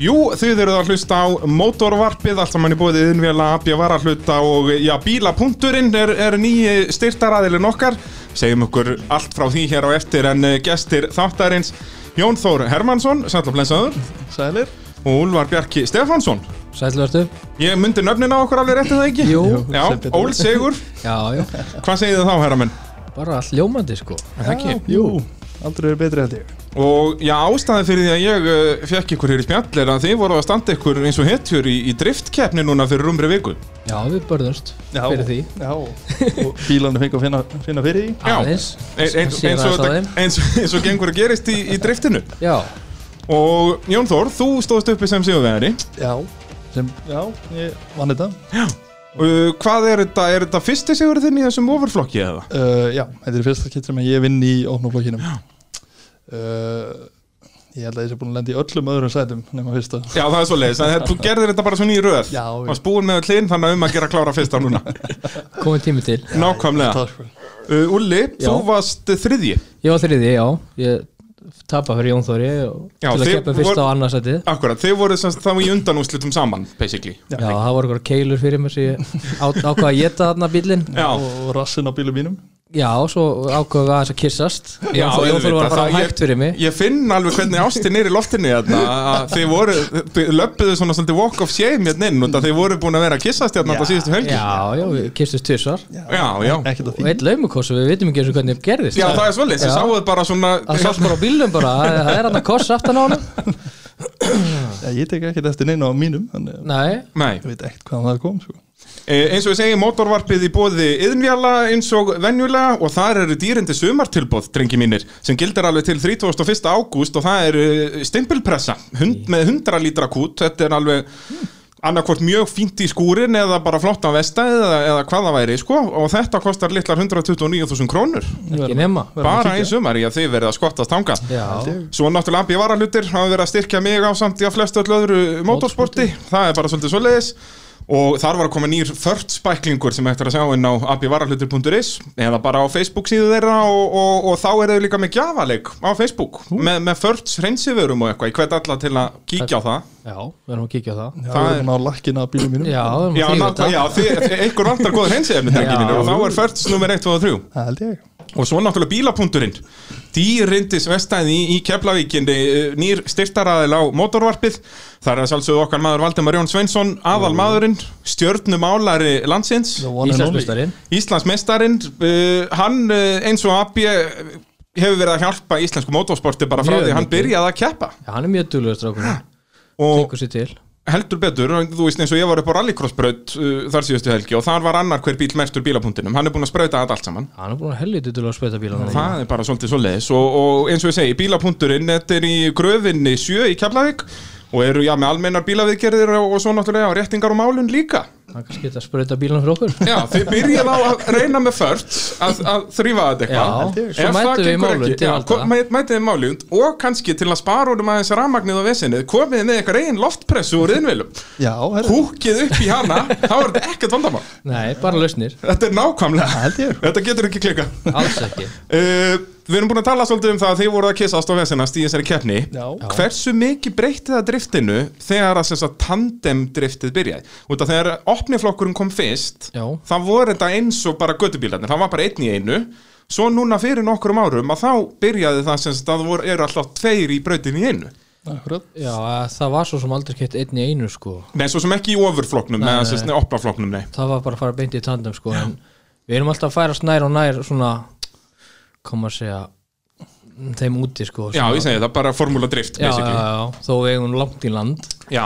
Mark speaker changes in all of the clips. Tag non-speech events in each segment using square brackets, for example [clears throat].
Speaker 1: Jú, þið eruð að hlusta á mótorvarpið, allt saman í bóðið innvjöla apja var að hluta og já, bílapunkturinn er, er nýji styrtaraðilinn okkar. Segjum okkur allt frá því hér á eftir en eh, gestir þáttarins Jón Þór Hermansson, sætlaflensaður,
Speaker 2: Sælir
Speaker 1: og Úlvar Bjarki Stefánsson.
Speaker 3: Sælvertu
Speaker 1: Ég myndi nöfnin á okkur alveg rétt er það ekki?
Speaker 3: Jú. Jú,
Speaker 1: Já,
Speaker 2: sem betur.
Speaker 1: Ól Sigur,
Speaker 3: Já, já,
Speaker 1: hvað segið þið þá, herra minn?
Speaker 3: bara allt ljómandi sko
Speaker 1: Er það ekki?
Speaker 2: Jú, aldrei verið betri held ég
Speaker 1: Og já, ástæðan fyrir því að ég uh, fekk ykkur hér í spjall er að þið voru að standa ykkur eins og hetjur í, í driftkeppni núna fyrir rumri viku.
Speaker 3: Já, við börðumst fyrir því
Speaker 2: Já, og bílarnir fengi að finna, finna fyrir því
Speaker 1: Já.
Speaker 3: Aðeins
Speaker 1: Ein- ein-
Speaker 3: Sér
Speaker 1: eins og
Speaker 3: aðeins á
Speaker 1: þetta-
Speaker 3: þeim.
Speaker 1: eins [laughs] eins og gengur að gerist í, í driftinu
Speaker 3: Já,
Speaker 1: og Jón Þór, þú stóðst uppi sem sigurvegari
Speaker 2: Já Sem, já, ég vann þetta
Speaker 1: uh, hvað er þetta, er þetta fyrsti sigurinn þinn í þessum overflokki eða?
Speaker 2: uh, Já, þetta er fyrsta kittur með ég vinn í opnaflokkinum Já uh, Ég held að ég sé búin að lenda í öllum öðrum sætum nema fyrsta
Speaker 1: Já, það er svo leiðis, þú gerðir þetta bara svona í röð
Speaker 2: Já,
Speaker 1: og
Speaker 2: já.
Speaker 1: spúin með öll inn þannig að um að gera klára fyrsta núna
Speaker 3: komið tími til
Speaker 1: [laughs] Nákvæmlega
Speaker 2: Takk fyrir
Speaker 1: uh, Ulli, þú
Speaker 3: Já.
Speaker 1: varst þriðji
Speaker 3: Ég var þriði, já Ég tapa fyrir Jón Þóri og-
Speaker 1: Já,
Speaker 3: Til að
Speaker 1: þið
Speaker 3: keppa fyrst
Speaker 1: vor-
Speaker 3: á annarsætið
Speaker 1: Akkurat, þið voru sem, sagt þá í undanúslitum saman basically
Speaker 3: Já, það voru eitthvað keilur fyrir mér sem ég á- ákvað að geta þarna bílinn
Speaker 1: Já,
Speaker 2: Og, og rassin á bílum mínum
Speaker 3: Já, svo ákvað við aðeins að kissast
Speaker 1: Já,
Speaker 3: Jón Þór- Jón Þóri
Speaker 1: auðvitað,
Speaker 3: var bara
Speaker 1: það-
Speaker 3: hægt fyrir mig
Speaker 1: Ég finn alveg hvernig ástin er í loftinu þarna, að Þið voru, þið löppuðu svona svolítið walk of shame hérna inn og þið voru búin að vera að kissast hérna þetta síðustu helgi
Speaker 3: Já, já, við kissast tvisvar
Speaker 1: Já, já
Speaker 2: Ekkert að
Speaker 3: Og
Speaker 2: því
Speaker 3: eitt laumukossu, við vitum ekki eins og hvernig það gerðist
Speaker 1: Já, það er svolítið, þið
Speaker 3: Já.
Speaker 1: sáuð bara svona
Speaker 3: Það sátt bara á bílnum bara, það- það er hann að kossa aftan á hann
Speaker 2: Já, Ég tek ekkert eftir neina á mínum Þannig að
Speaker 3: Nei,
Speaker 1: Nei,
Speaker 2: ég veit ekkert hvaðan það kom sko.
Speaker 1: e, eins og ég segi, mótorvarpið í bóði yðnvjala eins og venjulega og þar eru dýrindi sumartilbóð, drengi mínir sem gildar alveg til 31. ágúst og það er eh, stimpilpressa hund, með 100 lítra kút, þetta er alveg annarkvort mjög fínt í skúrin eða bara flott á vesta eða, eða hvað það væri sko og þetta kostar litlar 129.000 krónur
Speaker 3: ekki nema
Speaker 2: Verðum að
Speaker 1: bara
Speaker 2: kíkja.
Speaker 1: í sumar í að þið verið að skottast þangað
Speaker 3: Já,
Speaker 1: Svo náttúrulega Abbi Varalutir hafa verið að styrkja mig á samt í að flest öll öðru motorsporti Það er bara svolítið svoleiðis Og þar var að koma nýr þörrt spæklingur sem eftir að sjá inn á abbivarahlutur.is eða bara á Facebook síðu þeirra og, og, og þá er þau líka með gjafaleik á Facebook með, með þörrt hreinsiförum og eitthvað ég hvet alla til að kíkja á það
Speaker 3: já, við erum að kíkja á það
Speaker 2: Já,
Speaker 1: Það
Speaker 2: það er búin að lakkina á bílum mínum
Speaker 3: Já, við erum
Speaker 1: Já,
Speaker 3: að þrýfa
Speaker 1: náttúrulega, já, þið, þið, einhver vantar góð hreinsiförum
Speaker 3: Já.
Speaker 1: og þá er þörrt nummer 1, 2 og 3
Speaker 2: Það held ég
Speaker 1: Og svo náttúrulega bílapunkturinn Dýrindis vestæði í, í Keflavíkinni eh, Nýr styrtaraðil á mótorvarpið Það er að sjálfsögðu okkar maður Valdemar Jón Sveinsson Aðal maðurinn, stjörnum álari landsins
Speaker 2: The
Speaker 3: það
Speaker 2: one and only.
Speaker 3: Íslandsmjöstarinn
Speaker 1: Íslandsmestarinn uh, Hann uh, eins og AB hefur verið að hjálpa íslensku mótorsporti bara frá
Speaker 3: Mjög
Speaker 1: því hann
Speaker 3: mikið.
Speaker 1: byrjaði að keppa
Speaker 3: Já, hann er mjög duglegur strákunum
Speaker 1: og
Speaker 3: Tekur sér til
Speaker 1: heldur betur, þú veist eins og ég var upp á rallycrossbraut uh, þar síðustu helgi og þar var annar hver bíl mertur bílapunktinum, hann er búin að sprauta þetta allt saman
Speaker 3: Hann er búin að helviti duglegur að spöta bílan
Speaker 1: Það er bara svolítið svoleiðis og, og eins og ég segi, bílapunkturinn, þetta er í gröfinni sjö í Keflavík og eru já, með almennar bílaviðgerðir og, og svo náttúrulega réttingar og málun líka.
Speaker 3: Hann kannski geta að spöta bílan fyrir okkur
Speaker 1: Já, þið byrjið á að reyna með fört að, að þrýfa þetta eitthvað.
Speaker 3: Já, svo mætum við í málund til
Speaker 1: já,
Speaker 3: Valda.
Speaker 1: kom- mæ- mætið við málund og kannski til að spara úr um aðeins rafmagnið og vesinið, komið með eitthvað eigin loftpressu úr innvilum,
Speaker 2: Já, herri,
Speaker 1: húkið upp í hana, þá er þetta ekkert vandamál.
Speaker 3: Nei, bara lausnir
Speaker 1: Þetta er nákvæmlega,
Speaker 2: held ég
Speaker 1: þetta getur ekki klikað.
Speaker 3: Alls ekki
Speaker 1: Uh, við erum búin að tala svolítið um það að þið voruð að kissast og vesenast í þessari keppni
Speaker 2: Já. Já.
Speaker 1: Hversu mikið breytti það driftinu þegar að sem sagt tandem driftið byrjaði? Út af þegar opniflokkurinn kom fyrst
Speaker 3: Já.
Speaker 1: Það voru þetta eins og bara göttubílarnir, það var bara einn í einu Svo núna fyrir nokkrum árum að þá byrjaði það sem sagt að það voru, eru alltaf tveir í brautinni í einu
Speaker 2: Akkurat
Speaker 3: Já, það var svo sem aldrei keitt einn í einu sko
Speaker 1: Nei, svo sem ekki í ofurflokknum,
Speaker 3: Nei,
Speaker 1: eða
Speaker 3: nei.
Speaker 1: sem sagt opnaflokknum, nei
Speaker 3: Það var bara að fara beint í tandem sko En við erum alltaf að færast nær og nær svona Kom að segja Þeim úti sko
Speaker 1: Já,
Speaker 3: sem
Speaker 1: ég
Speaker 3: að-
Speaker 1: segi það, bara formúla drift,
Speaker 3: já, já,
Speaker 1: basically
Speaker 3: já, þó við eigum langt í land
Speaker 1: Já,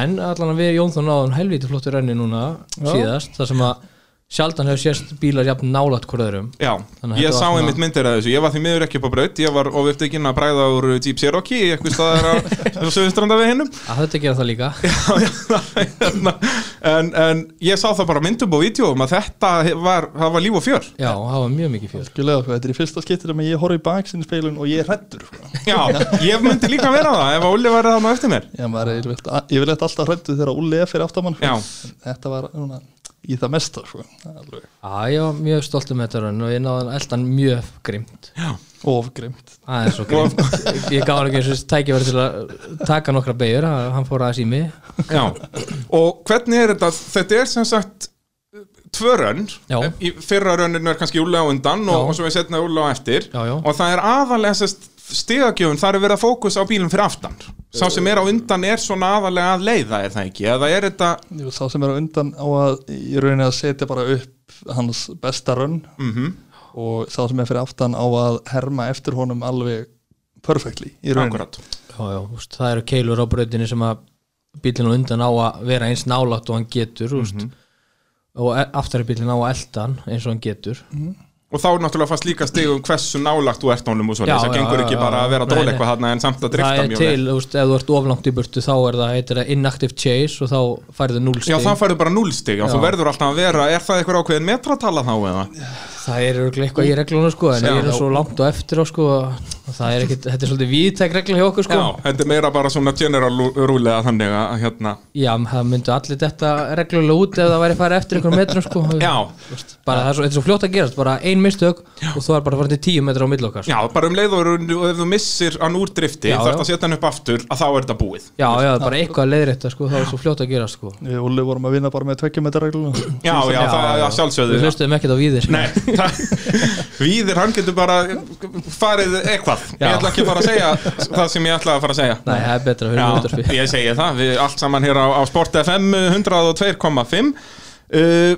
Speaker 3: En allan að við Jón þá náðum helvítið flottu renni núna síðast þar sem að sjaldan hefur sést bílar jafn nálat hvort öðrum
Speaker 1: Já,
Speaker 3: Þannig að
Speaker 1: ég
Speaker 3: þetta var
Speaker 1: sá
Speaker 3: svona-
Speaker 1: einmitt myndir af þessu Ég var því miður ekki upp á braut Ég var ofupptekinn að bræða úr Jeep Cherokee í eitthvað staðar á
Speaker 3: [laughs]
Speaker 1: söðustranda við hinnum
Speaker 3: að þetta gera það [laughs] líka
Speaker 1: [laughs] en, en ég sá það bara á myndum og vídjóum að þetta var, það var líf og fjör
Speaker 3: Já, það var mjög mikið fjör
Speaker 2: Algjörlega, sko, þetta er í fyrsta skiptir að ég horf í baksinspeilun og ég er hrættur sko.
Speaker 1: Já, ég myndi líka vera það ef að Ulli var það með eftir mér
Speaker 2: Já, maður er yfirleitt- ég vil eitthvað alltaf hrættur þegar Ulli er fyrir aftamann
Speaker 1: Já.
Speaker 2: sko. Þetta var núna, í það mesta sko. Það er alveg
Speaker 3: Já, ég var mjög stolt um þetta raun og ég náði hann eldan mjög grimt
Speaker 2: ofgrimt
Speaker 3: Það er svo grimt Ég gaf hann ekki þessu tækifæri til að taka nokkra beigur Hann fór aðeins í mig
Speaker 1: Já, og hvernig er þetta þetta er sem sagt tvö rönn,
Speaker 3: Já.
Speaker 1: í fyrra rönninu er kannski Úla á undan
Speaker 3: Já.
Speaker 1: og, og svo er setna Úla á eftir
Speaker 3: Já, já.
Speaker 1: og það er aðalega sest stigagjöfun, það er verið að fókus á bílum fyrir aftan sá sem er á undan er svona aðalega að leiða er það ekki, eða er þetta
Speaker 2: Jú, sá sem er á undan á að í rauninni að setja bara upp hans besta rönn
Speaker 1: mhm,
Speaker 2: og sá sem er fyrir aftan á að herma eftir honum alveg perfectly í rauninni
Speaker 1: akkurat
Speaker 3: já, já, úst, Það eru keilur á brautinni sem að bílinn á undan á að vera eins nálægt og hann getur úst, og e- aftari bílinn á að elda hann eins og hann getur
Speaker 1: og þá er náttúrulega fannst líka stigum hversu nálagt þú ert honum og svona,
Speaker 3: Já,
Speaker 1: það
Speaker 3: já,
Speaker 1: gengur
Speaker 3: já,
Speaker 1: ekki
Speaker 3: já,
Speaker 1: bara að vera að
Speaker 3: nei,
Speaker 1: dóla
Speaker 3: nei.
Speaker 1: eitthvað hann en samt að
Speaker 3: Það
Speaker 1: drifta
Speaker 3: er
Speaker 1: mjög vel
Speaker 3: til, úst, ef þú ert oflangt í burtu þá er það, heitir það inactive chase og þá færðu núl
Speaker 1: Já,
Speaker 3: stig
Speaker 1: það færðu bara núlstig, já,
Speaker 3: Já.
Speaker 1: þú verður alltaf að vera er það eitthvað ákveðin metratala þá eða?
Speaker 3: Það er örugglega eitthvað í reglunum sko en
Speaker 1: Já.
Speaker 3: ég er svo langt og eftir á sko að það er ekkit, þetta er svolítið víðtæk regla hjá okkur sko
Speaker 1: Já, þetta er meira bara svona general rúlega þannig að hérna
Speaker 3: Já, menn það myndu allir þetta reglulega út ef það væri farið eftir einhverjum metrum sko
Speaker 1: [laughs] Já,
Speaker 3: bara það er svo, þetta er svo fljótt að gerast, bara ein mistök og þú er bara farin til tíu metra á milli okkar sko.
Speaker 1: já bara um leið og eru- og ef þú missir hann úr drifti
Speaker 3: Já,
Speaker 1: þarf
Speaker 3: já.
Speaker 1: að setja hann upp aftur að þá er þetta búið
Speaker 3: Já, já, bara eitthvað leiðir þetta sko, það er svo fljótt að gerast sko
Speaker 2: Við Úli vorum að vinna bara með tveggjumættaregluna
Speaker 1: [clears throat] Já, já, það er sjálfsögðu
Speaker 3: Við hlustuðum ekkert á víðir
Speaker 1: Nei, það, Víðir, hann getur bara farið eitthvað Ég
Speaker 3: Já.
Speaker 1: ætla ekki að fara að segja það sem ég ætla að fara að segja
Speaker 3: Nei, það er betra að sko. höfum
Speaker 1: Já,
Speaker 3: útvarfi
Speaker 1: ég segi það, við allt saman hér á, á Sport FM 102,5 uh,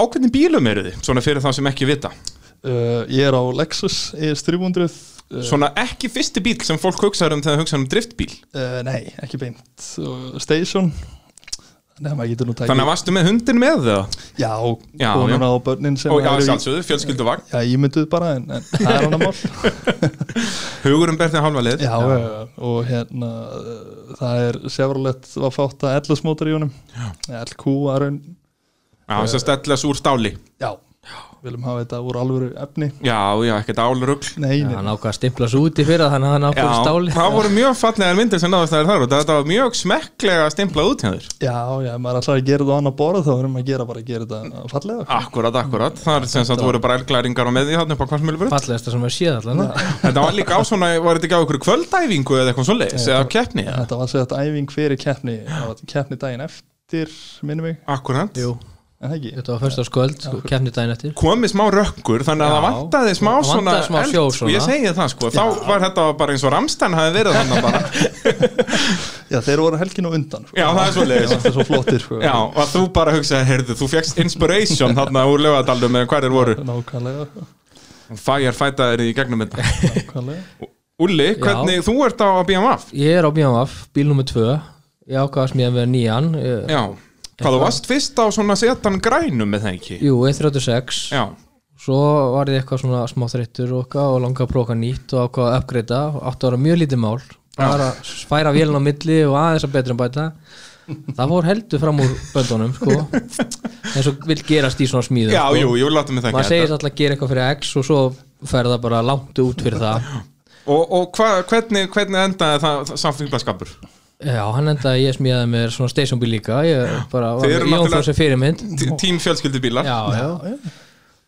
Speaker 1: Ákveðin bílum eru þið, svona fyrir þá sem ekki vita
Speaker 2: uh, Ég er á Lexus ES300 uh,
Speaker 1: Svona ekki fyrsti bíl sem fólk hugsaður um þegar það hugsaður um driftbíl
Speaker 2: uh, Nei, ekki beint uh, Station Nei, maður getur nú tækið
Speaker 1: Þannig að varstu með hundin með það?
Speaker 2: Já,
Speaker 1: Já,
Speaker 2: konuna og börnin sem
Speaker 1: Ó, já,
Speaker 2: eru í-
Speaker 1: sjálfsögðu, fjölskylduvagn
Speaker 2: Já, ég mynduð bara en, en það er hann að mál
Speaker 1: Hugurum berðið halva leið
Speaker 2: [laughs] já, já, já, og hérna uh, það er Chevrolet var fátt að LS mótor í honum LQ var raun
Speaker 1: Já, þess að stella þessu úr stáli
Speaker 2: já, viljum hafa þetta úr alvöru efni
Speaker 1: Já, já, ekkert álrugl
Speaker 2: nei, nei,
Speaker 3: Hann ákvað að stimpla svo út í fyrra þannig að hann
Speaker 1: Já,
Speaker 3: ákvað stáli
Speaker 1: það voru mjög fallegar myndir sem náðast þær þar og þetta var mjög smekklega stimplað út hjá þér
Speaker 2: já, já, ef maður er alltaf að gera þetta á annar borð þá verðum maður að gera bara að gera þetta fallega
Speaker 1: Akkurat, akkurat, þar sem sagt voru bara elglæringar á meði þarna upp á kvarsmjölubröð
Speaker 3: Fallegasta sem við séð allan
Speaker 1: Þetta var líka á svona, var þetta ekki á ykkur kvöldæfingu eða eitthvað svoleiðis, eða keppni eða?
Speaker 2: þetta var sér þetta æfing fyrir keppni það var keppni daginn eftir, minnum mig
Speaker 1: Akkurat
Speaker 3: Jú,
Speaker 2: en það ekki,
Speaker 3: þetta var fyrst á sköld, kemni daginn eftir
Speaker 1: komið smá rökkur, þannig að
Speaker 3: Já.
Speaker 1: það vantaði smá
Speaker 3: Það
Speaker 1: svona
Speaker 3: vantaði smá
Speaker 1: eld,
Speaker 3: sjó
Speaker 1: sko, ég
Speaker 3: svona.
Speaker 1: segi það sko, þá var þetta bara eins og Ramstein hafi verið þannig bara,
Speaker 2: já, þeir voru helgin og undan sko.
Speaker 1: já það er svoleiðis
Speaker 2: það er svo flottir sko.
Speaker 1: Já, og þú bara hugsaði, heyrðu, þú fegst inspiration þarna úr lögadalum eða hverjir voru
Speaker 2: nákvæmlega, sko,
Speaker 1: Firefighteri í gegnum þetta
Speaker 2: nákvæmlega.
Speaker 1: Ulli, hvernig, þú ert á BMF
Speaker 3: Ég er á BMF, bíl nummer 2 Ég ákvaðast mér að vera nýjan ég,
Speaker 1: Já, hvað þú varst fyrst á svona setan grænum með það ekki
Speaker 3: Jú, E E36
Speaker 1: Já,
Speaker 3: Svo var ég eitthvað svona smá þreyttur og, eitthvað og langaði að prófa eitthvað nýtt og ákvaða að uppgreita Áttu að vera mjög lítið mál Bara að færa vélina á milli og aðeins að betra en bæta Það fór heldur fram úr böndunum sko. eins og vil gerast í svona smíðum
Speaker 1: já,
Speaker 3: sko.
Speaker 1: jú, jú, látum við það
Speaker 3: Maður
Speaker 1: ekki
Speaker 3: segist alltaf að gera eitthvað fyrir X og svo fer það bara langt út fyrir það
Speaker 1: Og, og hva, hvernig, hvernig endaði það, það samfélagskapur?
Speaker 3: Já, hann endaði ég smíðaði mér svona stationbíl líka Ég bara var
Speaker 1: Þið eru
Speaker 3: með Jón
Speaker 1: náttúrulega-
Speaker 3: Þór sem fyrirmynd
Speaker 1: Tím fjölskyldubílar
Speaker 3: Já, já,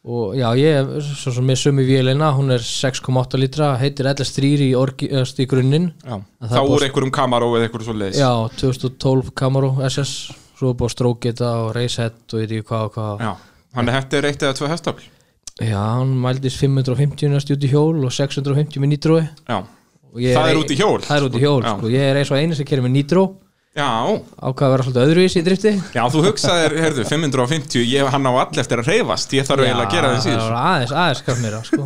Speaker 3: og já, ég er svo sem með sömu vélina, hún er 6,8 litra, heitir LS3 í, orgi, öst, í grunninn,
Speaker 1: Já.
Speaker 3: En það
Speaker 1: Þá
Speaker 3: er
Speaker 1: úr
Speaker 3: bara-
Speaker 1: einhverjum kamaró eða einhverjum svoleiðis
Speaker 3: já, 2012 Camaro SS, svo er búið að stróka þetta og race head og ég veit ekki hvað og hvað,
Speaker 1: Já. Þannig að þetta er eitt eða tvö hestafl
Speaker 3: já, hann mældist 550 næst út í hjól og 650 með nýtrói
Speaker 1: Já,
Speaker 3: og ég
Speaker 1: Það er út í hjól?
Speaker 3: það er út í hjól,
Speaker 1: Já.
Speaker 3: sko, ég er eins og eini sem kerir með nýtró,
Speaker 1: já,
Speaker 3: ákvað að vera svolítið öðruvísi í drifti,
Speaker 1: já þú hugsaðir, heyrðu, 550 ég, hann á all eftir að reyfast, ég þarf eiginlega að gera það
Speaker 3: það
Speaker 1: síður
Speaker 3: var aðeins, aðeins skaf mér sko,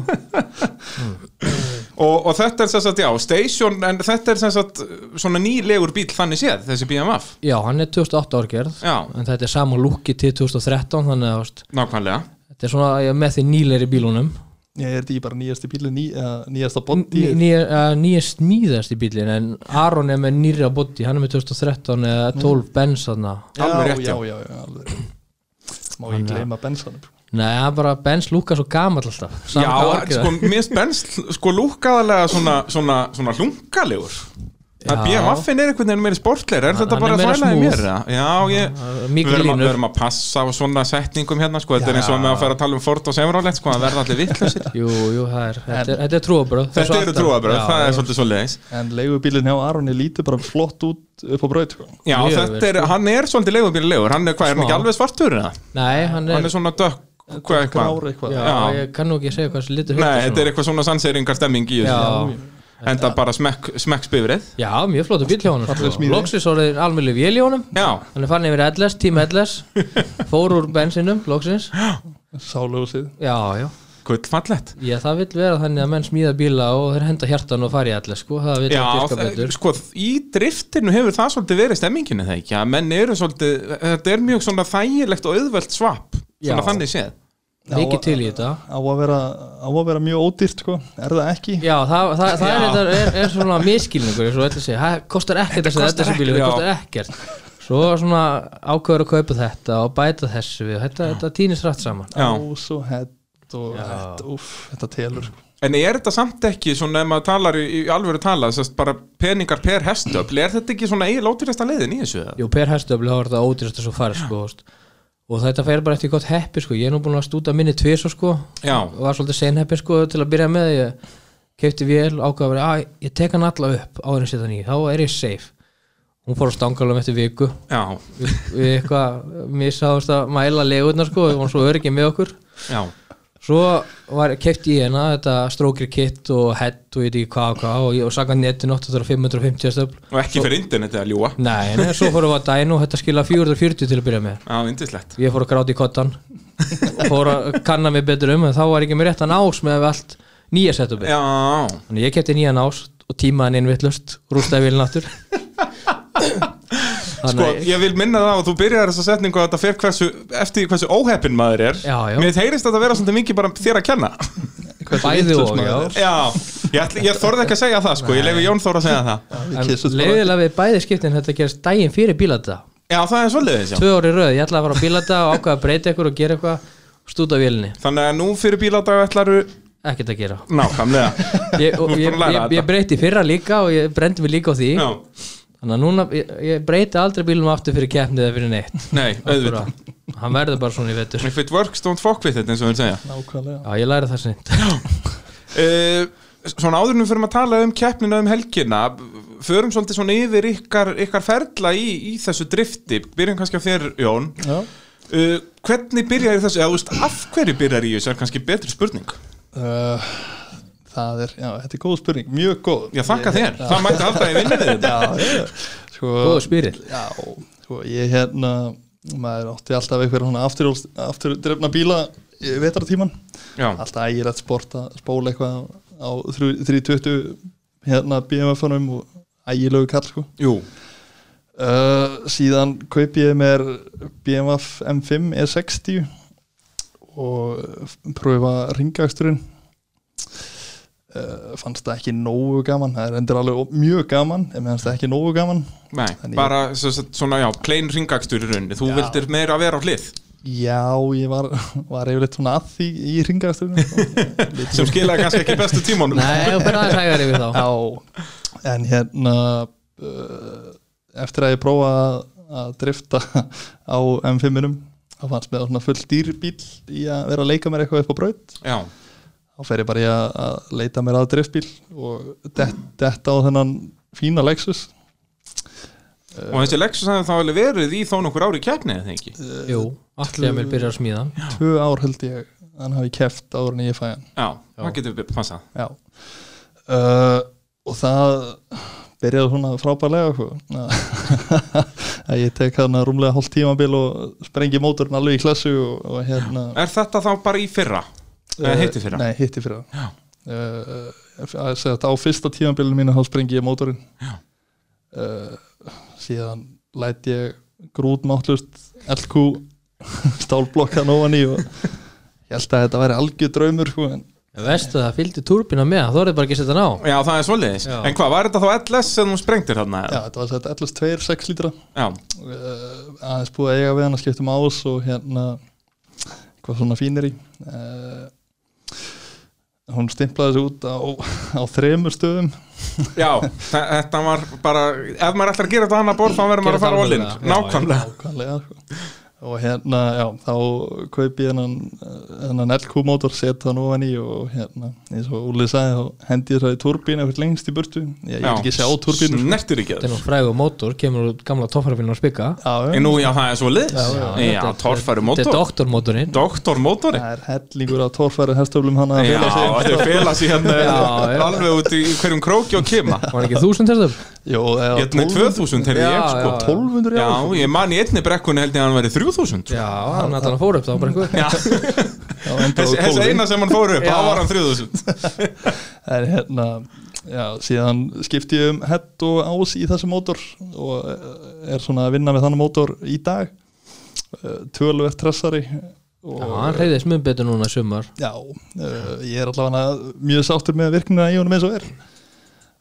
Speaker 1: og, og þetta er sem sagt, já, station en þetta er sem sagt svona nýlegur bíl þannig séð, þessi BMF
Speaker 3: já, hann er 2008 árgerð,
Speaker 1: Já,
Speaker 3: en þetta er sama lúki til 2013, þannig að, veist,
Speaker 1: nákvæmlega
Speaker 3: þetta er svona ég er með því nýleiri bílunum
Speaker 2: ég er því bara nýjasti bíli ný, uh, nýjasta bondi
Speaker 3: nýja eh, smíðast í bílin en Aron er með nýra body hann er með 2013 eða
Speaker 1: Mm.
Speaker 3: 12 Benz þarna
Speaker 1: Alveg rétt, já.
Speaker 2: já, já, já, alveg Má ég
Speaker 3: Þannig að-
Speaker 2: gleyma bensanum
Speaker 3: nei, hann bara Benz lúka svo gamall alltaf Sama hvað
Speaker 1: Já,
Speaker 3: orkið
Speaker 1: sko,
Speaker 3: það.
Speaker 1: mér spennst sko lúkaðalega svona, svona, svona hlungalegur að
Speaker 3: Já.
Speaker 1: BMF-in er einhvern veginn meiri sportleir er
Speaker 3: Hann-
Speaker 1: þetta
Speaker 3: hann
Speaker 1: bara
Speaker 3: er meira
Speaker 1: þvæla í mér
Speaker 3: smooth.
Speaker 1: eða? já, ég,
Speaker 3: Það eru
Speaker 1: við
Speaker 3: mikið
Speaker 1: erum, að, við
Speaker 3: línur
Speaker 1: erum að passa á svona setningum hérna sko, þetta er
Speaker 3: Já.
Speaker 1: eins og með að fara að tala um Ford og Chevrolet sko, það verða allir vittlausir
Speaker 3: Jú, jú, það er, þetta er, þetta er trúabröð
Speaker 1: þetta eru trúabröð, það er svolítið svolítið
Speaker 2: En leigubílinn hjá Aroni lítur bara flott út upp á braut sko.
Speaker 1: já,
Speaker 3: Mjög
Speaker 1: þetta
Speaker 3: vel,
Speaker 1: er, hann er svolítið leigubílulegur hann er, hvað, er hann
Speaker 3: Smá.
Speaker 1: ekki alveg svartur eða?
Speaker 3: Nei, hann er,
Speaker 1: hann er svona dökk, hvað
Speaker 2: Grár
Speaker 1: eitthvað
Speaker 2: eitthvað
Speaker 3: já,
Speaker 1: Já.
Speaker 3: ég kann nú ekki segja hvað þessi litur
Speaker 1: nei,
Speaker 3: heitir sko.
Speaker 1: þetta er eitthvað svona sanseringar stemming í
Speaker 3: Já.
Speaker 1: þessu enda bara smekk, smekk spifrið
Speaker 3: Já, mjög flottu bíl hjá honum
Speaker 2: Falleg
Speaker 3: sko.
Speaker 2: smíði.
Speaker 3: Loksis orðið almjölu vél í honum
Speaker 1: já,
Speaker 3: Hann er farin yfir LS, tím LS Fór úr bensinum, loksins
Speaker 2: Sálögusið
Speaker 3: Já, já
Speaker 1: gullfallett
Speaker 3: Já, það vil vera þannig að menn smíða bíla og þeir henda hjartan og fara í allir, sko, það vil
Speaker 1: Já,
Speaker 3: ekki virka
Speaker 1: það-
Speaker 3: betur.
Speaker 1: sko, í driftinu hefur það svolítið verið stemminginu það ekki, að menn eru svolítið þetta er mjög svona þægilegt og auðvelt svap, svona
Speaker 3: Já.
Speaker 1: þannig séð
Speaker 3: Mikið til í þetta.
Speaker 2: Á að vera, á að vera mjög ódýrt sko. Er það ekki?
Speaker 3: Já, það, það, það er, reyndar- er, er svona miskilningur, svo ætla að segja, það kostar ekkert þessi,
Speaker 1: kostar
Speaker 3: þessi bíl,
Speaker 1: ekkert, já.
Speaker 3: það kostar ekkert. Svo svona ákveður að kaupa þetta og bæta þessu við, þetta, þetta týnist rætt saman.
Speaker 1: Já.
Speaker 2: Ás og hett og
Speaker 3: Já.
Speaker 2: þetta, úf, þetta telur sko.
Speaker 1: En er þetta samt ekki svona ef maður talar í, í alvöru tala, þess bara peningar per hestöfl, er þetta ekki svona eiginlega ótrýrasta leiðin í þessu? eða?
Speaker 3: Jú, per hestöfli þá er þetta ódýrast þessu farið, sko, veist. og þetta fer bara eftir gott heppi, sko, ég er nú búin að stúta minni tvis sko,
Speaker 1: Já,
Speaker 3: var svolítið senheppin sko til að byrja með ég keipti vél, ákvaða að vera að ég tek hann alla upp áður en ég setja hann í þá er ég safe hún fór á stangalum eftir viku
Speaker 1: já,
Speaker 3: við, við eitthvað misáðast að mæla legurnar sko við varum svo örgið með okkur
Speaker 1: já,
Speaker 3: svo var, keipti ég hérna þetta strókir kit og hett og ég veit ekki hvað og hvað og, ég- og sagan netin 8550 stöfl
Speaker 1: og ekki fyrir internetið að ljúa
Speaker 3: nei, nei, svo fórum við að dænu og þetta skila 440 til að byrja með
Speaker 1: Já, yndislegt
Speaker 3: ég fór að gráta í kottan og fór að kanna mig betur um en þá var ekki með réttan ás með allt nýja setupið
Speaker 1: Já,
Speaker 3: Þannig að ég kefti nýjan ás og tímaðan inn vittlust, rústaði vilin aftur Þannig
Speaker 1: sko,
Speaker 3: að ég,
Speaker 1: ég vil minna það og þú byrjar þessa setningu að þetta fer hversu, eftir því hversu óheppin maður er
Speaker 3: Já, já.
Speaker 1: Mér heyrist þetta vera svolítið mikið bara þér að kenna
Speaker 2: Hversu
Speaker 3: Bæði
Speaker 2: vitlaus
Speaker 3: og,
Speaker 2: maður
Speaker 3: já.
Speaker 2: er.
Speaker 1: Já, ég, ætli, ég þorði ekki að segja það sko, ég leiði Jón Þór að segja það
Speaker 2: Við
Speaker 3: en
Speaker 2: kyssumst bara.
Speaker 3: leiðilega við bæði skiptin þetta gerist daginn fyrir bílata
Speaker 1: Já, það er svolítið já
Speaker 3: Tvö ári röð, ég ætlaði að fara á bílata og ákvaða að breyta ykkur og gera eitthvað og stúta vélinni,
Speaker 1: Þannig að nú fyrir bíladag ætlaru
Speaker 3: ekkert að gera [laughs]
Speaker 1: Nákvæmlega
Speaker 3: Ég, og
Speaker 1: Þú ert
Speaker 3: ég,
Speaker 1: búin að læra
Speaker 3: ég,
Speaker 1: þetta.
Speaker 3: ég breyti í fyrra líka og ég brendi mig líka á því
Speaker 1: Já,
Speaker 3: Þannig að núna, ég, ég breyti aldrei bílum aftur fyrir keppnið eða fyrir neitt
Speaker 1: nei, auðvitað
Speaker 3: Bara, Hann verður bara svona í vetur
Speaker 1: If it works, don't fuck with it, eins og við segja
Speaker 2: Nákvæmlega
Speaker 3: Já, ég læri það sinnt
Speaker 1: uh, Svona áður en við fyrir að tala um keppnina um helgina Förum svolítið svona yfir ykkar, ykkar ferla í, í þessu drifti Byrjum kannski á þér, Jón
Speaker 2: Já.
Speaker 1: uh, Hvernig byrjar þessu, eða þú veist, af hverju byrjar í þessu er kannski betri spurning
Speaker 2: Uh, Það er, já, þetta er góð spurning, mjög góð
Speaker 1: Já, þakka þér, það mætti alltaf í vinnu við
Speaker 2: [laughs]
Speaker 1: þetta
Speaker 2: Já, já. Sko,
Speaker 3: Góðu spyrill
Speaker 2: Já, sko, ég hérna maður átti alltaf einhverja svona aftur, afturdrefna bíla vetartíman
Speaker 1: Já,
Speaker 2: alltaf ægilegt sport að spóla eitthvað á 320 hérna BMF-unum og ægilegu kall sko.
Speaker 1: jú,
Speaker 2: uh, síðan kaupi ég mér BMF M5 E60 E og pröfa ringaksturinn uh, fannst það ekki nógu gaman það er endur alveg of- mjög gaman en mér fannst það ekki nógu gaman
Speaker 1: Nei,
Speaker 2: Þannig ég-
Speaker 1: bara svo, svo- svona, já, plain ringakstur í rauninni, þú
Speaker 2: Já.
Speaker 1: vildir meira vera á hlið
Speaker 2: Já, ég var, [laughs] var yfirleitt svona að því í sko. ringastunum
Speaker 1: sem skilaði kannski ekki bestu tímanum
Speaker 3: Nei, þú fyrir aðeins hægar yfir þá
Speaker 2: Já, en hérna uh, eftir að ég prófa að drifta [laughs] á M5-inum þá fannst mér það svona full dýrbíl í að vera að leika mér eitthvað upp á braut
Speaker 1: Já,
Speaker 2: þá fer ég bara í að, að leita mér að driftbíl og dett, detta á þennan fína Lexus
Speaker 1: og þessi Lexus hafði þá alveg verið í þó nokkur ári keppni eða ekki
Speaker 3: Jú, allir að mér byrja að smíða
Speaker 2: tvö ár held ég að hann hafi keft áður en ég fæ hann
Speaker 1: Já, það getur við passað
Speaker 2: Já uh, Og það byrjaði svona frábærlega sko. [laughs] að ég tek hana rúmlega hálft tímabil og sprengi mótorinn alveg í klassu og, og hérna
Speaker 1: Er þetta þá bara í fyrra?
Speaker 3: Eh,
Speaker 1: Uh, heiti fyrra?
Speaker 2: Nei, hitti fyrra uh, að segja þetta á fyrsta tímabilinu mínu þá sprengi ég mótorinn uh, síðan læt ég grútmáttlust [laughs] LQ stálblokkan ofan í og ég held að þetta væri algjör draumur sko, en
Speaker 3: Vestu það, fylgdi turbina með, þú voruð bara ekki að setja hann á
Speaker 1: Já, það er svoleiðis
Speaker 3: Já.
Speaker 1: En hvað, var þetta þá LS sem þú sprengtir þarna?
Speaker 2: já, þetta var þetta 11.2 6 lítra
Speaker 1: Já,
Speaker 2: uh, aðeins búið að eiga við hann að skipta um ás og hérna eitthvað svona fínir í uh, hún stimplaði sig út á, á þremur stöðum
Speaker 1: Já, þe- þetta var bara Ef maður ætlar að gera þetta annað borð þá verður maður að fara all-in
Speaker 3: Gera þetta
Speaker 1: Nákvæmlega
Speaker 2: Nákvæmlega sko. Og hérna, já, þá kaup ég hennan, hennan LQ-mótor, set hann ofan í og hérna, eins og Úli sagði, þá hendi ég það í turbínu eitthvað lengst í burtu. Já, ég vil ekki sjá turbínu. sko.
Speaker 1: Snertir ekki
Speaker 3: þetta er
Speaker 1: það
Speaker 3: nú frægur mótor, kemur úr gamla toffarfílun að spika
Speaker 2: Já,
Speaker 1: En
Speaker 2: já,
Speaker 1: nú, já, það er svo liðs Já, já
Speaker 3: þetta-
Speaker 1: torfæru
Speaker 3: þetta er
Speaker 1: mótor
Speaker 3: doktormótorinn
Speaker 1: Doktor mótori
Speaker 2: það er hellingur af torfæri hestöflum hann að
Speaker 1: Já,
Speaker 2: fela sig.
Speaker 1: þetta er fela síðan
Speaker 3: Já, já.
Speaker 1: Alveg út í hverjum króki og kima Hérna
Speaker 3: var hann ekki þúsund testum?
Speaker 2: Jó, eða
Speaker 1: Ég er 2000 heyrði ég sko
Speaker 3: Já, já.
Speaker 2: 1200
Speaker 1: Já,
Speaker 2: já.
Speaker 1: ég man í einni brekkunni held ég að hann væri 3000 sko.
Speaker 3: já, hann að hann fór upp þá bara einhver
Speaker 1: Já,
Speaker 2: Já, enda á
Speaker 1: þessi þessi
Speaker 2: 1200.
Speaker 1: eina sem hann fór upp, þá var hann 3000
Speaker 2: Það er hérna já, síðan skipti ég um hett og ás í þessu mótor og eh, er svona að vinna með þannig mótor í dag Eh, töluvert tressari og
Speaker 3: já, hann reyðist mjög betur núna í sumar
Speaker 2: já, eh, ég er allavega mjög sáttur með virknina í honum eins og er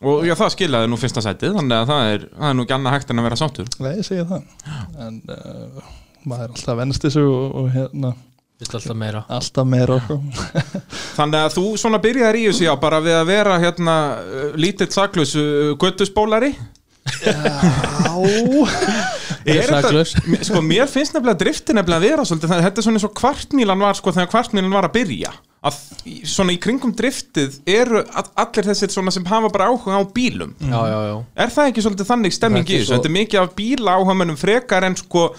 Speaker 1: Og já, það skiljaði nú fyrsta sætið Þannig að það er, það er nú ekki annað hægt en að vera sáttur
Speaker 2: Nei, ég segi það en uh, maður er alltaf venst þessu og, og hérna,
Speaker 3: vill alltaf meira
Speaker 2: alltaf meira sko.
Speaker 1: Þannig að þú svona byrjaðir í þessu já bara við að vera hérna uh, lítill saklaus uh, göttusbólari
Speaker 2: Já
Speaker 1: Er þetta-
Speaker 3: saklaus.
Speaker 1: m- Sko [laughs] mér finnst nefnilega driftin nefnilega að vera svolítið þannig þetta er svona eins og kvartmílan var sko þegar kvartmílan var að byrja að í- svona í kringum driftið eru all- allir þessir svona sem hafa bara áhuga á bílum
Speaker 3: já, já, já
Speaker 1: Er það ekki svolítið þannig stemming
Speaker 3: Þetta
Speaker 1: í
Speaker 3: er
Speaker 1: þessu?
Speaker 3: svo-
Speaker 1: Þetta er mikið af bíla áhamunum frekar en sko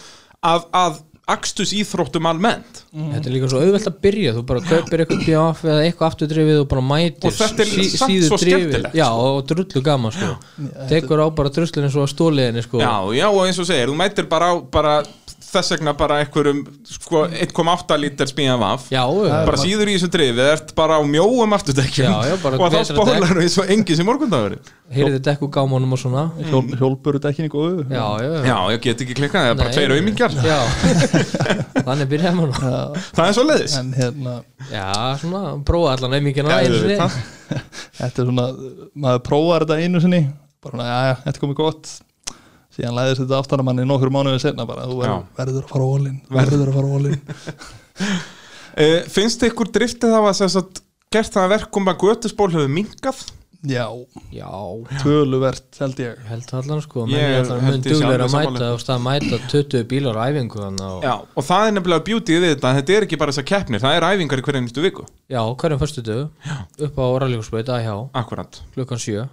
Speaker 1: að, að akstus íþróttum almennt
Speaker 3: Mm. Þetta er líka svo auðvelt að byrja, þú bara kaupir eitthvað bjáf eða eitthvað afturdrifið og bara mætir
Speaker 1: Og þetta er
Speaker 3: sí-
Speaker 1: samt
Speaker 3: síður
Speaker 1: svo
Speaker 3: drifið.
Speaker 1: skemmtilegt,
Speaker 3: Já, og drullu gaman sko Tekur á bara druslinu svo að stóliðinni sko
Speaker 1: Já, já, og eins og segir, þú mætir bara á bara, þess vegna bara einhverjum sko, 1,8 lítar spíðan vaf
Speaker 3: já, já,
Speaker 1: bara síður í þessu drifið, ert bara á mjóum aftutekjum
Speaker 3: Já, já, bara
Speaker 1: og þá
Speaker 3: vetrardekk.
Speaker 1: spólar þú eins og engi sem morgundagurinn
Speaker 3: heyrði þetta eitthvað gámanum og svona
Speaker 2: Hjól, Hjólburu dekkin í góðu
Speaker 3: Já, já, já,
Speaker 1: Já, ég get ekki klikkað, það er bara
Speaker 3: Nei.
Speaker 1: tveir auðmingar
Speaker 3: já. [laughs] Þannig byrjaði maður nú.
Speaker 1: Það er svo leiðis
Speaker 2: en hérna
Speaker 3: Já, svona, prófa allan auðmíkina
Speaker 1: Já,
Speaker 3: einu sinni
Speaker 1: auðvitað.
Speaker 2: þetta er svona, maður prófar þetta einu sinni bara svona, já, já, þetta er komið gott síðan læðist þetta aftan að manni nokkur mánuðið senna bara, þú verður, verður að fara ólinn verður að fara
Speaker 1: [laughs]
Speaker 2: ólinn
Speaker 1: uh, Finnst ykkur driftið hafa sem sagt, gert það að verkum að götusból hefur minkað?
Speaker 2: já,
Speaker 3: Já,
Speaker 2: töluvert held ég
Speaker 3: ég held það allan sko
Speaker 1: Ég
Speaker 3: Menn er allan
Speaker 1: held
Speaker 3: mun
Speaker 1: ég sé
Speaker 3: duglegur
Speaker 1: alveg
Speaker 3: að mæta
Speaker 1: sammála.
Speaker 3: og stað að mæta 20 bílar á æfingu þannig að-
Speaker 1: Já, og það er nefnilega beauty við þetta þetta er ekki bara þessar keppnir, það er æfingar í hverja nýttu viku
Speaker 3: Já, hverjum fyrstu upp á orðalífsbeit, æhjá,
Speaker 1: Akkurat,
Speaker 3: klukkan 7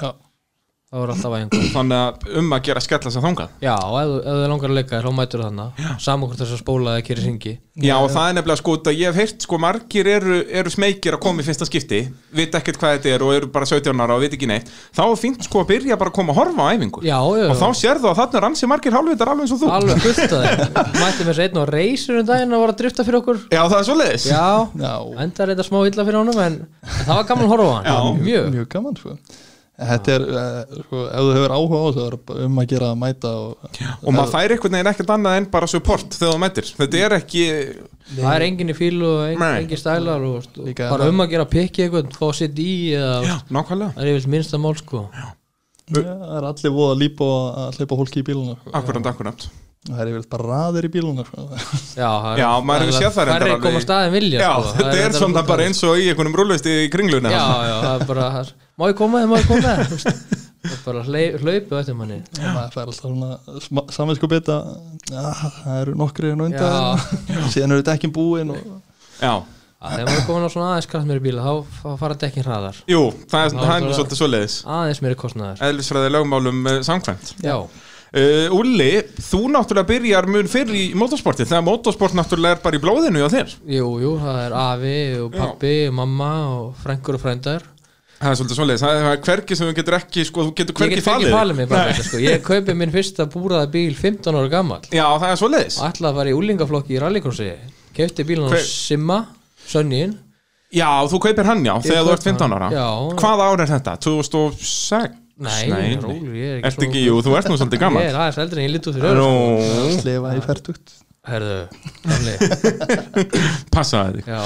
Speaker 2: já,
Speaker 3: Það voru alltaf æfingu
Speaker 1: þannig að um að gera skella sér þangað
Speaker 3: Já, ef, þú- ef þið langar að leika þér, þá mætur þannig Saman hvort þess að spóla eða kýri syngi
Speaker 1: Já, og það er nefnilega sko út að ég hef heyrt sko margir eru, eru smekir að koma í fyrsta skipti vita ekkert hvað þetta er og eru bara 17 ára og vita ekki neitt þá er fínt sko að byrja bara að koma að horfa á æfingu
Speaker 3: Já, já,
Speaker 1: og þá
Speaker 3: já,
Speaker 1: sérðu að þarna er ansi margir hálfvitar alveg eins og þú
Speaker 3: alveg fullt að þeim Mætti með þess einn og reysur um daginn að voru að drifta fyrir okkur
Speaker 1: Já, það er svo leiðis
Speaker 3: Já,
Speaker 2: já,
Speaker 3: enda reynda smá illa fyrir honum En, en það var gaman að horfa á hann
Speaker 1: Já.
Speaker 3: Mjög,
Speaker 2: mjög gaman sko. þetta er, eh, sko, ef þú hefur áhuga á þessu það er bara um að gera að mæta og,
Speaker 1: Og maður fær einhvern veginn ekkert annað en bara support þegar þú mætir Þetta er ekki,
Speaker 3: það er engin í fílu og ein,
Speaker 1: Nei.
Speaker 3: engin stælar og, og
Speaker 2: Líka
Speaker 3: bara
Speaker 2: það-
Speaker 3: um að gera pikki eitthvað, fá sitt í eða,
Speaker 1: já, nákvæmlega
Speaker 3: Það er yfirlt minnsta mál sko
Speaker 2: já, það er allir voða líp og að hleypa hólki í bíluna sko.
Speaker 1: Akkurat, akkurat
Speaker 2: það er yfirleitt bara raðir í bíluna sko.
Speaker 3: Já, það er-
Speaker 1: Já, maður hefur séð það reyndar
Speaker 3: Færri
Speaker 1: alveg.
Speaker 3: koma staðin vilja
Speaker 1: Já,
Speaker 3: sko. Það
Speaker 1: þetta er
Speaker 3: reyndar
Speaker 1: svona
Speaker 3: alveg-
Speaker 1: bara eins og í einhvernum rúlusti í kringluna
Speaker 3: Já, já, það er bara Má ég koma, má ég koma [laughs] þú veist. Það er bara hlei- hlaupið á eftir manni
Speaker 2: og maður fær alltaf svona saminsku bita ah, það eru nokkri en
Speaker 3: Já.
Speaker 2: undan [laughs] síðan eru dekkin búin og
Speaker 1: Já.
Speaker 3: að þegar maður er komin á svona aðeins kraft meiri bíla þá, þá fara dekkin hraðar
Speaker 1: Jú, það er, það er nú
Speaker 3: náttúrulega.
Speaker 1: svolítið svoleiðis
Speaker 3: aðeins meiri kostnaðar
Speaker 1: Eðlisfræði lögmálum eh, samkvæmt
Speaker 3: já,
Speaker 1: uh, Ulli, þú náttúrulega byrjar mun fyrr í motorsporti þegar motorsport náttúrulega er bara í blóðinu á þér
Speaker 3: jú, jú, það er afi og pappi, og mamma og frængur og frændar
Speaker 1: Það er svolítið svoleiðis, það er hvergi sem þú getur ekki sko, þú getur
Speaker 3: ég
Speaker 1: hvergi
Speaker 3: get ekki
Speaker 1: falið
Speaker 3: falið mig bara
Speaker 1: Nei.
Speaker 3: þetta, sko. ég kaupi minn fyrsta búraða bíl 15 ára gammal
Speaker 1: Já, það er svoleiðis
Speaker 3: ætlaði að fara í úlingaflokki í rallycrossi kefti bílan á
Speaker 1: Hver-
Speaker 3: Simma Sönnin,
Speaker 1: Já, þú kaupir hann já, þegar þú
Speaker 3: kaup
Speaker 1: ert 15 ára
Speaker 3: hann, já.
Speaker 1: Hvað ár er þetta? 2006?
Speaker 3: Nei, rólegur, ég er ekki
Speaker 1: Ertu
Speaker 3: svona-
Speaker 1: ekki, jú, þú ert nú svolítið
Speaker 3: ég
Speaker 1: gammal
Speaker 3: er aðeins eldri en ég lítu þér öðru sko.
Speaker 1: Nú,
Speaker 2: slefa í færtugt
Speaker 3: herðu, þannig
Speaker 1: passaði [laughs] þig
Speaker 3: já,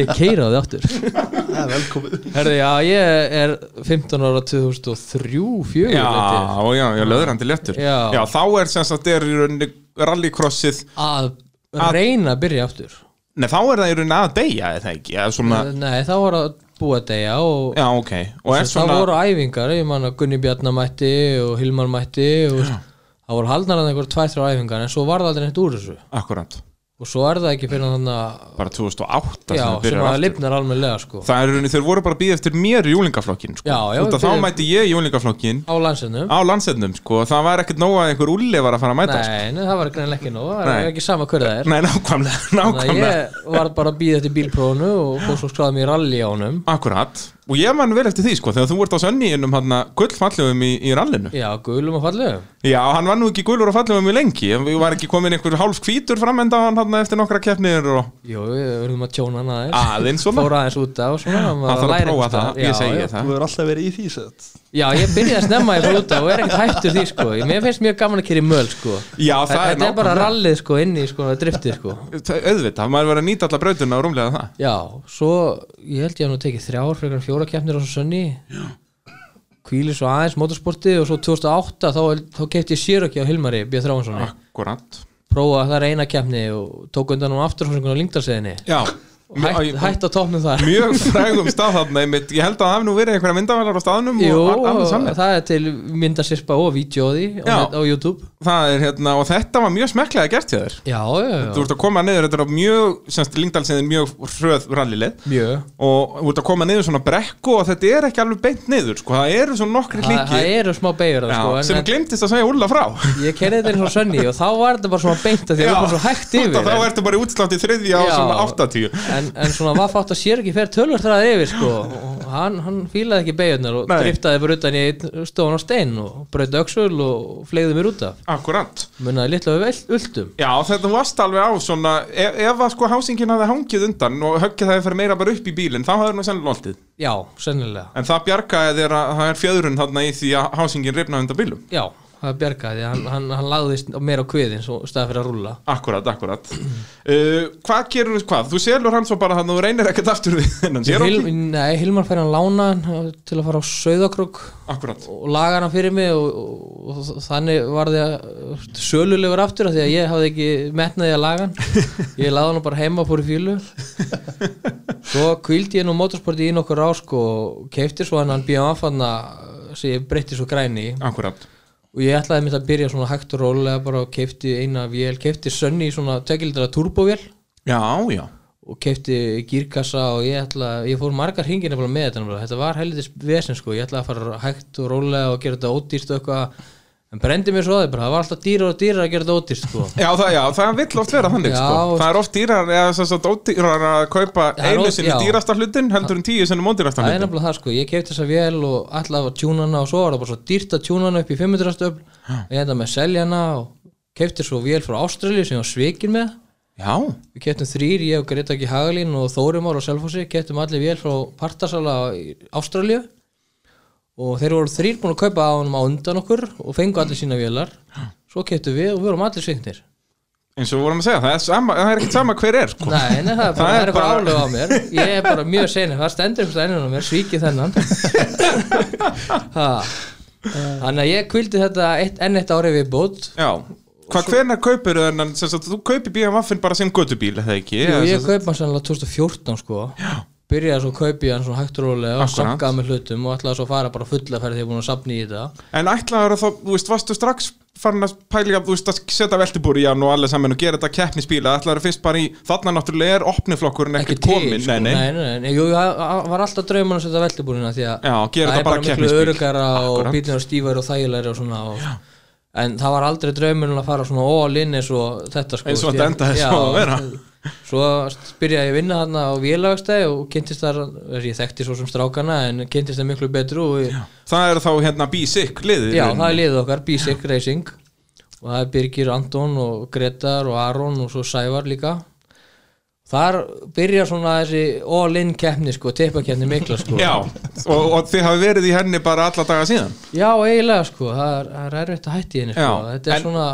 Speaker 3: ég keira á því aftur
Speaker 2: það er velkomið
Speaker 3: herðu, já, ég er 15 ára 2003, 4
Speaker 1: Já, já, já, löðrandi léttur
Speaker 3: Já.
Speaker 1: þá er sem sagt er í rauninni rallycrossið
Speaker 3: að reyna að byrja aftur
Speaker 1: Nei, þá er það í rauninni að deyja, er það ekki? Eða svona,
Speaker 3: Nei, það var að búa degja og
Speaker 1: já, ok. Og er
Speaker 3: það
Speaker 1: svona,
Speaker 3: voru æfingar, ég man að Gunni Bjarnar mætti og Hilmar mætti og það voru haldnar að einhver tvær, þrjá æfingar en svo var það aldrei neitt úr þessu
Speaker 1: akkurat,
Speaker 3: og svo er það ekki fyrir þannig að
Speaker 1: bara 2008
Speaker 3: já,
Speaker 1: það
Speaker 3: sem
Speaker 1: byrjar
Speaker 3: að
Speaker 1: aftur.
Speaker 3: lifnar almennilega sko
Speaker 1: Það er í rauninni, þeir voru bara að býða eftir mér í júlingaflokkin, sko.
Speaker 3: Já, já,
Speaker 1: Út
Speaker 3: við
Speaker 1: að þá
Speaker 3: byrjuðum-
Speaker 1: mæti ég í júlingaflokkin
Speaker 3: á landsinnum
Speaker 1: á landsendum, sko. Það var ekkert nóg að einhver úli var að fara að mæta, sko.
Speaker 3: Nei, nei, það var greinilega ekki nóg, það
Speaker 1: Nei.
Speaker 3: er ekki sama hver það er
Speaker 1: Nei, nákvæmlega,
Speaker 3: þannig að
Speaker 1: nákvæmlega.
Speaker 3: ég var bara að býða eftir bílprófunu og fór svo skráði mér rally á honum
Speaker 1: Akkurat. Og ég man vel eftir því, sko, þegar þú vart á sönniðinum, hann að gullfallegum í, í rallinu.
Speaker 3: Já, gulum og fallegum
Speaker 1: Já, hann var nú ekki gulur og fallegum mjög lengi. Ég var ekki komin einhver hálf hvítur framenda á hann, hann eftir nokkra keppniður og...
Speaker 3: Jú, við verðum að tjóna hann aðeins
Speaker 1: Aðeins svona.
Speaker 3: Fór aðeins út af og svona maður
Speaker 1: Það þarf að
Speaker 3: lærir
Speaker 1: prófa
Speaker 3: einhvers
Speaker 1: það,
Speaker 3: staðar.
Speaker 1: ég
Speaker 3: Já,
Speaker 1: segi
Speaker 3: já.
Speaker 1: það
Speaker 2: Þú hefur alltaf verið í því sett
Speaker 3: Já, ég byrjaði að snemma ég fór út af og er ekkert hættur því sko Mér finnst mjög gaman að kýra í möl sko
Speaker 1: Já, það er
Speaker 3: Þetta er bara
Speaker 1: nákvæmlega.
Speaker 3: rallið sko inn í sko driftið sko
Speaker 1: Það- Auðvitað, maður verið að nýta alla brautuna og rúmlega það
Speaker 3: Já, svo ég held ég að nú tekið þrjár frekar en fjóra keppnir á svo sönni Kvíli svo aðeins motorsporti og svo 2008 þá, þá kefti ég Sýröki á Hilmari B.
Speaker 1: Ah.
Speaker 3: Þráinssoni
Speaker 1: Akkurat
Speaker 3: Prófaði það eina keppni og tók undan um afturhóðsinguna á Lingdalseðinni
Speaker 1: Já,
Speaker 3: Hætt, hætt á topnum þar
Speaker 1: mjög frægum stað þarna einmitt. Ég held að það hafi nú verið einhverja myndavælar á staðnum
Speaker 3: [laughs] Jú,
Speaker 1: og al- alveg sannir
Speaker 3: það er til myndasirpa og vídjóði
Speaker 1: Já.
Speaker 3: á, net- á YouTube
Speaker 1: Það er hérna, og þetta var mjög smekklega gert hjá þér
Speaker 3: Já, já, já,
Speaker 1: Þú ert að koma niður, þetta er á mjög, semst Lingdalsinn er mjög hröð rallilið
Speaker 3: mjög
Speaker 1: og þú ert að koma niður svona brekku og þetta er ekki alveg beint niður, sko, það eru svona nokkri
Speaker 3: Þa,
Speaker 1: klíki
Speaker 3: Það eru smá beigur
Speaker 1: Já,
Speaker 3: sko, en-
Speaker 1: sem
Speaker 3: en
Speaker 1: glimtist að segja Ulla frá
Speaker 3: Ég kerði þetta eins og sönni og þá var þetta bara svona beint að því að
Speaker 1: Já,
Speaker 3: það var bara svo hægt
Speaker 1: þú ert
Speaker 3: yfir
Speaker 1: að þá ertu bara í útslátti þriðja á
Speaker 3: Já.
Speaker 1: svona 80
Speaker 3: en, en svona var fátt að sér ekki fer tölvöld ræði yfir sko og hann, hann fílaði ekki beigurnar og
Speaker 1: Nei.
Speaker 3: driftaði bara utan í einn stofan á stein og brauti öxul og fleigði mér út af
Speaker 1: Akkurat
Speaker 3: munnaði litla við vel- ultum
Speaker 1: Já, þetta varst alveg á svona ef, ef að sko hásingin hafði hangið undan og höggið hafði fyrir meira bara upp í bílinn þá hafði nú sennilega loldið
Speaker 3: Já, sennilega
Speaker 1: en það bjargaði þér að það er fjöðrun þarna í því að hásingin rifnaði undan bílum
Speaker 3: Já, það bjargaði hann, hann, hann lagðist meira á kviðin svo staði fyrir að rúlla
Speaker 1: Akkurat, akkurat uh, Hvað gerur hvað? Þú selur hann svo bara þannig að þú reynir ekkert aftur við þennan sér
Speaker 3: Hil, Nei, Hilmar fær hann lánaðan uh, til að fara á Sauðakrúk
Speaker 1: Akkurat
Speaker 3: og lagar hann fyrir mig og, og, og þannig var því að uh, sölulegur aftur af því að ég hafði ekki metnaði að laga hann ég laði hann bara heima fór í fílu svo kvíldi ég nú motorsporti í nokkur ár sko og keifti svo hann hann býða aðfanna uh, sem ég breytti svo græni í.
Speaker 1: Akkurat
Speaker 3: og ég ætlaði mitt að byrja svona hægt og rólega bara og keifti eina vél keifti sönni í svona tekilitra turbovél
Speaker 1: Já, já
Speaker 3: og kefti gírkassa og ég ætla ég fór margar hringin nefnilega með þetta nefnilega. þetta var helvitis vesen sko, ég ætlaði að fara hægt og rólega og gera þetta ódýrt og eitthvað en brendi mér svo að það bara, það var alltaf dýrar og dýrar að gera þetta ódýrt sko
Speaker 1: Já, það, já, það vill oft vera þannig
Speaker 3: Já,
Speaker 1: sko.
Speaker 3: og-
Speaker 1: Það er oft dýrar, eða þess að ódýrar að kaupa
Speaker 3: Það er
Speaker 1: einu
Speaker 3: ódý-
Speaker 1: sinni
Speaker 3: já.
Speaker 1: dýrasta hlutin heldur en tíu sinni móndýrasta
Speaker 3: það er
Speaker 1: hlutin
Speaker 3: nefnilega það sko, ég kefti þessa vél og alltaf að tjúna hana og svo var það bara svo dýrt að tjúna hana upp í 500 stöfl og ég enda með að selja hana og kefti svo vél frá Ástralíu sem ég var svikin með
Speaker 1: Já,
Speaker 3: við keftum þrýr, ég og Greta ekki Hagalín og Þórimár og Selfossi, keftum allir vél frá Partasala í Ástralju og þeir voru þrýr búin að kaupa á honum á undan okkur og fengu allir sína vélar svo keftum við og við vorum allir svignir
Speaker 1: eins og við vorum að segja, það er, sama, það er ekkert sama hver er sko.
Speaker 3: nei, nei, það er
Speaker 1: Það
Speaker 3: bara, það
Speaker 1: er
Speaker 3: er eitthvað
Speaker 1: bara-
Speaker 3: álega á mér ég er bara mjög senið, það stendur einhvers ennum á mér, svíkið þennan ha. þannig að ég kvildi þetta eitt, enn eitt ári við bót
Speaker 1: Já, hvað hvernig kaupir þennan, sem sagt, þú kaupir BMW-inn bara sem göttubíl, eða ekki?
Speaker 3: Jú,
Speaker 1: Eða
Speaker 3: ég
Speaker 1: sem sagt-
Speaker 3: kaupa hann sannlega 2014 sko Já. byrjaði svo að kaupi hann svona hægt og rólega og
Speaker 1: Akkurat.
Speaker 3: sakkaði með hlutum og ætlaði svo að fara bara fulla ferð þegar ég búin að sapna í þetta
Speaker 1: En ætlaður að þá, þú veist, varstu strax farin að pæla, þú veist, að setja veltibúri í hann og allir saman og gera þetta keppnisbíla, ætlaður fyrst bara í, þarna náttúrulega er opniflokkurinn ekkert komin,
Speaker 3: sko.
Speaker 1: nei, nei.
Speaker 3: nei, nei, nei. Jú, það það var alltaf drauman að setja veltibúrina því að
Speaker 1: Já, gera
Speaker 3: það
Speaker 1: þetta
Speaker 3: er bara
Speaker 1: bara
Speaker 3: miklu
Speaker 1: keppnisbíl.
Speaker 3: örugara og
Speaker 1: Akkurat.
Speaker 3: bílinn er stífari og þægilegri og svona og, en það var aldrei drauman að fara svona all in eins og þetta sko
Speaker 1: Eins og
Speaker 3: Því
Speaker 1: þetta endaði
Speaker 3: já,
Speaker 1: svo að vera.
Speaker 3: svo byrjaði ég að vinna þarna á vélagstæði og kynntist þar ég þekkti svo sem strákana en kynntist það miklu betru og ég,
Speaker 1: Það er þá hérna B-Sick liðið. í
Speaker 3: Já,
Speaker 1: rauninni.
Speaker 3: það er liðið okkar, B-Sick Racing og það er Birgir Anton og Gretar og Aron og svo Sævar líka Þar byrjar svona þessi all-in keppni sko, teipakeppni mikla sko
Speaker 1: Já, og, og þið hafi verið í henni bara alla daga síðan.
Speaker 3: Já, eiginlega sko, það er, það er erfitt að hætti henni sko
Speaker 1: Já,
Speaker 3: Þetta er
Speaker 1: en-
Speaker 3: svona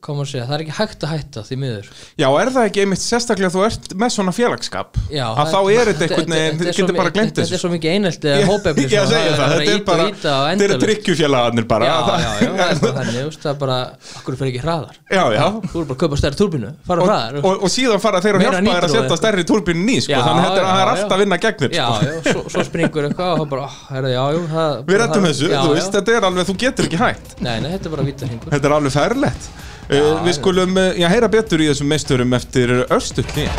Speaker 3: hvað maður segja, það er ekki hægt að hætta því miður
Speaker 1: Já, er það ekki einmitt sérstaklega þú ert með svona félagskap
Speaker 3: Já,
Speaker 1: að
Speaker 3: það-
Speaker 1: þá er þetta einhvern veginn,
Speaker 3: þetta er
Speaker 1: þið
Speaker 3: svo
Speaker 1: getur bara
Speaker 3: mi-
Speaker 1: glemt
Speaker 3: Þetta er
Speaker 1: þessu
Speaker 3: svo mikið einelti
Speaker 1: [laughs]
Speaker 3: eða hópefni
Speaker 1: Ég að segja það, þetta er bara þetta eru
Speaker 3: trygg
Speaker 1: tryggjufélagarnir
Speaker 3: Já,
Speaker 1: bara
Speaker 3: já, já, það er bara þannig, þú veist, það er bara okkur fyrir ekki hraðar
Speaker 1: já, já.
Speaker 3: Þú eru bara að kaupa stærri turbinu, fara
Speaker 1: Og,
Speaker 3: hraðar
Speaker 1: og, og síðan fara þeir að
Speaker 3: sko. Meira
Speaker 1: hjálpa þér að
Speaker 3: nítróið.
Speaker 1: setja stærri túrbínu ný sko,
Speaker 3: Já,
Speaker 1: þannig að þetta er-
Speaker 3: já,
Speaker 1: það er
Speaker 3: já.
Speaker 1: alltaf að vinna gegnir
Speaker 3: Já,
Speaker 1: sko.
Speaker 3: já, svo, svo springur eitthvað og það bara, oh, herra, já, jú það,
Speaker 1: Við rettum
Speaker 3: það-
Speaker 1: þessu,
Speaker 3: já,
Speaker 1: þú
Speaker 3: já.
Speaker 1: veist, þetta er alveg, þú getur ekki hægt
Speaker 3: Nei, nei, þetta er bara vítarhingur
Speaker 1: Þetta er alveg færlegt uh, Við
Speaker 3: já.
Speaker 1: skulum, uh, já, heyra betur í þessum meisturum eftir örstutt nýja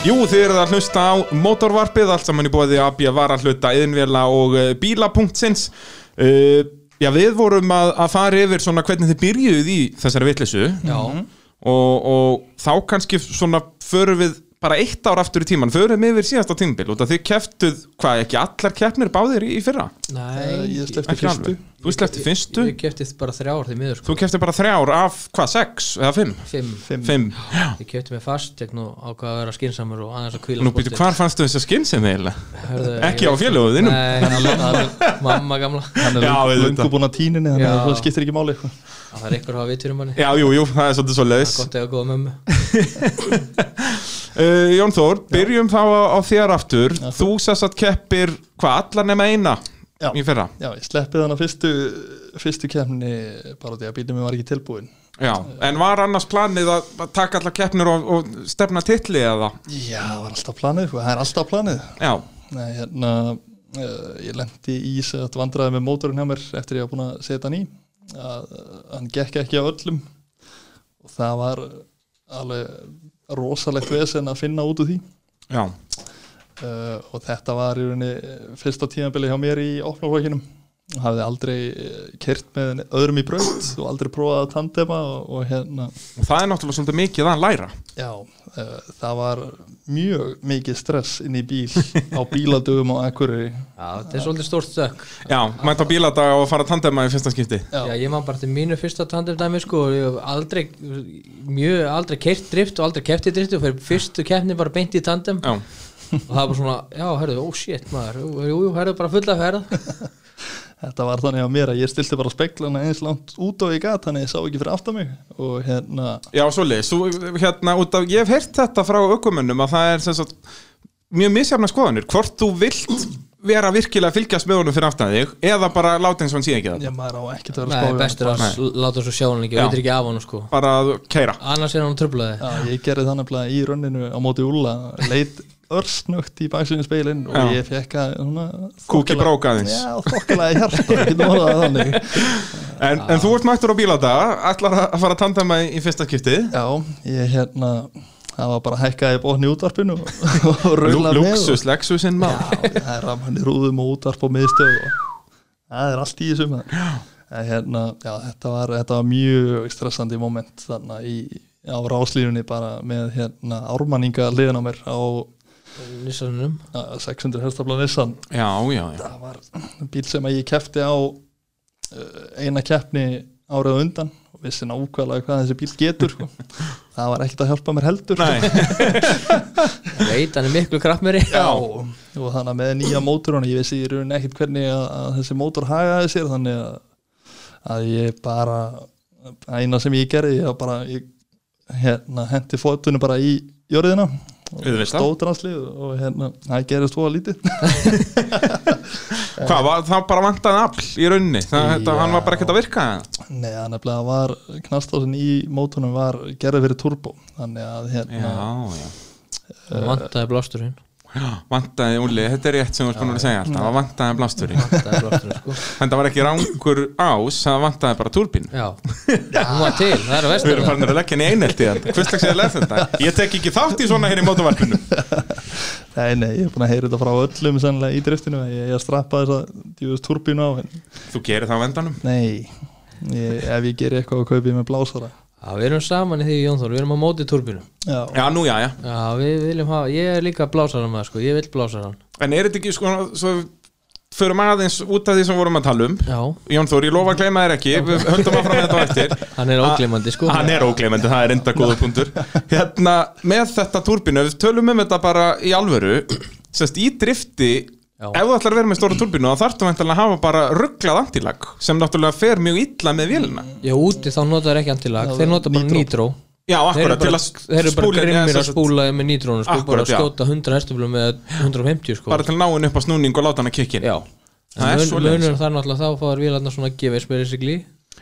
Speaker 1: Jú, þið eruð að hlusta á mótorvarpið, allt saman í bóði AB varahluta, yðinvela og uh, bíla.sins uh, Já, við vorum að, að fara yfir svona hvernig þið byrjuðuð í þessari vitleysu
Speaker 3: Já,
Speaker 1: Mhm. og, og þá kannski svona förum við bara eitt ár aftur í tíman, förum yfir síðasta tímabil út af því keftuð, hvað ekki allar keppnir báðir í, í fyrra?
Speaker 2: Eh,
Speaker 3: nei
Speaker 2: ég sleppti
Speaker 1: Ekki
Speaker 2: fyrstu
Speaker 1: alveg. Þú sleppti fyrstu,
Speaker 3: Ég kefti bara þrjár því miður, sko,
Speaker 1: þú kefti bara þrjár af hvað, sex eða fimm?
Speaker 3: fimm
Speaker 2: fimm.
Speaker 1: Fimm.
Speaker 3: Ég kefti mig fast, ég nú ákvað að vera skinsamur og aðeins að kvíla
Speaker 1: Nú býtu, hvar fannstu þess að skinn sem eiginlega?
Speaker 3: Hörðu,
Speaker 1: Ekki á
Speaker 3: ég veit
Speaker 1: félögum
Speaker 3: það.
Speaker 1: þínum?
Speaker 3: Nei, hann- hann- mamma gamla
Speaker 1: Já,
Speaker 2: hann er
Speaker 1: auðvitað.
Speaker 2: lungu búin að tíninni þannig að
Speaker 3: Já.
Speaker 2: það skiptir ekki máli
Speaker 3: Það er ykkur að hafa vitur um hann
Speaker 1: Já, jú, jú, það er svolítið svo leiðis.
Speaker 3: Gott eða góða mömmu
Speaker 1: Uh, Jón Þór, byrjum þá á, á þér aftur. Þú sess að keppir, hvað, allar nema eina
Speaker 2: Já.
Speaker 1: í fyrra?
Speaker 2: já, ég sleppið hann að fyrstu fyrstu kemni bara því að bílum minn var ekki tilbúin
Speaker 1: Já, en var annars planið að að taka allar keppnir og, og stefna titli eða?
Speaker 2: já, það var alltaf planið, sko, það er alltaf planið
Speaker 1: Já,
Speaker 2: Nei, hérna uh, ég lendi í þess að vandraði með mótorinn hjá mér eftir ég var búin að setja hann í að uh, hann gekk ekki á öllum og það var alveg rosalegt vesen að finna út úr því
Speaker 1: já,
Speaker 2: uh, og þetta var í rauninni eh, fyrsta tímabili hjá mér í opnaflokkinum og hafði aldrei kert með öðrum í braut og aldrei prófað að tandema og, og hérna
Speaker 1: og það er náttúrulega svolítið mikið að læra
Speaker 2: Já, uh, það var mjög mikið stress inn í bíl á bíladöfum á Akureyri
Speaker 3: Já, þetta er svolítið stórt stökk
Speaker 1: Já, mæta á bíladag og fara að tandema í fyrsta skipti
Speaker 2: Já.
Speaker 3: Já, ég man bara til mínu fyrsta tandemdæmi sko og ég hef aldrei, mjög aldrei keirt drift og aldrei kefti drift og fyrir fyrstu keppni bara beint í tandem
Speaker 1: Já,
Speaker 3: og það var bara svona, já, herðu, ó shit maður jú, jú, jú, herðu, bara fulla ferð
Speaker 2: Þetta var þannig á mér að ég stilti bara speklana eins langt út og ég gat þannig að ég sá ekki fyrir aftan mig og hérna,
Speaker 1: já svolítið, svo, hérna, út af, ég hef heyrt þetta frá ökumönnum að það er sem sagt mjög misjafna skoðanir, hvort þú vilt vera virkilega að fylgjast með honum fyrir aftan þig eða bara láta eins og hann sé ekki það
Speaker 2: ég maður á ekkert að vera að
Speaker 3: Nei,
Speaker 2: spá í
Speaker 3: bestur að
Speaker 1: Nei.
Speaker 3: s- láta svo sjá hann ekki,
Speaker 1: Já.
Speaker 3: veitir ekki af hann sko
Speaker 1: bara að keira
Speaker 3: Annars er hann tröflaði
Speaker 2: Já, ég gerði þannig að í rönninu á móti Úlla leit örsnögt í baksinu speilin og
Speaker 1: Já.
Speaker 2: ég fekk að svona,
Speaker 1: Kúk í
Speaker 2: þokkalega-
Speaker 1: brók aðeins.
Speaker 2: Já, þokkilega hjarta, ég getur orðað það þannig
Speaker 1: en, en þú ert mættur á bíladag, ætlar að fara að tandema í, í fyrsta skipti
Speaker 2: Já, ég hérna það var bara að hækka í botni í útvarpinu og- og rulla með
Speaker 1: Luxus, Lexusinn maður
Speaker 2: Já, það er rafmann í rúðum og útvarp og miðstöð og það er allt í þessu maður. En hérna, já, þetta var, þetta var mjög stressandi moment þarna í, á ráslífunni bara með hérna ármanninga liðin á mér á
Speaker 3: Nissanum
Speaker 2: uh, 600 herstafla Nissan
Speaker 1: Já, já, já,
Speaker 2: það var bíl sem að ég kefti á uh, eina keppni árið á undan og vissi nákvæmlega hvað þessi bíl getur sko. það var ekkert að hjálpa mér heldur sko.
Speaker 1: nei
Speaker 3: Ég Veit, hann er miklu kraftmeri
Speaker 2: Já, og þannig að með nýja mótorun ég vissi í rauninni ekkert hvernig að, að þessi mótor hagaði sér þannig að, að ég bara eina sem ég gerði ég var bara ég, hérna, hendi fótunni bara í jörðina og
Speaker 1: Auðvitað.
Speaker 2: stóðdranslið og hérna, það gerist þú lítið [laughs]
Speaker 1: Hvað, var, það bara vantaði afl í raunni það, þetta,
Speaker 2: Já.
Speaker 1: Hann var bara ekkert að virka
Speaker 2: Nei, það nefnilega var knastásin í mótorunum var gerði fyrir turbo þannig að hérna,
Speaker 1: Já, já
Speaker 3: Hann Vantaði blásturinn
Speaker 1: Vantaði, Úli, þetta er rétt sem við erum búin að segja alltaf Það vantaði blásturinn
Speaker 3: Vantaði blásturinn sko
Speaker 1: Þetta var ekki rángur ás, það vantaði bara túrbín
Speaker 3: Já, hún var til, það er að
Speaker 1: Við
Speaker 3: vestur
Speaker 1: erum farin að leggja henni einelti þannig Hvers slags ég leð þetta? Ég tek ekki þátt í svona hér í mótavarpinu
Speaker 2: nei, nei, ég er búin að heyra þetta frá öllum sannlega í driftinu að ég, ég að strappa þess að djúðust turbínu á en
Speaker 1: Þú gerir það á endanum
Speaker 2: nei, ég, ef ég geri eitthvað að kaupi með blásara
Speaker 3: Já, við erum saman í því Jón Þór, við erum á móti turbinu
Speaker 2: Já,
Speaker 1: Já, nú já, já
Speaker 3: Já, við viljum hafa, ég er líka blásaran með sko, ég vil blásaran
Speaker 1: En er þetta ekki sko svo, Förum aðeins út af því sem vorum að tala um
Speaker 3: Já,
Speaker 1: Jón Þór, ég lofa að gleyma þér ekki Við höldum að fram þetta á eftir
Speaker 3: [laughs] hann er ógleymandi sko
Speaker 1: Hann er ógleymandi, það er enda góða punktur Hérna, með þetta turbínu, við tölum um þetta bara í alvöru Sest, í drifti ef þú ætlar að vera með stóra turbínu þá þarftu vantilega að hafa bara rugglað antilag sem náttúrulega fer mjög illa með vélina
Speaker 3: Já, úti þá notar ekki antilag, þeir nota bara nýtró
Speaker 1: já,
Speaker 3: Þeir eru
Speaker 1: akkurat, til
Speaker 3: bara,
Speaker 1: að
Speaker 3: þeir eru bara
Speaker 1: spúla- já,
Speaker 3: grimmir
Speaker 1: sem
Speaker 3: að
Speaker 1: sagt,
Speaker 3: spúla með nýtrónu sko, bara
Speaker 1: Akkurat,
Speaker 3: að
Speaker 1: já.
Speaker 3: skjóta 100 hestuflum með 150 sko
Speaker 1: bara til að ná henni upp á snúning og láta hann að kikkin
Speaker 3: Já,
Speaker 1: Það er
Speaker 3: en mun-
Speaker 1: svoleiðis.
Speaker 3: munurinn þar náttúrulega þá fáður vélarnar svona gefið spyrisikli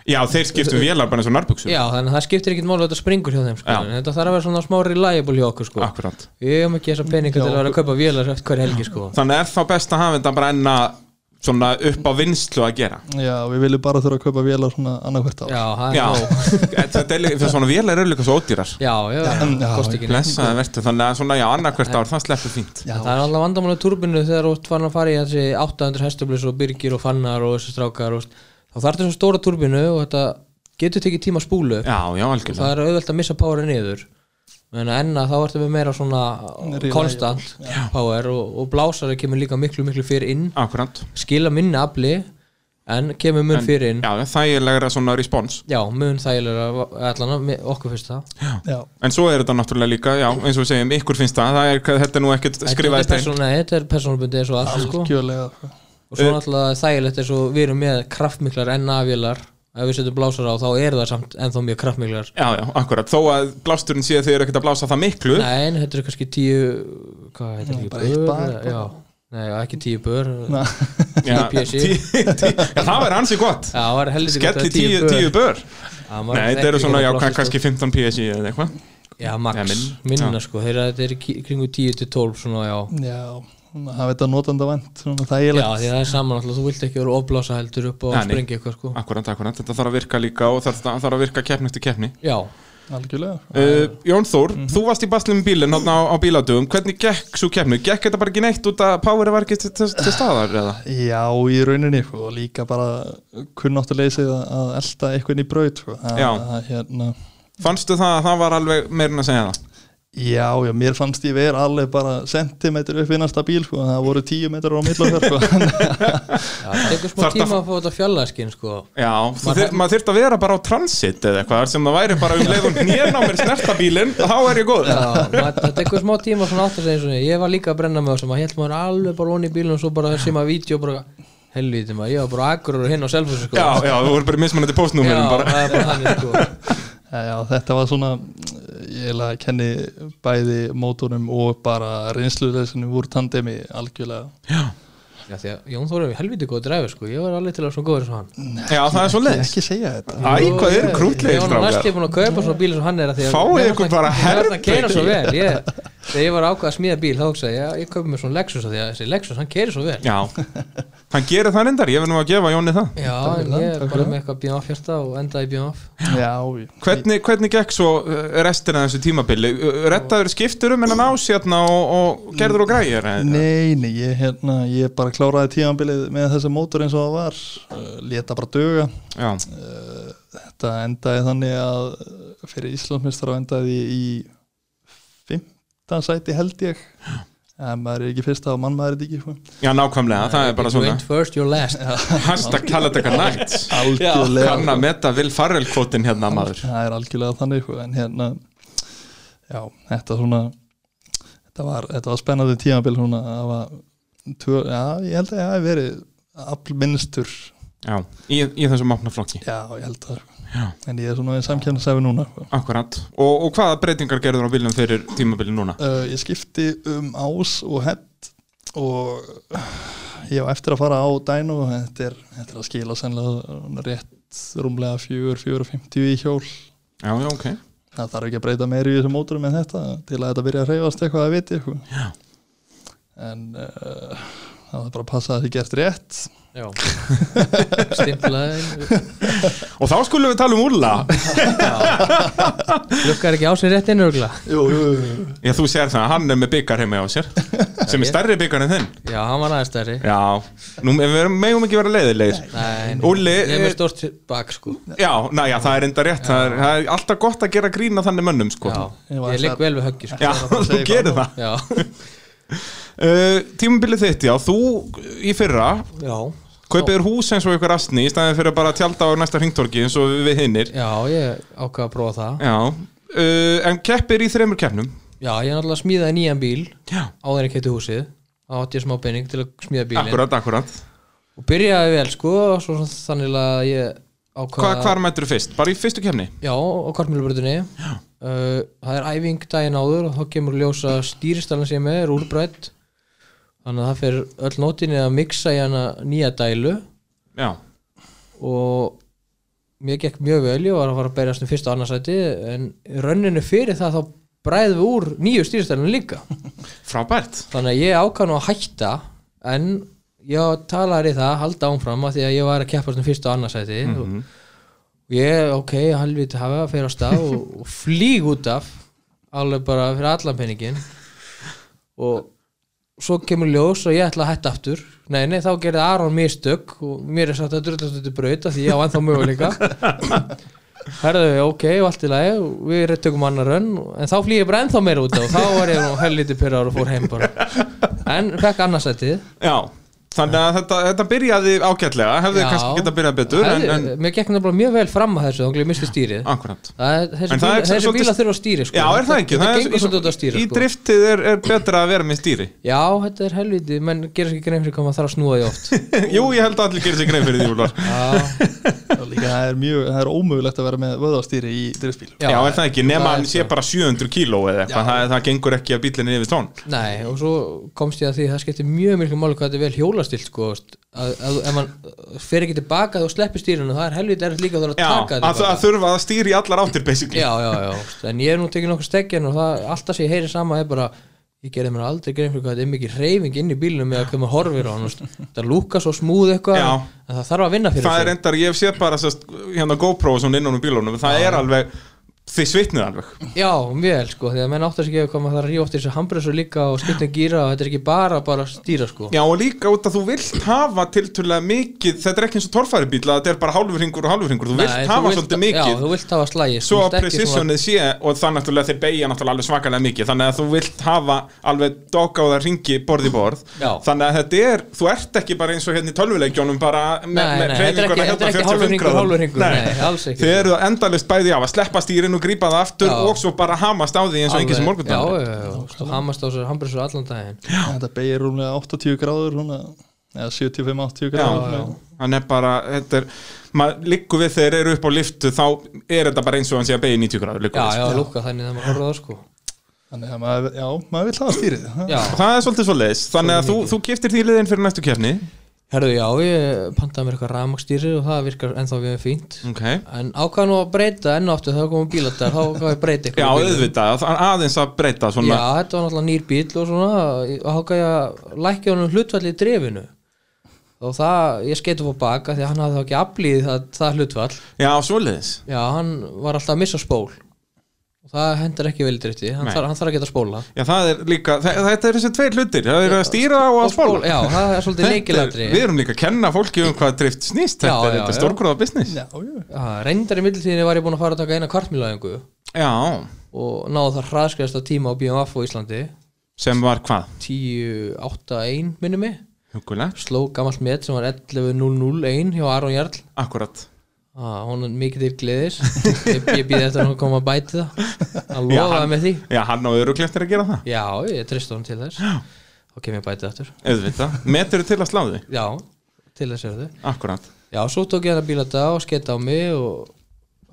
Speaker 1: já, þeir skiptu vélar bara eins og nærbuksu
Speaker 3: Já, þannig að það skiptir ekkit máli að þetta springur hjá þeim sko,
Speaker 1: Já.
Speaker 3: en þetta þarf að vera svona smá reliable hjá okkur sko
Speaker 1: akkurat
Speaker 3: Við hefum ekki þessa peninga til að vera að kaupa vélar eftir hverja helgi sko
Speaker 1: þannig er þá best að hafa þetta bara enna svona upp á vinslu að gera
Speaker 2: Já, við viljum bara þurfa að kaupa vélar svona annarkvært á
Speaker 3: Já, það
Speaker 1: já,
Speaker 3: er nóg
Speaker 1: þetta er líka- fyrir svona vélar eru líka svo ódýrar
Speaker 3: Já, já,
Speaker 2: já,
Speaker 3: já, kosti ekki neitt.
Speaker 1: blessaði verður, þannig að svona já, annarkvært ár það sleppur fínt
Speaker 2: Já,
Speaker 3: Það er alltaf vandamálið turbinu þegar þú ert farin að fara í þessi 800 hestublis og byrgir og fannar og þessi strákar og þá þarf þessu stóra turbinu og þetta getur tekið tíma að spúlu upp
Speaker 1: já, já, algjörlega
Speaker 3: það er auðvelt að missa powerið niður en enna þá ertu með meira svona
Speaker 2: Reliable.
Speaker 3: konstant power og, og blásari kemur líka miklu miklu fyrir inn
Speaker 1: Akkurat
Speaker 3: skila minna afli en kemur mun fyrir inn já,
Speaker 1: Já, já, þægilegra svona respons
Speaker 3: mun þægilega allan að- mi- okkur finnst það
Speaker 2: já,
Speaker 1: En svo er þetta náttúrulega líka, já, eins og við segjum, ykkur finnst það, það er, þetta er nú ekkert skrifaði
Speaker 3: Þetta er
Speaker 1: stein
Speaker 3: persónu- nei, þetta er persónubundið eins og allt sko.
Speaker 2: algjörlega [laughs]
Speaker 3: og svo náttúrulega þægilegt eins og við erum með kraftmiklar NA-vélar ef við setjum blásara á þá eru það samt ennþá mjög kraftmiklar
Speaker 1: Já, já, akkurat, þó að blásturinn sé að þið eru ekkert að blása það miklu
Speaker 3: Nei, en þetta eru kannski tíu hvað heitir ekki,
Speaker 2: bara eitt
Speaker 3: bör,
Speaker 2: bar,
Speaker 3: eða- já, nei, ekki tíu bör
Speaker 2: Na,
Speaker 1: já,
Speaker 3: PSI.
Speaker 1: tí, tí, já, það verður ansi gott
Speaker 3: Já, það er heldur
Speaker 1: Skelli tíu, tíu bör Nei, þetta eru
Speaker 3: hérna
Speaker 1: svona, já, kann- kannski 15 PSI eða eitthvað
Speaker 3: Já,
Speaker 1: Já,
Speaker 3: max,
Speaker 1: minn-
Speaker 3: minna
Speaker 1: já.
Speaker 3: sko þeirra, þetta er í kí- kringu 10 til 12 svona, já
Speaker 2: já, svona, það veit að notanda vend svona
Speaker 3: Já,
Speaker 2: þægilegt
Speaker 3: því það er saman alltaf, þú vilt ekki vera opblása heldur upp og
Speaker 1: Nei, Ah. nei.
Speaker 3: sprengi eitthvað sko
Speaker 1: Akkurat, akkurat, þetta þarf að virka líka og þarf, þarf að virka keppni eftir keppni
Speaker 3: Já,
Speaker 2: algjörlega
Speaker 1: uh, Jón Þór, þú varst í baslum bílinn hérna á, á bíladugum, hvernig gekk svo keppni? Gekk þetta bara ekki neitt út að powerið var ekki til, til, til staðar eða?
Speaker 2: Já, í rauninni sko, og líka bara kunnáttuleysið að- að elta eitthvað inn í braut sko. að,
Speaker 1: Já.
Speaker 2: að, hérna,
Speaker 1: Fannstu það að það var alveg meirin að segja það?
Speaker 2: Já, já, mér fannst ég vera alveg bara sentimetr upp í næsta bíl sko, það voru tíu metrar á millan þér sko. [laughs]
Speaker 3: já það tekur smá
Speaker 1: Þarftu að
Speaker 3: tíma að fá þetta fjallaðskinn sko
Speaker 1: Já, þú
Speaker 3: Maður-
Speaker 1: þyr, maður þyrft að vera bara á transit eða eitthvað þar sem það væri bara um leiðum nýjan á mér snerta bílinn, þá er ég góð
Speaker 3: Já, maður- það tekur smá tíma svona átt að segja svona, ég var líka að brenna með þessum að held maður alveg bara onni í bílunum og svo bara sem að vídeo bara, helviti maður, ég var bara akkur og hinn á selfus sko.
Speaker 1: Já, já, þú voru bara í mismunandi
Speaker 3: já
Speaker 1: postnúmerum bara
Speaker 3: það er bara þannig sko
Speaker 2: já, já, þetta var svona ég eiginlega kenni bæði mótorum og bara reynsluleysinu úr tandemi algjörlega
Speaker 3: Já, því að Jón Þór er helviti góð dræfi sko, ég var alveg til að vera svona góður sem hann
Speaker 1: Já, það er svo leiðis
Speaker 2: Ekki segja þetta
Speaker 1: Æ, hvað eru
Speaker 3: Ég
Speaker 1: krútlegir
Speaker 3: var nú næst
Speaker 1: strákar
Speaker 3: ég búin að kaupa svona bíl sem hann er að því að
Speaker 1: Fáið
Speaker 3: mér fannst
Speaker 1: ykkur
Speaker 3: það-
Speaker 1: bara
Speaker 3: mér fannst það keyra
Speaker 1: herbergi.
Speaker 3: svo vel ég, Þegar ég var ákvað að smíða bíl þá hugsaði ég, ég kaupi mér svona Lexus af því að þessi Lexus, hann keiri svo vel
Speaker 1: Já, hann gerir það reyndar, ég verð nú að gefa Jóni það
Speaker 3: Já,
Speaker 2: Takk
Speaker 3: en
Speaker 2: fyrir
Speaker 3: ég
Speaker 2: það,
Speaker 3: er
Speaker 2: takk
Speaker 3: bara
Speaker 2: fyrir
Speaker 3: með eitthvað BMF hjarta og endaði í BMF
Speaker 2: Já,
Speaker 1: Hvernig, hvernig gekk svo uh, restina af þessu tímabili? Uh, Rettaður skipturum en hann ás hérna og, og gerður og græjir? eða?
Speaker 2: Nei, nei, ég, hérna, ég bara kláraði tímanbilið með þessi mótor eins og það var uh, leta bara duga
Speaker 1: Já,
Speaker 2: þetta endaði þannig að uh, fyrir Íslandsmeistar endaði ég í 15 sæti held ég en maður er ekki fyrsta og mann maður er þetta ekki sko.
Speaker 1: já, nákvæmlega, það er bara
Speaker 3: You
Speaker 1: svona
Speaker 3: ain't first, you're last
Speaker 1: Hashtag Kalateka Nights
Speaker 2: algjörlega
Speaker 1: Kann að meta Vil Farrell kvotin hérna maður
Speaker 2: það er algjörlega þannig sko, en hérna já, þetta svona þetta var, þetta var spennandi tímabil svona, það var tvö, já, ég held að ég hafi verið aflminnstur,
Speaker 1: Já, í, í þessum opnaflokki
Speaker 2: já, ég held að sko.
Speaker 1: Já.
Speaker 2: en ég er svona samkjæmnisæfi núna sko.
Speaker 1: Akkurat, og, og hvaða breytingar gerður á bílum fyrir tímabili núna?
Speaker 2: uh, ég skipti um ás og hett og ég á eftir að fara á dænu og þetta er, þetta er að skila sennilega uh, rétt rúmlega 4-4.50 í hjól
Speaker 1: Já, já, ok
Speaker 2: það þarf ekki að breyta meiri í þessum mótorum en þetta til að þetta byrja að reyfast eitthvað að viti eitthvað.
Speaker 1: Já.
Speaker 2: en uh, það er bara að passa að þetta er gert rétt
Speaker 3: Já Stimplaði
Speaker 1: Og þá skulum við tala um Úlla
Speaker 3: Lukkar ekki á sig rétt inn örgla
Speaker 2: jú, jú, jú.
Speaker 1: Já, þú sér það, hann er með byggar heima á sér Sem er stærri byggar en þinn
Speaker 3: Já, hann var aðeins stærri
Speaker 1: Já, nú við erum- megum ekki vera leiðilegir
Speaker 3: Nei, nei.
Speaker 1: Úlli,
Speaker 3: Ég er
Speaker 1: eh,
Speaker 3: með stórt bak sko
Speaker 1: Já, næja, það er enda rétt það er, það er alltaf gott að gera grína þannig mönnum sko
Speaker 3: Já,
Speaker 2: Ég var
Speaker 3: ég ligg
Speaker 2: stærri.
Speaker 3: vel við höggi sko
Speaker 1: Já, [laughs] þú
Speaker 2: segja
Speaker 1: gerir
Speaker 2: hvað
Speaker 1: það
Speaker 3: Já,
Speaker 1: uh, Tímabilið þitt, já, þú í fyrra
Speaker 3: já
Speaker 1: Kaupið þér hús eins og ykkur astni í staðin fyrir bara að tjálta á næsta hringtorki eins og við hinnir
Speaker 3: Já, ég ákvað að prófa það
Speaker 1: Já, uh, en keppir í þremur keppnum
Speaker 3: Já, ég er náttúrulega smíðaði nýjan bíl
Speaker 1: Já
Speaker 3: áður en kætti húsið þá átti ég smá pening til að smíða bílinn
Speaker 1: Akkurat, akkurat
Speaker 3: og byrjaði vel sko og svo svona þannig að ég
Speaker 1: Hva,
Speaker 3: ákvaða
Speaker 1: Hvar mættur þú fyrst? Bara í fyrstu kemni?
Speaker 3: já, á kvartmjölubröðinni uh, það er æfing daginn áður og þá kemur ljósa stýristalinn sem ég er með er úrbrætt þannig að það fer öll nótinni að mixa í hana nýja dælu
Speaker 1: Já,
Speaker 3: og mér gekk mjög vel ég var að fara að berjast um fyrsta og annarsæti en í rönninu fyrir það þá bræðum við úr nýju stýristælinu líka
Speaker 1: frábært
Speaker 3: þannig að ég ákvað nú að hætta en ég talaði í það að halda ánfram að því að ég var að keppa um fyrsta og annarsæti mm og ég, ok, halvviti hafa að fyrir á stað og, og flýg út af alveg bara fyrir allan peningin og svo kemur ljós og ég ætla að hætta aftur nei, nei, þá gerði Aron mistök og mér er sagt að drullast þetta braut af því ég á ennþá möguleika herðu, ok, og allt í lagi og við tökum annar önn, en þá flýg ég bara ennþá meira út af og þá var ég nú helviti pyrrar og fór heim bara en fekk annarsætið
Speaker 1: Já, þannig að þetta, þetta byrjaði ágætlega Hefði
Speaker 3: Já.
Speaker 1: kannski getað byrjað betur en, en,
Speaker 3: mér gekk náttúrulega mjög vel fram að þessu þá ég misti stýrið
Speaker 1: Akkurat
Speaker 3: Það er- Þessi
Speaker 1: En það
Speaker 3: bíla,
Speaker 1: er
Speaker 3: þessi
Speaker 1: svolítið-
Speaker 3: bíla þurfa að stýri sko.
Speaker 1: Já, er það ekki?
Speaker 3: Þetta
Speaker 1: Það
Speaker 3: gengur svolítið út að stýri
Speaker 1: í
Speaker 3: sko.
Speaker 1: driftið er, er betra að vera með
Speaker 3: [laughs]
Speaker 1: stýri
Speaker 3: Já, þetta er helviti, menn gerir sér ekki grein fyrir hvað maður þarf að snúa því oft
Speaker 1: Jú, ég held að allir gerir sér greið fyrir því Úlfar.
Speaker 3: Já,
Speaker 2: Það er líka, það er mjög, það er ómögulegt að vera með vöðastýri í driftbíl
Speaker 1: [laughs] Já, er það ekki? Nefn að hann sé
Speaker 3: sko.
Speaker 1: bara 700 kíló eða eitthvað það, það gengur ekki að bílinni yfir tón
Speaker 3: Nei, og svo komst ég að því að það skiptir mjög miklu máli hvað þetta er vel hjólastilt sko, veist, að, að, ef mann fer ekki tilbaka og sleppir stýrinu, það er helviti erfitt líka að það er
Speaker 1: Já,
Speaker 3: að taka
Speaker 1: að, að þurfa að stýri allar áttir basically
Speaker 3: Já, já, já, veist, en ég er nú tekið nokkuð stekkin og það, alltaf sem ég heyri sama er bara ég gerði mér aldrei grein fyrir hvað þetta er mikið reyfing inn í bílnum með að koma horfir á hann veist. það lúka svo smúð eitthvað
Speaker 1: Já.
Speaker 3: en það þarf að vinna fyrir
Speaker 1: Það
Speaker 3: sig.
Speaker 1: er endar, ég hef séð bara sest, hérna GoPro og svona innan um bílunum það er alveg, þið svitnið alveg
Speaker 3: Já, mjög, sko, því að menn áttar sig ekki að koma það ríu oft í þessu hambresu líka og skiptum gíra og þetta er ekki bara bara stýra, sko
Speaker 1: Já og líka út að þú vilt hafa tiltölulega mikið, þetta er ekki eins og torfæri bíl að þetta er bara hálfur hringur og hálfur hringur þú vilt
Speaker 3: Nei,
Speaker 1: hafa
Speaker 3: þú vilt-
Speaker 1: svolítið mikið
Speaker 3: Já, þú vilt hafa slægi
Speaker 1: svo að precisionið sé og þannig náttúrulega þeir beigja náttúrulega alveg svakalega mikið þannig að þú vilt hafa alveg dokáða ringi borð í borð
Speaker 3: Já.
Speaker 1: þannig að þetta er, þú ert ekki bara eins og hérna í tölvuleikjónum bara
Speaker 3: Nei, nei, þetta er
Speaker 1: hérna
Speaker 3: ekki, þetta er ekki hálfur ringur, hálfur ringur Nei, alls ekki
Speaker 1: Þið eru endalist bæði á að sleppa stýrin og grípa það aftur
Speaker 3: Já.
Speaker 1: og svo bara hamast á því eins og enginn sem morgun
Speaker 3: Já, já, já, já, og hamast á þessu hambresu allan daginn
Speaker 2: Þetta beigir rúmlega 80 gráður rúmlega, eða 75-80
Speaker 1: Já,
Speaker 2: gráður
Speaker 1: já.
Speaker 2: rúmlega.
Speaker 1: hann er bara, þetta er maður liggur við þegar þeir eru upp á liftu þá er þetta bara eins og hann sé að beigja í 90 gráður
Speaker 3: Já,
Speaker 1: liggur við. sko.
Speaker 3: já, lúka þannig þegar maður horfður á það, sko
Speaker 2: Þannig að maður, já, maður vil hafa stýrið það.
Speaker 3: Já,
Speaker 1: það er svolítið svolítið, þannig að þú, þú giftir því liðin fyrir næstu kefni
Speaker 3: herðu, já, ég pantaði mér eitthvað rafmagstýri og það virkar ennþá við fínt
Speaker 1: okay.
Speaker 3: En ákvað nú að breyta enn og aftur þegar komum bíladar, þá ákvað ég að
Speaker 1: Já,
Speaker 3: breyta eitthvað í bílnum.
Speaker 1: auðvitað, það er aðeins að breyta svona
Speaker 3: Já, þetta var náttúrulega nýr bíl og svona og háka ég að lækja honum hlutfall í drefinu og það, ég skeiti upp á baka því að hann hafði þá ekki aflýð það, það hlutfall
Speaker 1: Já, svoleiðis
Speaker 3: Já, hann var alltaf að missa spól og það hendur ekki vel í drifti hann,
Speaker 1: Nei.
Speaker 3: þarf, hann þarf að geta spóla
Speaker 1: Já, það er líka, það, þetta eru þessi tveir hlutir Það eru að stýra og að spóla
Speaker 3: Já, það er
Speaker 1: [laughs]
Speaker 3: svolítið
Speaker 1: Þetta er-
Speaker 3: leikilatri
Speaker 1: Við erum líka að kenna fólki um hvað drift snýst Þetta
Speaker 3: Já,
Speaker 1: er
Speaker 3: já,
Speaker 1: þetta
Speaker 3: já.
Speaker 1: stórgróða business
Speaker 2: Já, já.
Speaker 3: Reyndar í millitíðinni var ég búin að fara að taka eina kvartmjölaðingu
Speaker 1: Já,
Speaker 3: og náðu það hraðskriðasta tíma á BMF á Íslandi
Speaker 1: sem var hvað?
Speaker 3: 10.81 minnum mig
Speaker 1: Hugulegt,
Speaker 3: sló gammalt met sem var 11.001 hjá Aron Jarl
Speaker 1: akkurat
Speaker 3: Ah, hún er mikið til gleðis ég, ég býði eftir að hún kom að bæti það hann lofaði
Speaker 1: hann-
Speaker 3: með því
Speaker 1: Já, hann á öruglegt er að gera það
Speaker 3: já, ég treysti hún til þess þá kem ég að bæti það eftir
Speaker 1: Auðvitað, metur til að slá því
Speaker 3: já, til þess er þau
Speaker 1: Akkurat
Speaker 3: já, svo tók ég hann að bíla þetta og skeita á mig og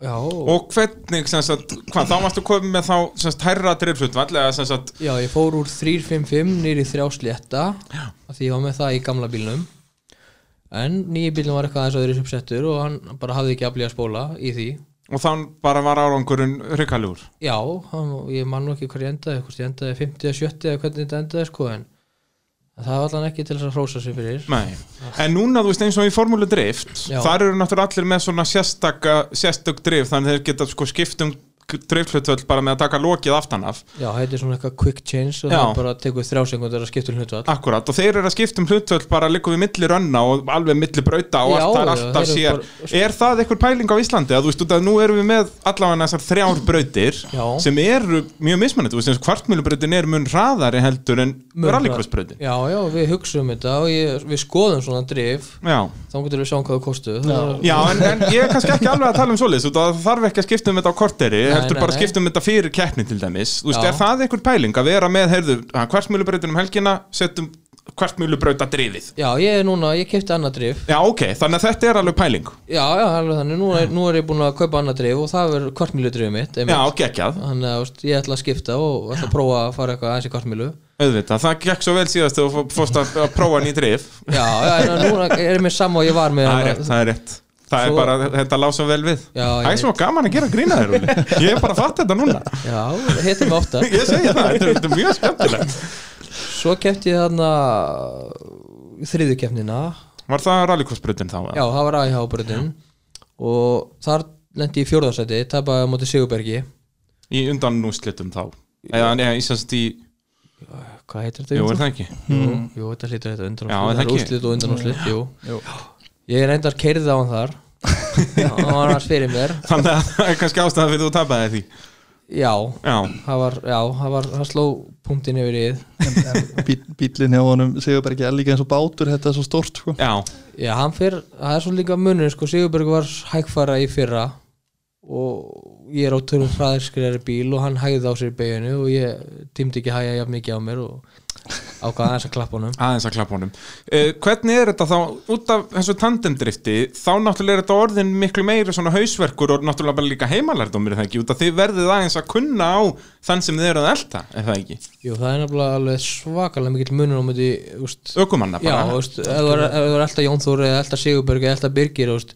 Speaker 3: já, og...
Speaker 1: Og hvernig, sem sagt, hvað, þá varstu komið með þá sem sagt, hærra driflutvall eða sem sagt,
Speaker 3: já, ég fór úr 355 nýri þrjá slétta af því ég var með það í gamla bílnum en nýji bílnum var eitthvað aðeins öðru uppsettur og hann bara hafði ekki að blíja spóla í því
Speaker 1: og þann bara var árangurinn hryggaljúr
Speaker 3: Já, hann, ég man nú ekki hvað ég endaði, hvort ég endaði 50 eða 70 eða hvernig þetta endaði sko en en það var allan ekki til þess að hrósa sig fyrir
Speaker 1: Nei, en núna þú veist eins og í formúlu drift
Speaker 3: Já.
Speaker 1: þar eru náttúrulega allir með svona sérstaka sérstök drift, þannig að þeir geta sko skiptum driftlutvöld bara með að taka lokið aftan af,
Speaker 3: Já, þetta er svona eitthvað quick change og
Speaker 1: Já.
Speaker 3: það bara tekur þrjá sekundar að skipta um hlutvall
Speaker 1: akkurat og þeir eru að skiptum hlutvöld bara liggum við milli rönna og alveg milli brauta og
Speaker 3: Já,
Speaker 1: allt, það er
Speaker 3: já,
Speaker 1: alltaf
Speaker 3: þeir
Speaker 1: sér
Speaker 3: eru sko.
Speaker 1: er það einhver pæling á Íslandi að þú veist út að nú erum við með allavega þessar
Speaker 3: [clears throat]
Speaker 1: þrjár brautir
Speaker 3: Já.
Speaker 1: sem eru mjög mismunandi, þú veist eins og kvartmjölubrautin er mun hraðari heldur en
Speaker 3: Mun
Speaker 1: rallycrossbrautin
Speaker 3: Já, já, við hugsaum þetta og ég, við skoðum svona drif
Speaker 1: Já,
Speaker 3: þá getur við sjáum hvað það kostu Það-
Speaker 1: Já, en, en ég er kannski ekki alveg að tala um svoleiðis út af að það þarf ekki að skipta um þetta á korteri
Speaker 3: Nei,
Speaker 1: heldur
Speaker 3: nei,
Speaker 1: bara
Speaker 3: nei.
Speaker 1: að skipta um þetta fyrir keppni til dæmis Þú veist,
Speaker 3: Já.
Speaker 1: er það einhver pæling að vera með, heyrðu, hversmjölubreytin um helgina setjum hvert mjölubrauta driðið
Speaker 3: Já, ég er núna, ég kefti annað drif
Speaker 1: Já, ok, þannig að þetta er alveg pæling
Speaker 3: Já, já, alveg þannig, nú er, nú er ég búin að kaupa annað drif og það verður kvartmílu drifið mitt
Speaker 1: Já,
Speaker 3: einmitt.
Speaker 1: geggjað,
Speaker 3: Þannig að þú veist, ég ætla að skipta og ætla að prófa að fara eitthvað aðeins í kvartmílu
Speaker 1: auðvitað, það gekk svo vel síðast þegar þú fórst að að prófa nýj drif
Speaker 3: Já, já, en að núna er ég með sama og ég var með
Speaker 1: Það er rétt,
Speaker 3: hana-
Speaker 1: það er rétt Það er
Speaker 3: Svo-
Speaker 1: bara, þetta lá svo vel við
Speaker 3: Já, ég
Speaker 1: Það er svo gaman að gera grína þér, Rúli Ég er bara að fatta þetta núna
Speaker 3: Já, hittum við ofta
Speaker 1: [laughs] Ég segi það, þetta er, þetta er mjög skemmtilegt
Speaker 3: Svo kefti ég þarna þriðu kefnina
Speaker 1: Var það rallycrossbrutin þá? eða?
Speaker 3: Já, það var AIH-brutin og þar lendi ég í fjórðarsæti tapaði á móti Sigurbergi
Speaker 1: Í undan núslitum þá Eða, neða, ég semst í,
Speaker 3: Hvað heitir þetta?
Speaker 1: jú, er
Speaker 3: undan-
Speaker 1: það ekki?
Speaker 3: Jú, jú, þetta hlýtur þetta undan
Speaker 1: Mm. Já,
Speaker 3: úrslit.
Speaker 1: er það
Speaker 3: það er
Speaker 1: ekki? Mm.
Speaker 3: úrslit og undan úrslit, jú
Speaker 2: Jú.
Speaker 3: Ég reyndar keirði á hann
Speaker 1: [laughs]
Speaker 3: þar og hann var fyrir mér
Speaker 1: Þannig að það er kannski ástæða fyrir þú tapaði því
Speaker 3: Já,
Speaker 1: Já,
Speaker 3: það var, já, það var það sló punktin yfir íð
Speaker 2: en, en bí, bílinn hjá honum Sigurberg er líka eins og bátur, þetta er svo stort sko.
Speaker 1: já,
Speaker 3: Já, hann fyrir, það er svo líka munur sko, Sigurberg var hægfara í fyrra og ég er á törnum hraðirskrið bíl og hann hægði á sér í beginu og ég tímdi ekki að hægja jafn mikið á mér og ákvaða aðeins að klappa honum
Speaker 1: aðeins að klappa honum uh, Hvernig er þetta þá, út af þessu tandemdrifti þá náttúrulega er þetta orðin miklu meiri svona hausverkur og náttúrulega bara líka heimalærdómur er það ekki, út af þið verðið aðeins að kunna á þann sem þið eru að elta, er það ekki
Speaker 3: Jú, það er nefnilega alveg svakalega mikill munur á myndi, úst,
Speaker 1: Ökumanna
Speaker 3: já,
Speaker 1: bara
Speaker 3: úst, ef þú er- ef þú er alltaf Jón Þóri eða alltaf Sigurberg eða alltaf Birgir, úst,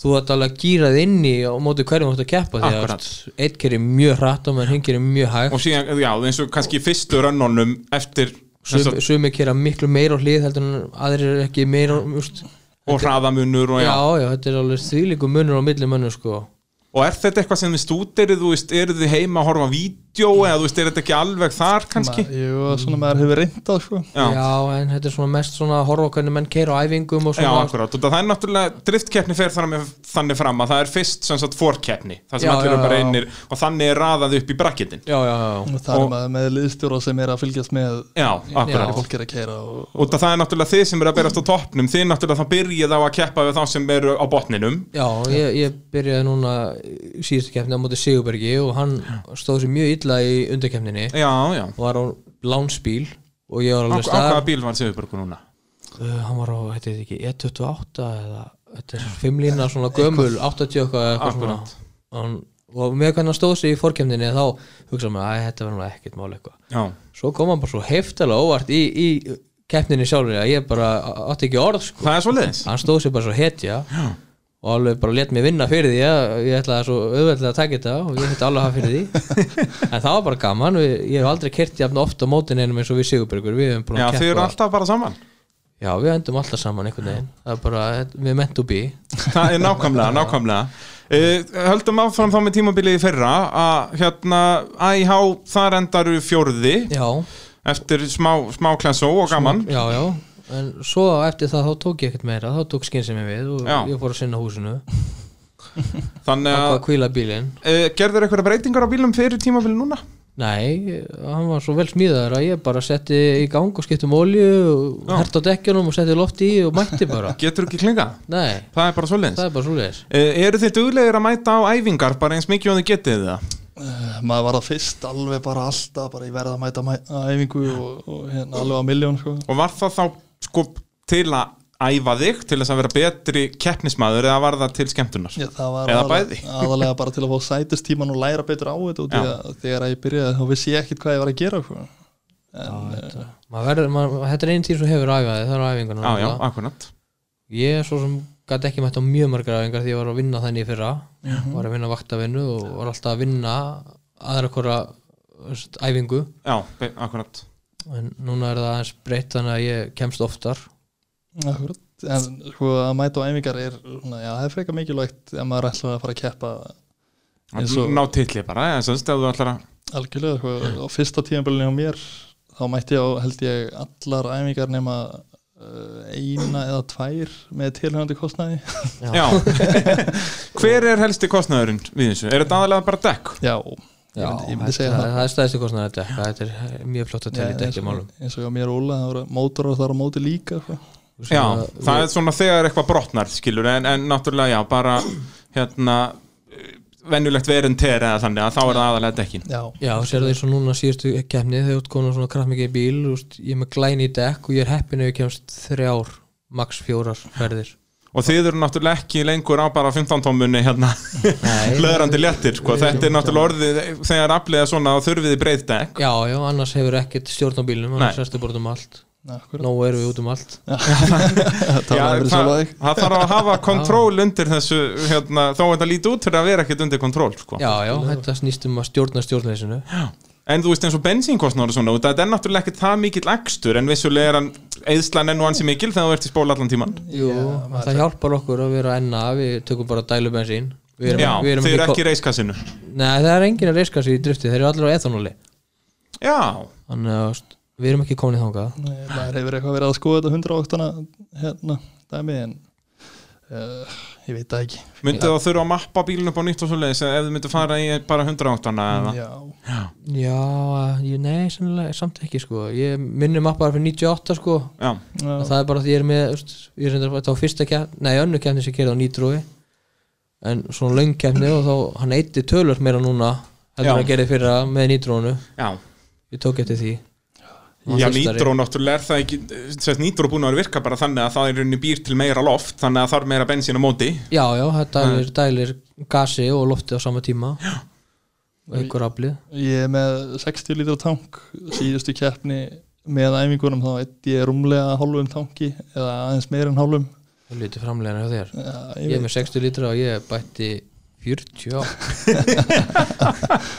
Speaker 3: þú ert alveg að gýra þið inn í á móti hverjum þú ert að keppa því að
Speaker 1: Akkurat.
Speaker 3: úst, eitt kerir mjög hratt og menn hinn kerir mjög hægt
Speaker 1: og síðan, já, eins og kannski í fyrstu rönnunum eftir þessa,
Speaker 3: Sum- sumir kera miklu meira á hlið heldur en aðrir eru ekki meira úst,
Speaker 1: og hraðamunur og,
Speaker 3: já,
Speaker 1: já.
Speaker 3: já, þetta er alveg þvílíku munur á milli munur sko
Speaker 1: og er þetta eitthvað sem þið stútirið, þú veist, eru þið heima að horfa á vídeo eða þú veist, er þetta ekki alveg þar kannski?
Speaker 2: Ma, jú, svona maður hefur reyndað sko.
Speaker 1: Já.
Speaker 3: en þetta er svona mest svona að horfa á hvernig menn keira á æfingum og
Speaker 1: Já,
Speaker 3: svona
Speaker 1: akkurát, og það er náttúrulega driftkeppni fer þannig, þannig fram að það er fyrst sem sagt fórkeppni, það sem
Speaker 3: Já,
Speaker 1: allir eru
Speaker 3: já,
Speaker 1: bara
Speaker 3: já.
Speaker 1: einir og þannig er raðað upp í brakkitin
Speaker 3: já, já, já,
Speaker 2: og það
Speaker 1: Og-
Speaker 2: er maður með liðstjóra sem er að fylgjast með
Speaker 1: Já,
Speaker 2: hvernig
Speaker 1: akkurát
Speaker 2: fólk er að keira og,
Speaker 1: og það er náttúrulega þið sem eru að berast á toppnum þið náttúrulega þá byrjið á að keppa við þá sem eru á botninum
Speaker 3: já ég, ég byrjaði núna í síðustu keppni á móti Sigurbergi og hann stóð sér mjög illa í undarkeppninni
Speaker 1: Já, já,
Speaker 3: og var á lánsbíl og ég
Speaker 1: á,
Speaker 3: var
Speaker 1: á hvaða
Speaker 3: alveg stað
Speaker 1: bíl var Sigurbergur núna?
Speaker 3: Uh, hann var á, þetta er ekki, E28 eða, þetta er fimmlína svona gömul 80 eitthvað eða eitthvað svona
Speaker 1: Akkurat.
Speaker 3: hann, og með hvernig hann stóð sig í fórkemninni þá hugsaði maður, að þetta var nú ekkert mál eitthvað
Speaker 1: Já,
Speaker 3: svo kom hann bara svo heftalega óvart í, í keppninni sjálfur að ég bara átti ekki orð sko.
Speaker 1: það er svo leiðis
Speaker 3: hann stóð sig bara svo hetja og alveg bara let mig vinna fyrir því að ég ætlaði svo auðveldlega að taka þetta og ég hætti alveg að hafa fyrir því
Speaker 1: [laughs]
Speaker 3: en það var bara gaman, við, ég hef aldrei kert jafn ofta á mótin einum eins og við Sigurbergur við hefum búin
Speaker 1: Já,
Speaker 3: að
Speaker 1: þið eru
Speaker 3: keppa
Speaker 1: alltaf bara saman
Speaker 3: Já, við endum alltaf saman einhvern veginn Það er bara, við meant to be
Speaker 1: Það er nákvæmlega, nákvæmlega uh, Höldum áfram þá með tímabilið í fyrra að hérna, æhá, þar endar fjórði
Speaker 3: Já,
Speaker 1: eftir smá, smá klensó og gaman
Speaker 3: já, já En svo eftir það þá tók ég ekkert meira Þá tók skynsemi við og
Speaker 1: Já.
Speaker 3: ég fór að sinna húsinu
Speaker 1: Þannig
Speaker 3: Það
Speaker 1: að
Speaker 3: var kvíla bílinn
Speaker 1: uh, gerður eitthvað breytingar á bílum fyrir tímabili núna?
Speaker 3: Nei, hann var svo vel smíðaður að ég bara setti í gang og skiptum olju og
Speaker 1: Já.
Speaker 3: hert á dekkjunum og setti loft í og mætti bara
Speaker 1: Getur ekki klingað?
Speaker 3: Nei,
Speaker 1: Það er bara svoleiðins.
Speaker 3: það er bara svoleiðis
Speaker 1: Uh, eru þið duglegir að mæta á æfingar bara eins mikið og þið getið það?
Speaker 2: uh, maður var að fyrst alveg bara alltaf bara ég verða að mæta mæ, að æfingu og, og hérna, alveg á miljón sko.
Speaker 1: Og var það þá sko til að æfa þig til þess að vera betri keppnismæður eða var það til skemmtunar?
Speaker 2: Já, það var
Speaker 1: Eða
Speaker 2: aðalega,
Speaker 1: bæði.
Speaker 2: aðalega bara til að fá sætistíman og læra betur á þetta og því
Speaker 1: Já.
Speaker 2: að þegar að ég byrjaði þá vissi ég ekkit hvað ég var að gera sko. eh,
Speaker 3: Já, þetta, maður verður, maður, þetta er einn tíð sem hefur æfaði, það er
Speaker 1: Já,
Speaker 3: æfingarnar
Speaker 1: já,
Speaker 3: náttúrulega.
Speaker 1: akkurat.
Speaker 3: Ég er svo sem gæti ekki mætt á mjög margar æfingar því ég var að vinna þannig í fyrra var að vinna vaktavinnu og var alltaf að vinna aðra hvora þú veist, æfingu
Speaker 1: Já, be- akkurat.
Speaker 3: en núna er það aðeins breytt þannig að ég kemst oftar
Speaker 2: Akkurat. en sko að mæta á æfingar er, svona, já, það er frekar mikilvægt ef maður ætlar að fara að keppa Eins og-
Speaker 1: Ná tilli bara, eða sem stæðu allar að...
Speaker 2: algjörlega sko. á fyrsta tímanbölinu hjá mér þá mætti ég á held ég allar æfingar nema uh, eina eða tvær með tilhengandi
Speaker 1: [laughs]
Speaker 2: kostnæði
Speaker 3: Já.
Speaker 1: Já. Hver er helsti kostnæðurinn við þessu? Er þetta aðalega bara dekk?
Speaker 2: já, ég myndi, ég myndi segja
Speaker 3: það,
Speaker 2: það
Speaker 3: það er stæðstu kostnæðan að dekka þetta er mjög flott að telja í
Speaker 2: Já, eins,
Speaker 3: dekkjumálum
Speaker 2: og, eins og hjá mér og Óla, það voru mótorar þar á móti líka sko.
Speaker 1: Já, það er svona þegar eitthvað brotnar skilur en, en náttúrulega já, bara hérna eh, venjulegt verentera eða þannig að þá er það aðalega dekkin
Speaker 2: já,
Speaker 3: Já, sér það eins og núna síðustu kemni þegar þú ert komin á svona kraftmikið bíl þú veist, ég er með glæni í dekk og ég er heppin ef ég kemst þrjár, max fjórar ferðir
Speaker 1: og þið eru náttúrulega ekki lengur á bara 15 tómunni hérna [laughs] löðrandi léttir sko. þetta er náttúrulega orðið þegar afliða svona og þurfið í breyð dekk
Speaker 3: Já, já, annars hefur ekkert stjórn á bílnum annars
Speaker 1: Nei.
Speaker 3: erstu bara út um allt
Speaker 2: akkurat
Speaker 3: Nó erum við út um allt
Speaker 2: það
Speaker 1: Já,
Speaker 2: var verið
Speaker 1: það,
Speaker 2: sjálf að þig
Speaker 1: það þarf að
Speaker 2: [laughs]
Speaker 1: hafa kontról undir þessu hérna, þó að þetta líti út fyrir að vera ekkert undir kontról sko.
Speaker 3: Já, já, þetta snýst um að stjórna stjórnleysinu
Speaker 1: en þú veist eins og bensínkostnáður og svona út af þetta er náttúrulega ekkert það mikill ekstur en vissulega er hann eðslan enn og hans mikil þegar þú ert í spóla allan tíman
Speaker 3: Jú, það hjálpar okkur að vera enna við tökum bara dælu bensín Við
Speaker 1: Já,
Speaker 3: við
Speaker 1: þið eru
Speaker 3: ko-
Speaker 1: ekki í reiskassinu
Speaker 3: Nei, það er engin að reyska í drifti, þeir eru allir á ethanóli
Speaker 1: Já,
Speaker 3: Þannig að þú veist, við erum ekki komin í þangað
Speaker 2: Nei, maður hefur eitthvað verið að skoða þetta 108 hérna, dæmi en uh, ég veit það ekki
Speaker 1: myndið þú þurfa að mappa bílun upp á nýtt og svo leiðis ef þið myndið fara í bara 108 eða
Speaker 2: já,
Speaker 3: Já, ég, nei, sennilega, samt ekki sko Ég minnum að bara fyrir 98 sko
Speaker 1: Já,
Speaker 2: já,
Speaker 3: og það er bara því ég er með veist, ég er reyndar- þetta var fyrsta keppni, nei önnu keppni sem ég gerði á nýtrúi en svona löng keppni og þá hann eitti tölvöld meira núna
Speaker 1: Já.
Speaker 3: heldur hann að gerði fyrra með nýtrúinu
Speaker 1: já
Speaker 3: ég tók eftir því Hann
Speaker 1: Já,
Speaker 3: var þyrstari.
Speaker 1: nýtró náttúrulega er það ekki sérst, nýtró búin að virka bara þannig að það er í rauninni býr til meira loft þannig að það er meira bensín á móti
Speaker 3: já, já, það dælir, dælir gasi og lofti á sama tíma já. og einhver aflið
Speaker 2: ég er með 60 lítra tank síðustu keppni með æfingunum þá eitt ég rúmlega hálfum tanki eða aðeins meir en hálfum
Speaker 3: og lítið framlegin hjá þér
Speaker 2: já,
Speaker 3: ég er með 60 lítra og ég bætti 40 á.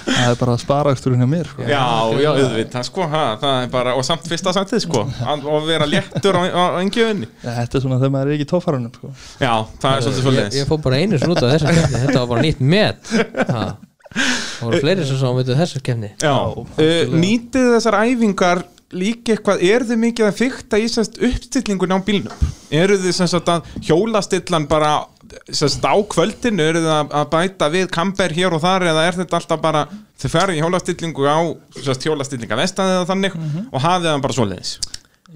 Speaker 2: það er bara sparaðsturinn hjá mér sko.
Speaker 1: Já, já, auðvitað, sko, ha, það er bara og samt fyrsta sætið, sko að- og vera léttur á, á, á engjöfunni
Speaker 2: Já, þetta er svona þegar maður er ekki í tófarunum sko.
Speaker 1: Já, það er svolítið
Speaker 3: ég,
Speaker 1: svolítið
Speaker 3: ég fór bara einu svona út af þessar keppni þetta var bara nýtt met ha. það voru fleiri sem sá um þessar keppni
Speaker 1: Já, uh, nýtið þessar æfingar líka eitthvað, er þið mikið að fykta í sérst uppstillingun á bílnum? Eru þið sem sagt að hjólastillan bara sérst á kvöldinu, eru þið að, að bæta við kamper hér og þar eða er þetta alltaf bara, þið ferði í hjólastillingu á sérst hjólastillinga vestan eða þannig
Speaker 3: Mhm.
Speaker 1: og hafið það bara svoleiðis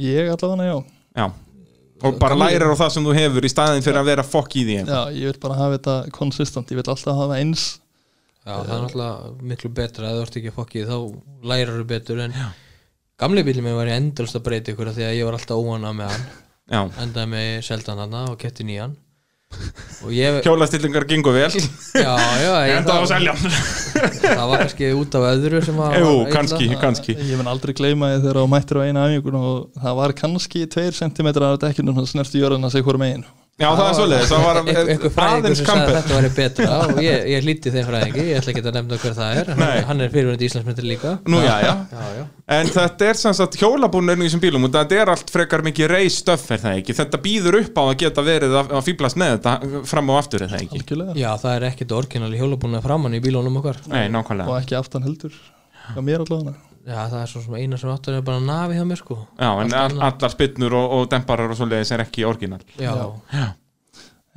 Speaker 2: ég allavega já.
Speaker 1: Já, og bara lærir á það sem þú hefur í staðin fyrir að vera fokk í því
Speaker 2: já ég vil bara hafa þetta konsistent ég vil alltaf hafa eins
Speaker 3: Já,
Speaker 1: Eh,
Speaker 3: það er náttúrulega miklu betra að þú ert ekki fokkið þá lærar þú betur en gamli bílum minn var ég endalst að breyta ykkur af því að ég var alltaf óana með hann
Speaker 1: Já,
Speaker 3: endaði með seldan hann og kefti nýjan og ég
Speaker 1: hjólastillingar gengur vel
Speaker 3: já, já, ég,
Speaker 1: Enda á að selja
Speaker 3: það var kannski út af öðru sem var
Speaker 1: Jú,
Speaker 3: var illa.
Speaker 1: kannski, kannski
Speaker 2: ég mun aldrei gleyma því þegar þú mættir á eina æfingun og það var kannski 2 cm af dekkinu sem snerti jörðina sig hvora megin
Speaker 1: Já, það er svoleiðis, það var
Speaker 3: Einhver- e- einhver fræðingur
Speaker 1: aðeins
Speaker 3: sem sagði að
Speaker 1: kamper
Speaker 3: þetta væri betra og ég, ég hlíti þeim fræðingi, ég ætla ekki að nefna hver það er hann,
Speaker 1: Nei.
Speaker 3: hann er fyrirvöndi Íslandsmyndir líka
Speaker 1: Nú, já, já
Speaker 3: já, já.
Speaker 1: En þetta er sem sagt hjólabúnur í þessum bílum og þetta er allt frekar mikið reistöf er það ekki, þetta býður upp á að geta verið að, að fýblast með þetta fram og aftur er það ekki,
Speaker 2: algjörlega
Speaker 3: já, það er ekkit orginali hjólabúna framann í bílónum okkar
Speaker 1: nei, nákvæmlega
Speaker 2: og ekki aftan heldur já, mér allavega
Speaker 3: já, það er svo sem eina sem áttur er bara nafi hjá mér sko
Speaker 1: Já, en all, allar spinnur og, og demparar og svoleiðis er ekki orginal
Speaker 3: já,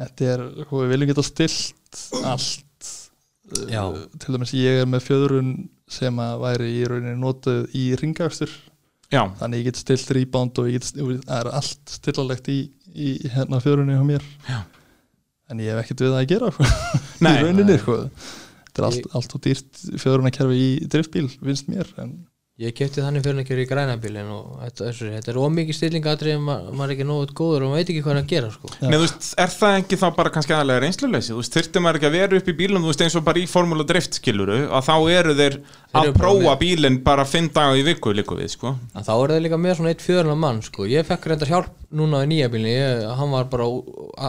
Speaker 2: þetta er, sko, við viljum geta stilt allt
Speaker 3: já.
Speaker 2: til dæmis ég er með fjöðrun sem að væri í rauninni notuð í ringakstur
Speaker 1: Já,
Speaker 2: þannig ég get stilt rebound og ég get, það er allt stillalegt í, í hérna fjöðrunni hjá mér
Speaker 1: Já.
Speaker 2: en ég hef ekkert við það að gera sko, í
Speaker 1: Nei.
Speaker 2: rauninni sko. þetta er allt,
Speaker 3: Ég-
Speaker 2: allt og dýrt fjöðrunakerfi í driftbíl, finnst mér en
Speaker 3: Ég kefti þannig fyrir ekki í grænabílin og þetta, þessu, þetta er ómikið stillingatrið ma maður er ekki nógut góður og maður veit ekki hvað er að gera sko.
Speaker 1: Nei, þú veist, er það ekki þá bara kannski aðlega reynsluleysi þú veist, þyrfti maður ekki að vera upp í bílum þú veist, eins og bara í formúla drift skiluru að þá eru þeir að
Speaker 3: eru bara
Speaker 1: prófa bílinn bara fimm daga í viku líku við, sko
Speaker 3: En þá er það líka með svona eitt fjörna mann sko. Ég fekk reyndar hjálp núna í nýja bílin ég, hann, var bara,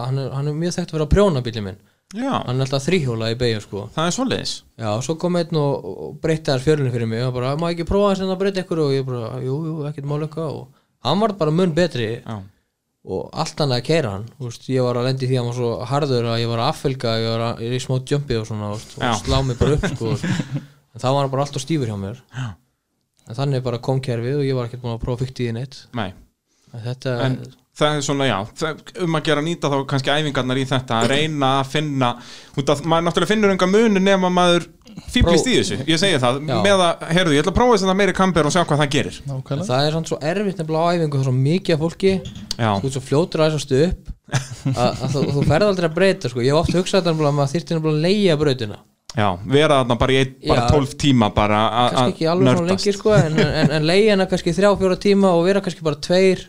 Speaker 3: hann, er, hann er mjög þekkt að vera að prjóna bílin minn
Speaker 1: Já,
Speaker 3: Hann er alltaf þrýhjóla í beigju sko.
Speaker 1: það er svoleiðis
Speaker 3: Já, og svo kom einn og, og breytti þar fjörlunni fyrir mig og bara, maður ekki prófa þess að breyta ykkur og ég bara, jú, jú, ekkert mál eitthvað og hann var bara mun betri
Speaker 1: Já,
Speaker 3: og allt annað að keira hann þú veist, ég var að lendi því að hann var svo harður að ég var að affylga, ég var að, ég er í smá jumpi og svona, þú veist,
Speaker 1: Já.
Speaker 3: og slá mig bara upp
Speaker 1: [laughs]
Speaker 3: sko, þú veist. en það var hann bara alltaf stífur hjá mér Já. en þannig bara kom kerfið og ég var ekkert búin að prófa fyrkt í því neitt
Speaker 1: nei
Speaker 3: en þetta,
Speaker 1: en það er svona, já, það, um að gera að nýta þá kannski æfingarnar í þetta, að reyna að finna, út að maður náttúrulega finnur enga munu nema maður fýblist í þessu ég segi það,
Speaker 3: Já.
Speaker 1: með að, heyrðu, ég ætla að prófa þess að meiri kamper og sjá hvað það gerir
Speaker 3: en
Speaker 2: nákvæmlega
Speaker 3: það er samt svo erfitt nefnilega á æfingu það er svo mikið af fólki
Speaker 1: já,
Speaker 3: þú ert svo fljótur að þessast
Speaker 1: [laughs]
Speaker 3: upp að, að þú, þú ferð aldrei að breyta sko. ég hef oft hugsað þetta nefnilega að maður þyrfti nefnilega að leigja brautina
Speaker 1: Já, vera þarna bara í einn, bara
Speaker 3: Já.
Speaker 1: 12 tíma bara að
Speaker 3: kannski ekki alveg svona lengi sko, en, en, en leiði hana kannski þrjá, fjóra tíma og vera kannski bara tveir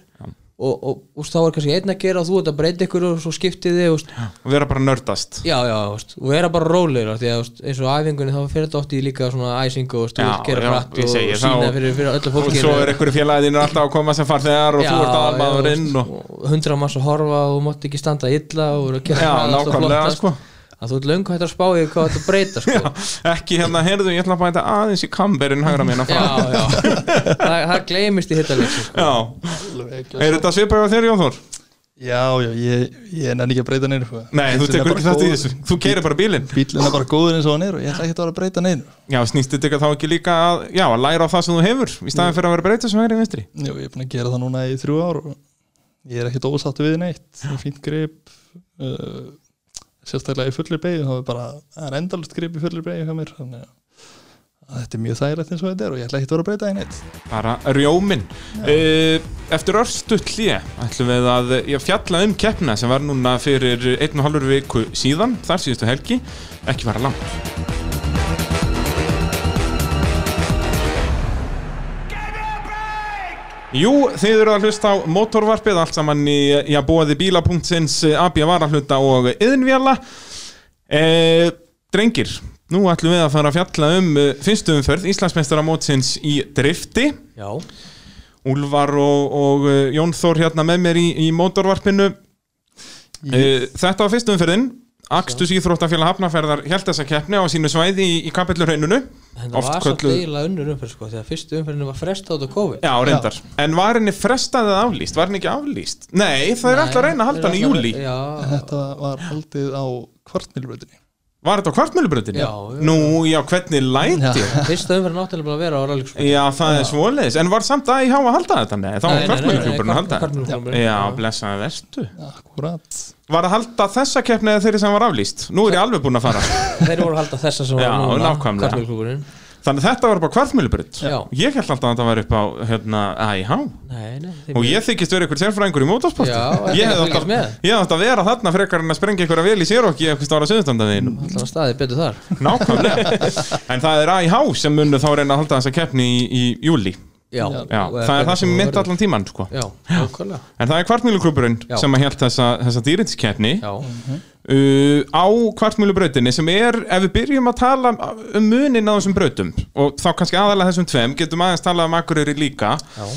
Speaker 3: og, og, og þá er kannski einn að gera og þú ert að breyta ykkur og svo skiptið þig og,
Speaker 1: og vera bara að nördast
Speaker 3: já, já, veist, og vera bara rólegir af því að veist, eins og á æfingunni þá fyrir þetta oft í líka svona æsingu
Speaker 1: Já,
Speaker 3: og stúr, gera
Speaker 1: já,
Speaker 3: hratt
Speaker 1: ég
Speaker 3: og,
Speaker 1: segi
Speaker 3: og
Speaker 1: það
Speaker 3: sína
Speaker 1: og-
Speaker 3: fyrir, fyrir öllu
Speaker 1: og
Speaker 3: fólki
Speaker 1: svo er einhverju félagin alltaf að koma sem farþegar og þú ert
Speaker 3: sko.
Speaker 1: aðalmaðurinn og...
Speaker 3: hundra manns að horfa og þú mátt ekki standa illa og vera að gera
Speaker 1: Já,
Speaker 3: hraðast og
Speaker 1: nákvæmlega,
Speaker 3: flottast.
Speaker 1: sko.
Speaker 3: að þú ert löngu hægt að spá í hvað þetta breyta sko.
Speaker 1: ekki hérna, heyrðu, ég ætla að bæta aðeins í kamberinn hægra mín að
Speaker 3: já,
Speaker 1: fara
Speaker 3: já, það, það gleymist í hittaleg sko.
Speaker 1: Já,
Speaker 2: alveg ekki
Speaker 1: er þetta svipað á þér Jón Þór?
Speaker 2: já, já, ég, ég nenni ekki að breyta neinu sko.
Speaker 1: Nei, þú
Speaker 2: Bíllinn er
Speaker 1: tekur
Speaker 2: bara
Speaker 1: ekki þátt í
Speaker 2: góður.
Speaker 1: þessu, þú keirir bara bílinn
Speaker 2: bíllinn er bara góður eins og hann er og ég ætla ekki að vera að breyta neinu
Speaker 1: Já, snýstu þetta þá ekki líka að, já, að læra á það sem þú hefur í staðin fyrir að vera breyta sem hægri vinstri
Speaker 2: Jú, ég er búin að gera það núna í þrjú ár og ég er ekkert ósáttu við neitt Ég er fínt grip uh, sérstaklega í fullir beigju þá er bara, það er endalust grip í fullir beigju hjá mér þannig að að þetta er mjög þægilegt eins og þetta er og ég ætla ekkert að vera að breyta það í neitt
Speaker 1: bara rjóminn Eh, Eftir örstutt hlýja ætlum við að ég fjalla um keppna sem var núna fyrir einn og halvur viku síðan þar síðustu helgi, ekki vera langt Jú, þið eru að hlusta á motorvarpið allt saman í, já, bóði bíla.sins eh, AB varahluta og yðinvjala e, Drengir, nú ætlum við að fara að fjalla um eh, fyrstu umferð Íslandsmeistaramótsins í drifti
Speaker 3: já,
Speaker 1: Úlfar og, og eh, Jón Þór hérna með mér í, í motorvarpinu e, Þetta var fyrstu umferðin Akstus Íþróttafélag Hafnarferðar held þessa keppni á sínu svæði í, í kapillurheinunu
Speaker 3: en það var svo deila unnur umferð sko, þegar fyrstu umferðinu var fresta át og COVID
Speaker 1: Já, reyndar. En var henni frestað eða aflýst? Var henni ekki aflýst? Nei, það er alltaf að reyna að halda hann í júli.
Speaker 3: já,
Speaker 2: þetta var haldið á kvartmilbröðinni
Speaker 1: Var þetta á kvartmjölubröndinni?
Speaker 3: Já, já.
Speaker 1: Nú, já, hvernig læti? Já,
Speaker 3: fyrsta umferðin átti alveg bara að vera á rallík sko.
Speaker 1: það er svoleiðis. En var samt AIH að halda þetta? Nei, þá var kvartmjölubröndin að halda þetta. Já, blessaði verstu.
Speaker 2: akkurat
Speaker 1: Var að halda þessa keppni eða þeirri sem var aflýst? Nú er ég alveg búinn að fara.
Speaker 3: þeir voru að halda þessa sem
Speaker 1: Já,
Speaker 3: var núna
Speaker 1: nákvæmlega.
Speaker 3: karlmjólklúkurinn
Speaker 1: Þannig þetta var bara kvartmjölubrönd.
Speaker 3: Já.
Speaker 1: Ég held alltaf að þetta var upp á hérna, AIH.
Speaker 3: nei, nei, þeim-
Speaker 1: Og ég þykist verið eitthvað sérfræðingur í motorsporti.
Speaker 3: Já,
Speaker 1: ég
Speaker 3: þetta
Speaker 1: hefði
Speaker 3: fylgist með.
Speaker 1: átt að- ég hefði átt að vera þarna frekar en að sprengja eitthvað vel í sér og ekki eitthvað stára
Speaker 3: [laughs]
Speaker 1: söðustandaveginum.
Speaker 3: alltaf staðið betur þar
Speaker 1: Nákvæmlega En það er AIH sem munnu þá reyna að halda þessa keppni í, í júli
Speaker 3: já,
Speaker 1: Já,
Speaker 3: og
Speaker 1: það er það sem mitt allan tíman sko.
Speaker 3: já, nákvæmlega
Speaker 1: En það er kvartmýluklúburinn
Speaker 3: Já.
Speaker 1: sem að held þessa, þessa dýrindiskeppni uh,
Speaker 3: já,
Speaker 1: á kvartmýlubrautinni sem er, ef við byrjum að tala um munin á þessum brautum og þá kannski aðalega þessum tveim, getum aðeins talað um Akureyri líka
Speaker 3: já,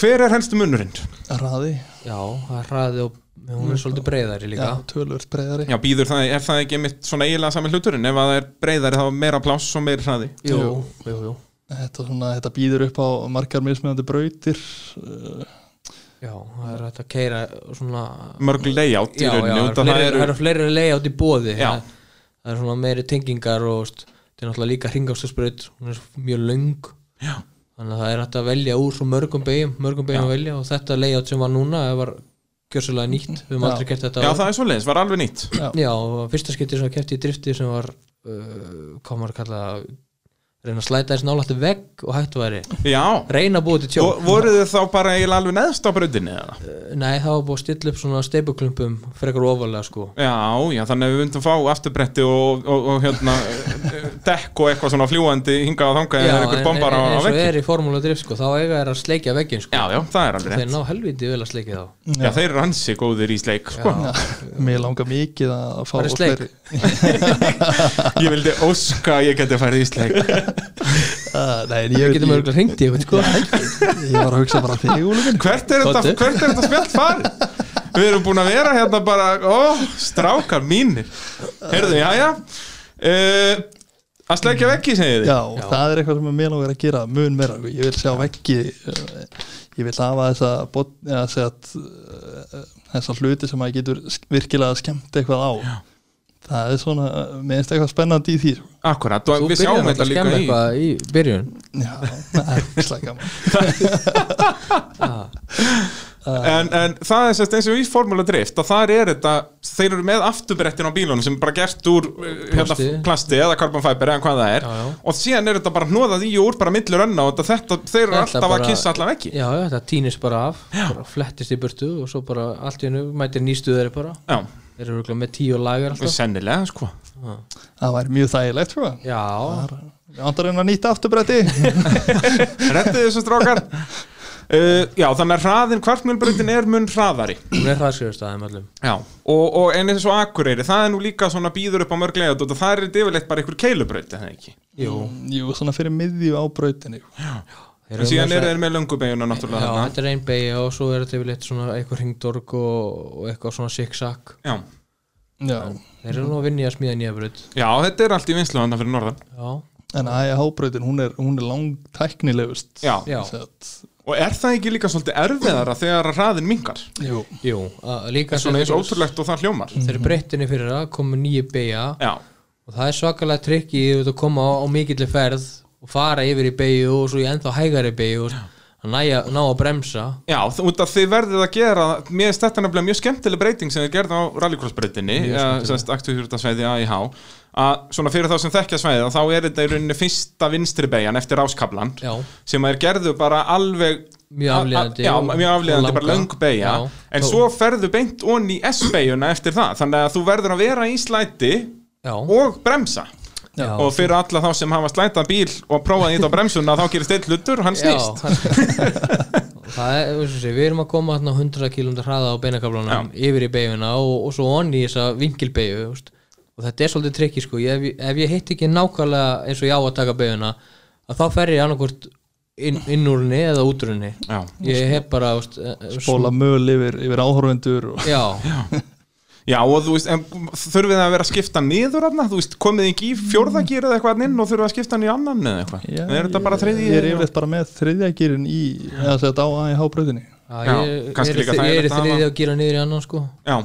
Speaker 1: Hver er helstu munurinn?
Speaker 2: raði,
Speaker 3: já, það er hraði og hún er svolítið breiðari
Speaker 2: já,
Speaker 3: líka
Speaker 2: tölvöld breyðari
Speaker 1: Já, býður það, er það ekki mitt svona eiginlega sami hluturinn ef að það er breyðari þá er meira pláss og meira hraði
Speaker 3: jú, jú, jú
Speaker 2: þetta, svona, þetta býður upp á margar mismunandi brautir uh,
Speaker 3: já, það er hægt að keira svona
Speaker 1: Mörg layout í
Speaker 3: já, já,
Speaker 1: rauninni
Speaker 3: það
Speaker 1: út að
Speaker 3: eru fleiri,
Speaker 1: það
Speaker 3: það
Speaker 1: eru
Speaker 3: eru fleiri layout í bóði
Speaker 1: Já.
Speaker 3: það, það eru svona meiri tengingar og veist, þetta er náttúrulega líka hringástasbraut hún er svo mjög löng
Speaker 1: Já.
Speaker 3: þannig að það er hægt að velja úr svo mörgum beigum mörgum beigum að velja og þetta layout sem var núna það var gjössalega nýtt við höfum
Speaker 2: Já.
Speaker 3: aldrei gert þetta
Speaker 1: Já,
Speaker 3: áður.
Speaker 1: það er svoleiðis, var alveg nýtt
Speaker 3: Já, og fyrsta skipti sem var kefti í drifti sem var uh, komar að kalla reyna að slæta þess nálættu vegg og hættu væri
Speaker 1: Já,
Speaker 3: reyna að búa til tjó
Speaker 1: Vo- voruð þið þá bara eiginlega alveg neðst á bröndinni eða?
Speaker 3: nei, það var búið að stilla upp svona steipuklumpum frekar ofalega sko
Speaker 1: Já, já, þannig að við vundum fá afturbretti og, og, og
Speaker 3: [laughs]
Speaker 1: hérna eh, dekk og eitthvað svona fljúandi hingað og þangað eða einhver bombar á, á
Speaker 3: eins og
Speaker 1: vekki
Speaker 3: er í formúla drift sko, þá eiga er að sleikja veggin sko.
Speaker 1: Já, já, það er alveg
Speaker 3: þeir
Speaker 1: rétt
Speaker 3: ná helviti vel að sleikja þá
Speaker 1: Já, þeir eru hansi góðir í sleik sko.
Speaker 2: mér langar mikið að fá
Speaker 3: Bara í sleik.
Speaker 2: fleiri-
Speaker 1: Ég vildi óska að ég geti farið í sleik
Speaker 2: Ah, nei, en ég,
Speaker 3: við
Speaker 2: veit-
Speaker 3: getum
Speaker 2: ég,
Speaker 3: örgulega hringt í eitthvað sko.
Speaker 2: ég var að hugsa bara þig Úlfur
Speaker 1: Hvert er þetta,
Speaker 3: Komdu.
Speaker 1: hvert er þetta spjall farið? Við erum búin að vera hérna bara Ó, strákar mínir Heyrðu, já, já uh, Að sleikja vekki, segið þið
Speaker 2: já, það er eitthvað sem mér langar að gera mun meira, sko. ég vil sjá veggi eh, ég vil hafa þessa bot, ja, set, þessa hluti sem maður getur sk- virkilega skemmt eitthvað á það er svona, minnst eitthvað spennandi í því sko.
Speaker 1: Akkurat, og
Speaker 3: þú
Speaker 1: við
Speaker 3: byrjar
Speaker 1: sjáum þetta
Speaker 3: náttúrulega að
Speaker 1: líka
Speaker 3: skemma
Speaker 1: í
Speaker 3: eitthvað í byrjun
Speaker 2: já, [laughs] það er ógeðslega gaman.
Speaker 1: en, en það er sérst eins og í Formula Drift að þar er þetta, þeir eru með afturbrettin á bílunum sem er bara gert úr plasti, hérna,
Speaker 3: Plasti.
Speaker 1: plasti eða carbon fiber eða hvað það er
Speaker 3: Já, já.
Speaker 1: og síðan er þetta bara hnoðað í og úr bara millur önna og þetta, þetta, þeir eru
Speaker 3: Þetta
Speaker 1: alltaf
Speaker 3: bara-
Speaker 1: að kissa allaveg ekki
Speaker 3: já, já, það týnist bara af, bara flettist í burtu og svo bara allt í hennu mætir nýstuðari bara
Speaker 1: Já,
Speaker 3: þeir eru örgulega með tíu lagar
Speaker 1: og
Speaker 3: alltaf
Speaker 1: [laughs] sennilega sko
Speaker 2: það væri mjög þægilegt sko.
Speaker 3: Já,
Speaker 2: Ég vantar einu að nýta afturbretti
Speaker 1: Rettið þessu strákar uh, Já, þannig að hraðin kvartmjölbrautin er mun hraðari
Speaker 3: hún er hraðskrifust aðeins öllum
Speaker 1: Já, og, og en eins og Akureyri það er nú líka svona býður upp á mörg leiðat og það er yfirleitt bara einhver keilubraut er það ekki
Speaker 3: Jú,
Speaker 2: Jú, svona fyrir miðju á brautinni
Speaker 1: En síðan eru þeir með löngubegjuna náttúrulega
Speaker 3: Já,
Speaker 1: þarna.
Speaker 3: þetta er einn beigja og svo er þetta yfirleitt svona einhver hringdorg og, og eitthvað svona zigzag
Speaker 1: Já.
Speaker 2: Já,
Speaker 3: Þeir eru nú að vinni að smíða nýja bröð
Speaker 1: Já, þetta er allt í vinslu þannig fyrir norðan
Speaker 3: Já,
Speaker 2: en AIH-brautin hún er, hún er langtæknilegust
Speaker 1: Já.
Speaker 3: já,
Speaker 2: Sett,
Speaker 1: Og er það ekki líka svolítið erfiðara þegar að hraðin mingar?
Speaker 2: Jú,
Speaker 3: jú, að, líka
Speaker 1: Svona eins
Speaker 3: þeir-
Speaker 1: ótrúlegt og það hljómar
Speaker 3: Þeir eru breyttinni fyrir það, komu nýja beigja
Speaker 1: Já,
Speaker 3: og það er svakalega trikki að koma á, á mikilli ferð og fara yfir í beigju og svo í ennþá hægari beigju og að næja, ná að bremsa
Speaker 1: já þ- út af þið verðið að gera Mér finnst þetta nefnilega mjög skemmtileg breyting sem þið gerði á eh, rallycrossbreytinni Sérst aktuðhjúrtasvæði AIH að svona fyrir þá sem þekkja svæðið þá er þetta í rauninni fyrsta vinstri beigjan eftir áskablan
Speaker 3: Já,
Speaker 1: sem er gerðu bara alveg
Speaker 3: Mjög aflíðandi
Speaker 1: Já,
Speaker 3: og-
Speaker 1: mjög aflíðandi,
Speaker 3: og
Speaker 1: bara
Speaker 3: langa.
Speaker 1: löng beigja
Speaker 3: Já.
Speaker 1: En
Speaker 3: Þó-
Speaker 1: svo ferðu beint onni í S-beigjuna eftir það Þannig að þú verður að vera í slæti
Speaker 3: já,
Speaker 1: og bremsa
Speaker 3: já
Speaker 1: og fyrir alla þá sem hafa slætað bíl og prófaði þetta á bremsuna þá gerist einn hlutur, hann snýst
Speaker 3: Já, [laughs] það er, þú sé, við erum að koma þarna á 100 km hraða á beinakaflanum yfir í beiguna og, og svo onni í þessa vingilbeigju veist. og þetta er svolítið trikki sko, ég, ef, ef ég hitt ekki nákvæmlega eins og ég á að taka beiguna að þá fer ég annarkvort inn, inn úr henni eða út úr henni
Speaker 1: Já.
Speaker 3: ég hef bara veist, eh, eh,
Speaker 2: bóla möl yfir, yfir áhorfundur og...
Speaker 3: Já,
Speaker 1: Já, og þú veist, en þurfið þið að vera að skipta niður hann, þú veist, komið ekki í
Speaker 3: Mm.
Speaker 1: fjórðagýr eða eitthvað þarna inn og þurfið að skipta hann í annan eða eitthvað,
Speaker 2: Já,
Speaker 1: er þetta bara þriðji
Speaker 2: Ég er yfirleitt bara með þriðja gýrin í eða sett á AIH-brautinni
Speaker 3: já,
Speaker 1: Já,
Speaker 3: ég, ég,
Speaker 1: kannski
Speaker 3: er í
Speaker 1: líka
Speaker 3: þri- ég er í
Speaker 1: þægilegt að
Speaker 3: þriði
Speaker 1: hafa-
Speaker 3: að gera niður í annan sko
Speaker 1: Já,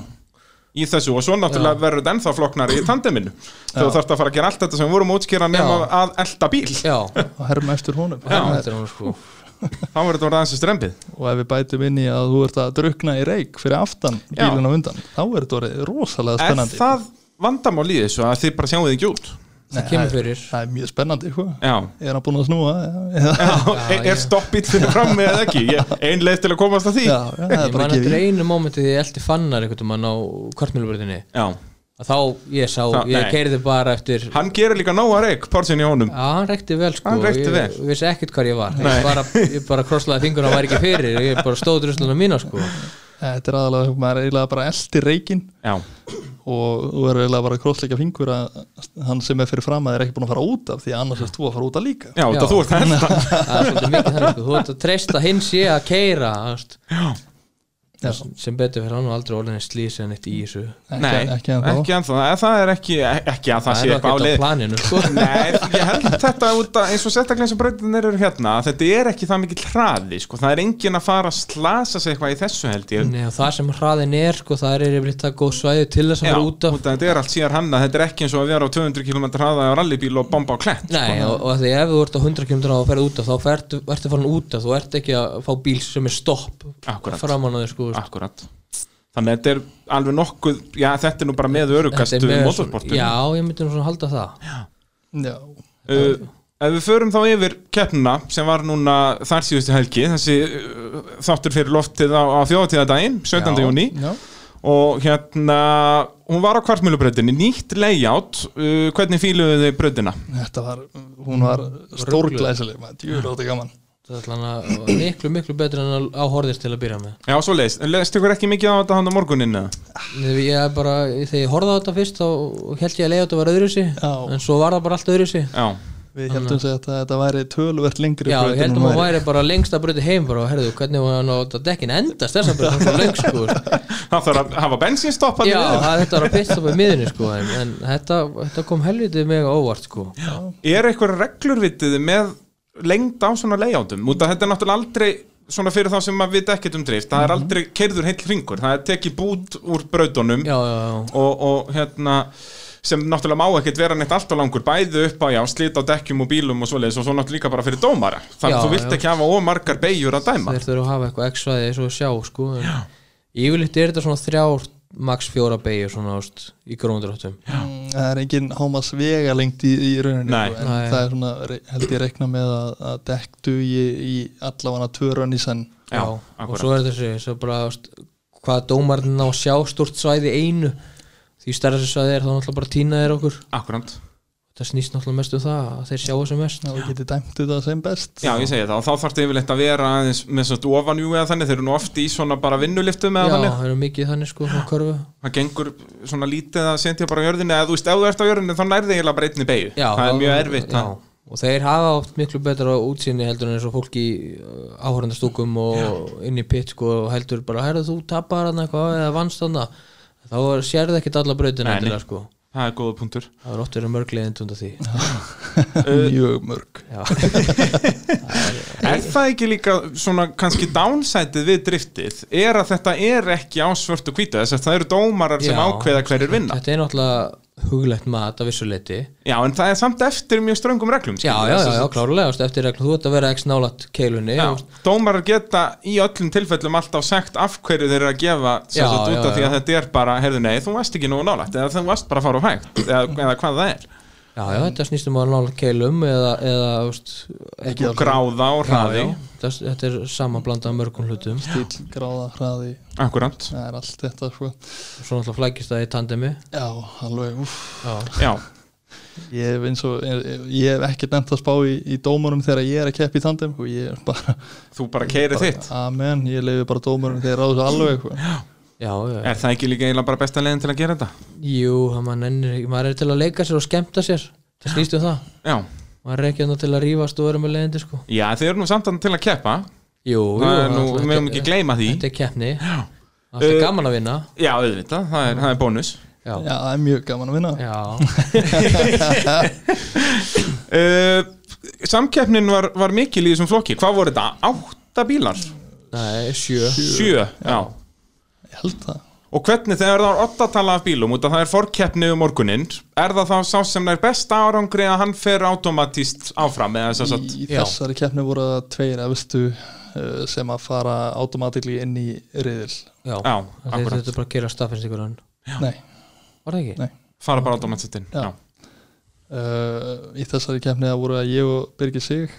Speaker 1: í þessu og svo náttúrulega verður þetta ennþá floknar í tandeminu þú þarft að fara að gera allt þetta sem við vorum að útskýra nema
Speaker 3: Já.
Speaker 1: að elta bíl
Speaker 3: Já,
Speaker 2: og herma eftir honum
Speaker 3: það er hann sko
Speaker 1: þá verður þetta orðið aðeins í strempið
Speaker 2: og ef við bætum inn í að þú ert að drukna í reik fyrir aftan
Speaker 1: Já.
Speaker 2: bílun á undan þá er þetta orðið rosalega
Speaker 1: Er
Speaker 2: spennandi
Speaker 1: það vandamál í þessu að þið bara sjáum þið ekki út?
Speaker 2: Nei,
Speaker 3: það kemur fyrir.
Speaker 2: er- það er mjög spennandi sko.
Speaker 1: Já,
Speaker 2: er hann búin að snúa já, já,
Speaker 1: er, er
Speaker 3: ég-
Speaker 1: stoppbíl fyrir frammi eða ekki? Ég- Ein leið til að komast að því
Speaker 2: já, það er
Speaker 3: Ég
Speaker 2: bara
Speaker 3: man
Speaker 2: að
Speaker 3: eftir
Speaker 2: gefa í
Speaker 3: einu mómenti því ég eldi fannar einhvern mann á kvartmjölubröðinni
Speaker 1: Já,
Speaker 3: að þá ég sá,
Speaker 1: Þá-
Speaker 3: ég
Speaker 1: nei.
Speaker 3: keirði bara eftir
Speaker 1: hann gerir líka nóa reik, porsin í honum
Speaker 3: Já, hann reykti vel sko
Speaker 1: Hann reykti
Speaker 3: ég
Speaker 1: vel.
Speaker 3: vissi ekkert hvar ég var
Speaker 1: Nei.
Speaker 3: ég bara, ég bara krosslaði fingurna var ekki fyrir ég bara stóð drusluna mína sko
Speaker 2: Eh, þetta er aðalega, maður er eiginlega bara eldi reikin
Speaker 1: Já,
Speaker 2: og þú er eiginlega bara að krossleika fingur að hann sem er fyrir fram að er ekki búin að fara út af því að annars er þú að fara út af líka
Speaker 1: já, já.
Speaker 3: Já.
Speaker 1: þú ert að elta
Speaker 3: það er svolítið mikið þannig sko þú ert að treysta hinn sé að keira
Speaker 2: Já.
Speaker 3: sem betur fyrir hann og aldrei orðinni slýs en eitt í þessu
Speaker 2: ekki,
Speaker 1: Nei,
Speaker 2: ekki ennþá
Speaker 1: ekki ennþá. Það- Það er ekki, ekki að það,
Speaker 3: það
Speaker 1: sé
Speaker 3: er
Speaker 1: eitthvað
Speaker 3: nú
Speaker 1: á
Speaker 3: ekkert á
Speaker 1: leið
Speaker 3: planinu sko
Speaker 1: [laughs] Nei, ég held þetta út að eins og sérstaklega eins og breytinir eru hérna að þetta er ekki það mikið hraði sko. það er engin að fara að slasa sig eitthvað í þessu held ég
Speaker 3: Nei, og það sem hraðin er sko það er yfirleitt það góð svæði til þess að fara út af
Speaker 1: út að þetta er allt síðar hann að þetta er ekki eins og að vera á 200 km hraða á rallybíl og bomba á klett
Speaker 3: Nei, og, og því ef þú ert á 100 km og ferð út af þá ferðu- ertu farin út af, þú ert ekki að fá bíl sem er stopp
Speaker 1: Akkúrat.
Speaker 3: framan á þér sko
Speaker 1: Akkurat Þannig að þetta er alveg nokkuð já, þetta er nú bara með
Speaker 3: Þetta er
Speaker 1: örugastu
Speaker 3: með svona-
Speaker 1: motorsportum
Speaker 3: Já, ég myndi nú svona halda það
Speaker 2: Já.
Speaker 1: uh, Ef við förum þá yfir keppnuna sem var núna þar síðustu helgi þessi uh, þáttur fyrir loftið á, á þjóðatíðadaginn 17.
Speaker 3: Já.
Speaker 1: júni
Speaker 2: Já.
Speaker 1: og hérna hún var á kvartmjölubröðinni, nýtt layout uh, hvernig fíluðu þið bröðina?
Speaker 2: Þetta var, hún var stórglæsileg maður, djúður átti gaman
Speaker 3: Það er allan að miklu, miklu betur en að- á horðist til að byrja með
Speaker 1: Já, svo leist, leist ykkur ekki mikið á þetta hann á morguninu?
Speaker 3: Þegar ég er bara, þegar ég horfði á þetta fyrst þá held ég að leiða þetta var öðruvísi
Speaker 2: Já.
Speaker 3: en svo var það bara allt öðruvísi
Speaker 1: Já,
Speaker 3: [laughs]
Speaker 2: Við heldum sér að þetta væri tölvert lengri
Speaker 3: Já,
Speaker 2: braut
Speaker 3: ég
Speaker 2: en
Speaker 3: heldum
Speaker 2: hún
Speaker 3: að hún væri bara lengst að bruti heim bara og herðu, hvernig var hann á þetta dekkin endast þess að bruti, hún var lengst sko [laughs]
Speaker 1: það þarf að hafa bensínstopp hann
Speaker 3: Já, það- þetta var að pissa upp í miðinni sko en, en þetta, þetta kom helvitið mega óvart sko
Speaker 1: Er eitthvað reglurvitið með lengd á svona layoutum? Út að þetta er náttúrulega aldrei svona fyrir þá sem maður vita ekkert um drift það er
Speaker 3: Mhm.
Speaker 1: aldrei keirður heill hringur það er tekið bút úr brautunum
Speaker 3: Já, já, já
Speaker 1: og, og hérna sem náttúrulega má ekkert vera neitt allt og langur bæði upp á já, slita á dekkjum og bílum og svoleiðis og svo náttúrulega líka bara fyrir dómara þannig
Speaker 3: Já,
Speaker 1: að þú vilt
Speaker 3: já.
Speaker 1: ekki hafa ómargar beigjur að dæma
Speaker 3: þeir þurfa að hafa eitthvað x-svæði svo að sjá sko en yfirleitt er þetta svona þrjár max fjóra beigju svona ást í gróndráttum
Speaker 2: Mm, Það er engin hámas vega lengt í, í rauninni
Speaker 1: Nei.
Speaker 2: sko, en
Speaker 3: Nei.
Speaker 2: það er svona, re- held ég rekna með að, að dekktu í, í allavega tvörun í senn
Speaker 1: Já,
Speaker 3: og
Speaker 1: akkúrat.
Speaker 3: svo er þessi svo bara ást, hvað dómarinn á að sjá stort svæði í einu því því stærra sem það er þá náttúrulega bara týna þeir okkur
Speaker 1: Akkurant
Speaker 3: það snýst náttúrulega mest um það að þeir sjá þessu mest
Speaker 2: Já, við getum dæmt þetta sem best
Speaker 1: Já, ég segi það og þá þarf þetta yfirleitt að vera aðeins með svona ofanjú eða þannig, þeir eru nú oft í svona bara vinnuliftum eða
Speaker 3: já,
Speaker 1: þannig,
Speaker 3: það eru mikið þannig sko svona körfu
Speaker 1: það gengur svona lítið að sentja bara á jörðinu eða þú veist, ef þú ert á jörðinu þá nærði eiginlega bara einni beigju,
Speaker 3: já,
Speaker 1: það er mjög erfitt
Speaker 3: já,
Speaker 1: að-
Speaker 3: og þeir hafa oft miklu betra útsýni heldur en eins og fólk í uh, áhorendastúkum og inn í pitt sko og heldur bara, herðu þú tapar hann eitthvað eða vannst hann þá sérðu ekkert alla brautina
Speaker 1: Nei, nei.
Speaker 3: endilega, sko.
Speaker 1: það er góða punktur
Speaker 3: það er oft verið mörgliðind undan því
Speaker 2: [laughs] Mjög mörg
Speaker 3: [laughs] já,
Speaker 1: Er það ekki líka svona kannski downsætið við driftið er að þetta er ekki á svört og hvíta þess að það eru dómarar sem
Speaker 3: Já.
Speaker 1: ákveða hverjir vinna
Speaker 3: þetta er náttúrulega huglegt mat af vissu leiti
Speaker 1: Já, en það er samt eftir mjög ströngum reglum
Speaker 3: já,
Speaker 1: skilur
Speaker 3: já,
Speaker 1: við,
Speaker 3: já,
Speaker 1: þess
Speaker 3: já,
Speaker 1: að-
Speaker 3: klárlega þú veist, eftir reglum, þú ert að vera ekki nálat keilunni þú veist.
Speaker 1: já. Dómarar geta í öllum tilfellum alltaf sagt af hverju þeir eru að gefa sem
Speaker 3: Já,
Speaker 1: sagt, út
Speaker 3: já,
Speaker 1: af því
Speaker 3: já.
Speaker 1: að þetta er bara, heyrðu nei, þú varst ekki nógu nálægt eða þú varst bara að fara á hægt eða, eða hvað það er
Speaker 3: Já, já, þetta snýstum að nála keilum eða, eða úst,
Speaker 2: Ekki
Speaker 1: og gráða og hraði
Speaker 3: þetta, þetta er samanblandað af mörgum hlutum
Speaker 2: Stíl, gráða, hraði,
Speaker 1: Akkurant
Speaker 2: það er allt þetta sko
Speaker 3: Svo náttúrulega flækist það í tandemi
Speaker 2: Já, alveg, úff
Speaker 3: Já,
Speaker 1: Já,
Speaker 2: Ég hef, eins og, ég, ég hef ekki nefnt að spá í, í dómurum þegar ég er að keppa í tandem og ég er bara,
Speaker 1: þú bara keiri
Speaker 2: bara
Speaker 1: þitt
Speaker 2: amen, ég leifi bara dómurum þegar á þessu alveg sko.
Speaker 3: já, já.
Speaker 1: Er það ekki líka eiginlega bara besta leiðin til að gera þetta?
Speaker 3: Jú, það maður, nennir, ekki- maður er til að leika sér og skemmta sér Það snýstum það
Speaker 1: Já,
Speaker 3: Maður er ekki þarna til að rífast og vera með leiðindi sko
Speaker 1: já þið eru nú samt þarna til að keppa
Speaker 3: Jú, jú
Speaker 1: Það er nú,
Speaker 3: náttúrulega,
Speaker 1: við mögum ekki gleyma því
Speaker 3: Þetta er keppni Það er
Speaker 1: Uh,
Speaker 3: gaman að vinna
Speaker 1: Já, auðvitað, það er, það er bónus
Speaker 3: Já,
Speaker 2: Já, það er mjög gaman að vinna
Speaker 3: já,
Speaker 1: uh, Samkeppnin var, var mikil í þessum flokki Hvað voru þetta? Átta bílar?
Speaker 3: nei, sjö
Speaker 1: Sjö, já
Speaker 2: Ég held það
Speaker 1: Og hvernig þegar það er oddatala af bílum út að það er forkeppni um morguninn er það þá sá sem er besta árangri að hann fer automatíst áfram eða þess að
Speaker 2: Í
Speaker 3: Já.
Speaker 2: þessari keppni voru það tveir efstu uh, sem að fara automatikli inn í riðil
Speaker 1: Já,
Speaker 3: Já, Þetta
Speaker 1: akkurat.
Speaker 3: þetta er bara að gera staðfinnst ykkur hann
Speaker 2: Nei,
Speaker 3: Var það ekki?
Speaker 2: Nei.
Speaker 1: fara bara automatist inn
Speaker 2: Já.
Speaker 1: já.
Speaker 2: uh, í þessari keppni það voru að ég og Birgir Sig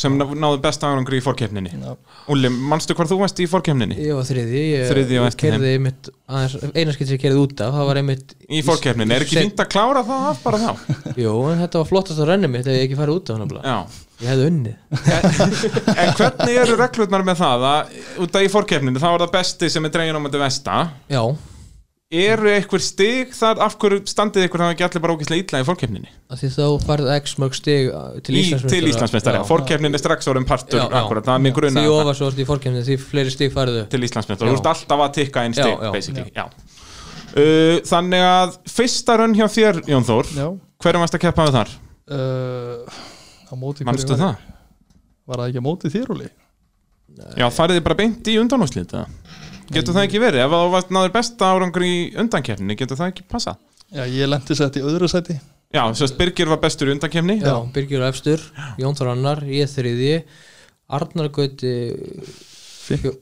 Speaker 1: sem ná- náðu besta árangri í forkeppninni
Speaker 2: Já,
Speaker 1: Úli, manstu hvar þú varst í forkeppninni?
Speaker 3: Ég var þriði, ég
Speaker 1: Þriðji á eftir
Speaker 3: keyrði einmitt, aðeins, einarskitt sem ég kerði út af, það var einmitt
Speaker 1: Í forkeppninni, er ekki
Speaker 3: Seinn-
Speaker 1: fínt að klára það af bara þá?
Speaker 3: [laughs] Jú, en þetta var flottast að renna mitt ef ég ekki farið út af hann
Speaker 1: Já
Speaker 3: Ég hefði unnið
Speaker 1: En hvernig eru reglurnar með það að út af í forkeppninu þá er það besti sem er dregin á mæti vesta
Speaker 3: Já,
Speaker 1: eru einhver stig þar af hverju standið ykkur það ekki allir bara ógeðslega illa í forkeppninni
Speaker 3: af því þá farið x mörg stig uh, til
Speaker 1: Í-
Speaker 3: Íslandsmeistara
Speaker 1: til Íslandsmeistara, forkeppnin er strax orðin partur
Speaker 3: Já, já.
Speaker 1: akkurat, það er mjög grunna
Speaker 3: Því ofar svo orðið í fórkefni, því fleiri stig fariðu
Speaker 1: til Íslandsmeistara,
Speaker 3: Já.
Speaker 1: þú ert alltaf að tikka einn stig
Speaker 3: Já, já.
Speaker 1: basically, já, Uh, þannig að fyrsta rönn hjá þér Jón Þór,
Speaker 2: já
Speaker 1: hverjum varst að keppa með þar?
Speaker 2: uh, Á móti hverju
Speaker 1: Manstu
Speaker 2: var ég?
Speaker 1: það?
Speaker 2: Var það ekki á móti þér, Úli?
Speaker 1: Já, farið þið bara beint í undanúslið Getur það ekki verið? Ef þú varst náður besta árangur í undankeppninni, getur það ekki passað?
Speaker 2: Já, ég lendi sett í öðru sæti
Speaker 1: Já, sérst Birgir var bestur í undankemni
Speaker 3: Já, Birgir og Efstur, Jón Þór Annar, ég þriði Arnar Gauti fjó,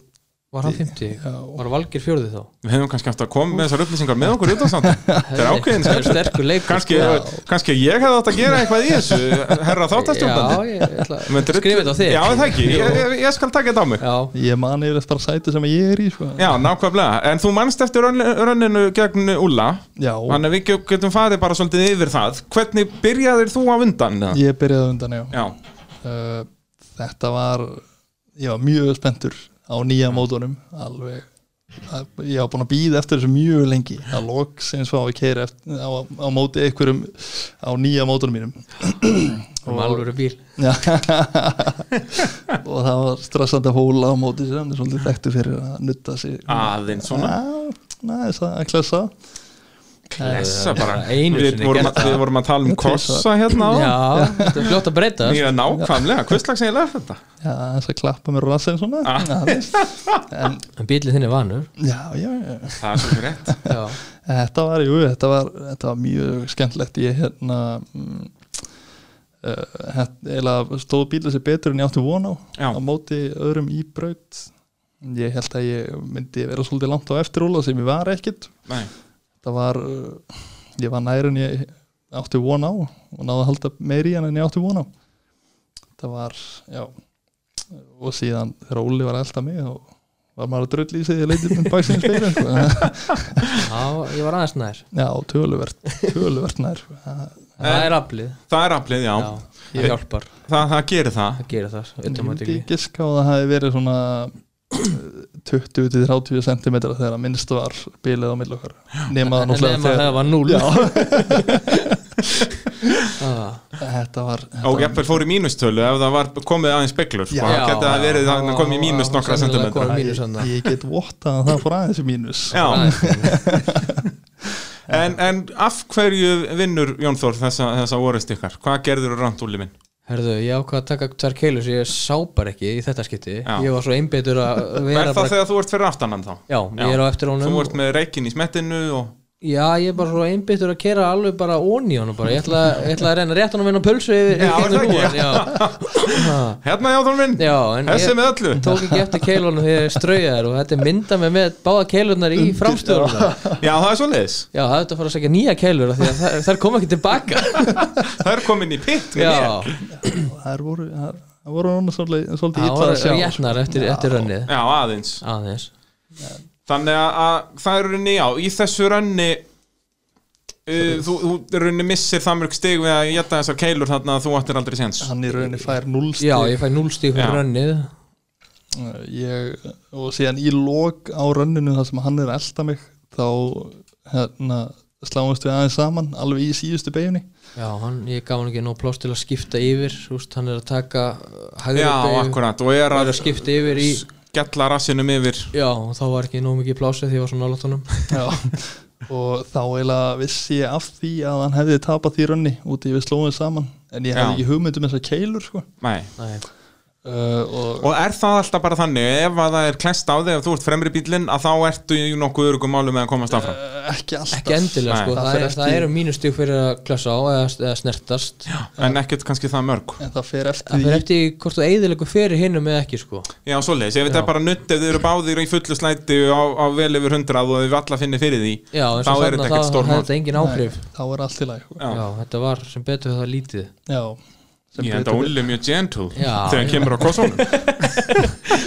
Speaker 3: Var hann 50?
Speaker 2: Já,
Speaker 3: Var Valgir fjórði þá?
Speaker 1: Við hefum kannski haft að koma með þessar upplýsingar með okkur utan
Speaker 3: [laughs]
Speaker 1: samt Það er ákveðin
Speaker 3: Það er
Speaker 1: skemmt.
Speaker 3: sterkur leikur
Speaker 1: kannski,
Speaker 3: sko.
Speaker 1: kannski ég hefði átt að gera eitthvað í þessu Herra
Speaker 3: Já,
Speaker 1: þáttastjórnandi
Speaker 3: ég ætla
Speaker 1: Með
Speaker 3: að
Speaker 1: drull-
Speaker 3: skrifa þetta á þig
Speaker 1: Já, það ekki, ég, ég, ég skal taka þetta á mig
Speaker 3: Já,
Speaker 2: ég man yfir eftir bara sæti sem ég er í sko.
Speaker 1: Já, nákvæmlega, en þú manst eftir rönn- rönninu gegn Ulla
Speaker 2: já
Speaker 1: Þannig að við ge- getum farið bara svolítið yfir það Hvernig byrjaðir þú á undan? eða?
Speaker 2: ég byrjaði á undan já.
Speaker 1: Já,
Speaker 2: Uh, þetta var ég var mjög spenntur á nýja mótunum alveg að- ég var búin að býða eftir þessu mjög lengi að loks eins og að keira eftir, á, á móti einhverjum á nýja mótunum mínum
Speaker 3: um alvöru bíl
Speaker 2: Já. og það var stressandi að hóla á móti sem hann er svolítið þekktu fyrir að nutta sig
Speaker 1: Ah. aðeins svona
Speaker 2: næs að klessa
Speaker 1: Þessa bara
Speaker 3: Einu
Speaker 1: Við
Speaker 3: sinni
Speaker 1: vorum
Speaker 3: gert
Speaker 1: að, við vorum að tala um kossa hérna á
Speaker 3: Já, þetta er fljótt að breyta
Speaker 1: Mjög nákvæmlega, hvers slags eiginlega er þetta?
Speaker 2: já, þess að klappa mér rassin svona
Speaker 1: Ah.
Speaker 2: aðeins. en
Speaker 3: En bílið þinn er vanur
Speaker 2: já, já, já
Speaker 1: Það er svolítið rétt
Speaker 3: Já,
Speaker 2: Þetta var, jú, þetta var, þetta var mjög skemmtlegt Ég hérna mm, uh, eða stóð bíla sér betur en ég átti von á
Speaker 1: Já.
Speaker 2: á móti öðrum í braut Ég held að ég myndi vera svolítið langt á eftirúla sem ég var ekkit
Speaker 1: Nei.
Speaker 2: Það var, uh, ég var nær en ég átti von á og náði að halda meiri en en ég átti von á Það var, já og síðan þegar Óli var að elda mig og var maður að dröll í sig í leitið minn baksinn speilin sko.
Speaker 3: Já, ég var aðeins nær
Speaker 2: já,
Speaker 3: [laughs]
Speaker 2: töluvert, töluvert nær sko.
Speaker 3: Það er aflið
Speaker 1: Það er aflið, já,
Speaker 3: Já, ég hjálpar
Speaker 1: Það, það gerir það
Speaker 3: að gera það
Speaker 2: ég myndi
Speaker 3: automatically.
Speaker 2: giska á að það hefði verið svona eh, 20-30 cm þegar að minnst var bilið á mill okkar nema það
Speaker 3: En
Speaker 2: náttúrulega
Speaker 3: nema það
Speaker 2: þegar
Speaker 3: var núl
Speaker 1: [laughs]
Speaker 2: Já.
Speaker 3: [laughs] Ah,
Speaker 2: þetta var þetta
Speaker 1: Og
Speaker 2: var-
Speaker 1: jafnvel fór í mínustölu ef það var komið aðeins speglur sko.
Speaker 2: Já.
Speaker 1: Það geti það verið að það komið í mínus nokkra
Speaker 3: Sennilega
Speaker 1: sentimentra
Speaker 3: kom-
Speaker 2: Ég-
Speaker 3: mínus þarna.
Speaker 2: ég get vottað að það fór aðeins í mínus
Speaker 1: Já,
Speaker 3: aðeins núll.
Speaker 1: en, en af hverju vinnur Jón Þór þessa, þessa orðist ykkar? Hvað gerður rand úli minn?
Speaker 3: Herðu, ég ákvað að taka tvær keilur sem ég sápar ekki í þetta skipti
Speaker 1: Já.
Speaker 3: Ég var svo einbyttur
Speaker 1: [laughs]
Speaker 3: að
Speaker 1: Er
Speaker 3: vera
Speaker 1: það þegar þú ert fyrir aftanan þá?
Speaker 3: Já, ég er á eftir honum
Speaker 1: Þú ert með reikin í smettinu og...
Speaker 3: Já, ég er bara svo einbyttur að kera alveg bara onni honum bara Ég ætla, ég ætla að reyna rétt honum inn á pulsu yfir
Speaker 1: Já,
Speaker 3: yfir
Speaker 1: er það ekki?
Speaker 3: rúan, Já, [laughs] Ha.
Speaker 1: Hérna Jón Þór minn,
Speaker 3: já en
Speaker 1: þessi
Speaker 3: ég
Speaker 1: með öllu
Speaker 3: tók ekki eftir keilunum þegar ég strauja þær og þetta er mynda mig með báða keilurnar í framstöðuna
Speaker 1: Já, það er svo leiðis
Speaker 3: Já, það er þetta að fara að segja nýja keilur af því að þær- þær koma ekki
Speaker 1: [laughs]
Speaker 3: tilbaka
Speaker 1: Það er komin í pitt með
Speaker 3: Já,
Speaker 1: mér
Speaker 2: það voru það það voru hann svolítið svolítið
Speaker 3: það
Speaker 2: illa
Speaker 3: var
Speaker 2: að sjá
Speaker 3: réttnar eftir, eftir rönnið
Speaker 1: Já, aðeins
Speaker 3: aðeins
Speaker 1: Þannig að, að það er runni, já, í þessu runni uh, þú, þú runni missir það mörg stig við að geta þessar keilur þannig að þú ættir aldrei séns
Speaker 2: hann í rauninni fær núlstig
Speaker 3: Já, ég fæ 0 stík
Speaker 1: Já.
Speaker 3: fyrir rönnið
Speaker 2: ég, og síðan í lok á rönninu þar sem hann er að elda mig þá hérna, sláumst við aðeins saman alveg í síðustu beginni
Speaker 3: Já, hann, ég gaf hann ekki nóg pláss til að skipta yfir Úst, hann er að taka uh, hægri
Speaker 1: Já,
Speaker 3: beygju,
Speaker 1: akkurat, og er
Speaker 3: hann er
Speaker 1: að
Speaker 3: að skipta yfir í
Speaker 1: skella rassinum yfir
Speaker 3: Já, og þá var ekki nóg mikið plássið því ég var svona nálægt honum
Speaker 2: Já. og þá eiginlega vissi ég af því að hann hefði tapað því rönni úti við slóðum saman en ég
Speaker 1: Já.
Speaker 2: hefði ekki hugmynd um þessar keilur sko.
Speaker 1: Nei.
Speaker 3: Nei,
Speaker 2: uh, og
Speaker 1: Og er það alltaf bara þannig, ef að það er klest á þig ef þú ert fremri bílinn, að þá ertu í nokkuð örugum málum með að komast áfram
Speaker 2: uh, ekki alltaf
Speaker 3: ekki endilega
Speaker 1: Nei,
Speaker 3: sko,
Speaker 2: það
Speaker 3: það,
Speaker 2: fer
Speaker 3: er,
Speaker 2: eftir-
Speaker 3: það eru mínustík fyrir að klösa á eða, eða snertast Já.
Speaker 1: En ekkert kannski það mörg
Speaker 2: en það fer eftir
Speaker 3: Það
Speaker 2: því
Speaker 3: fyrir eftir því hvort þú eigðilegu fyrir hinnum eða ekki sko
Speaker 1: Já, svoleiðis, ef þetta
Speaker 3: Já.
Speaker 1: er bara nutt ef þið eru báðir í fullu slæti á, á vel yfir hundrað og ef við alla finnir fyrir því
Speaker 3: Já, en
Speaker 1: þá
Speaker 3: svo
Speaker 1: er þetta
Speaker 3: þarna þá
Speaker 1: ekkert
Speaker 3: hefði
Speaker 1: stórmál
Speaker 3: þetta engin áhrif
Speaker 2: þá er allt í lagi sko.
Speaker 1: Já.
Speaker 3: Já, þetta var sem betur fyrir það lítið
Speaker 2: Já, sem
Speaker 1: Ég enda
Speaker 2: betur
Speaker 1: Ulli mjög gentle
Speaker 3: Já.
Speaker 1: þegar hann kemur á
Speaker 3: [laughs]
Speaker 1: kossónum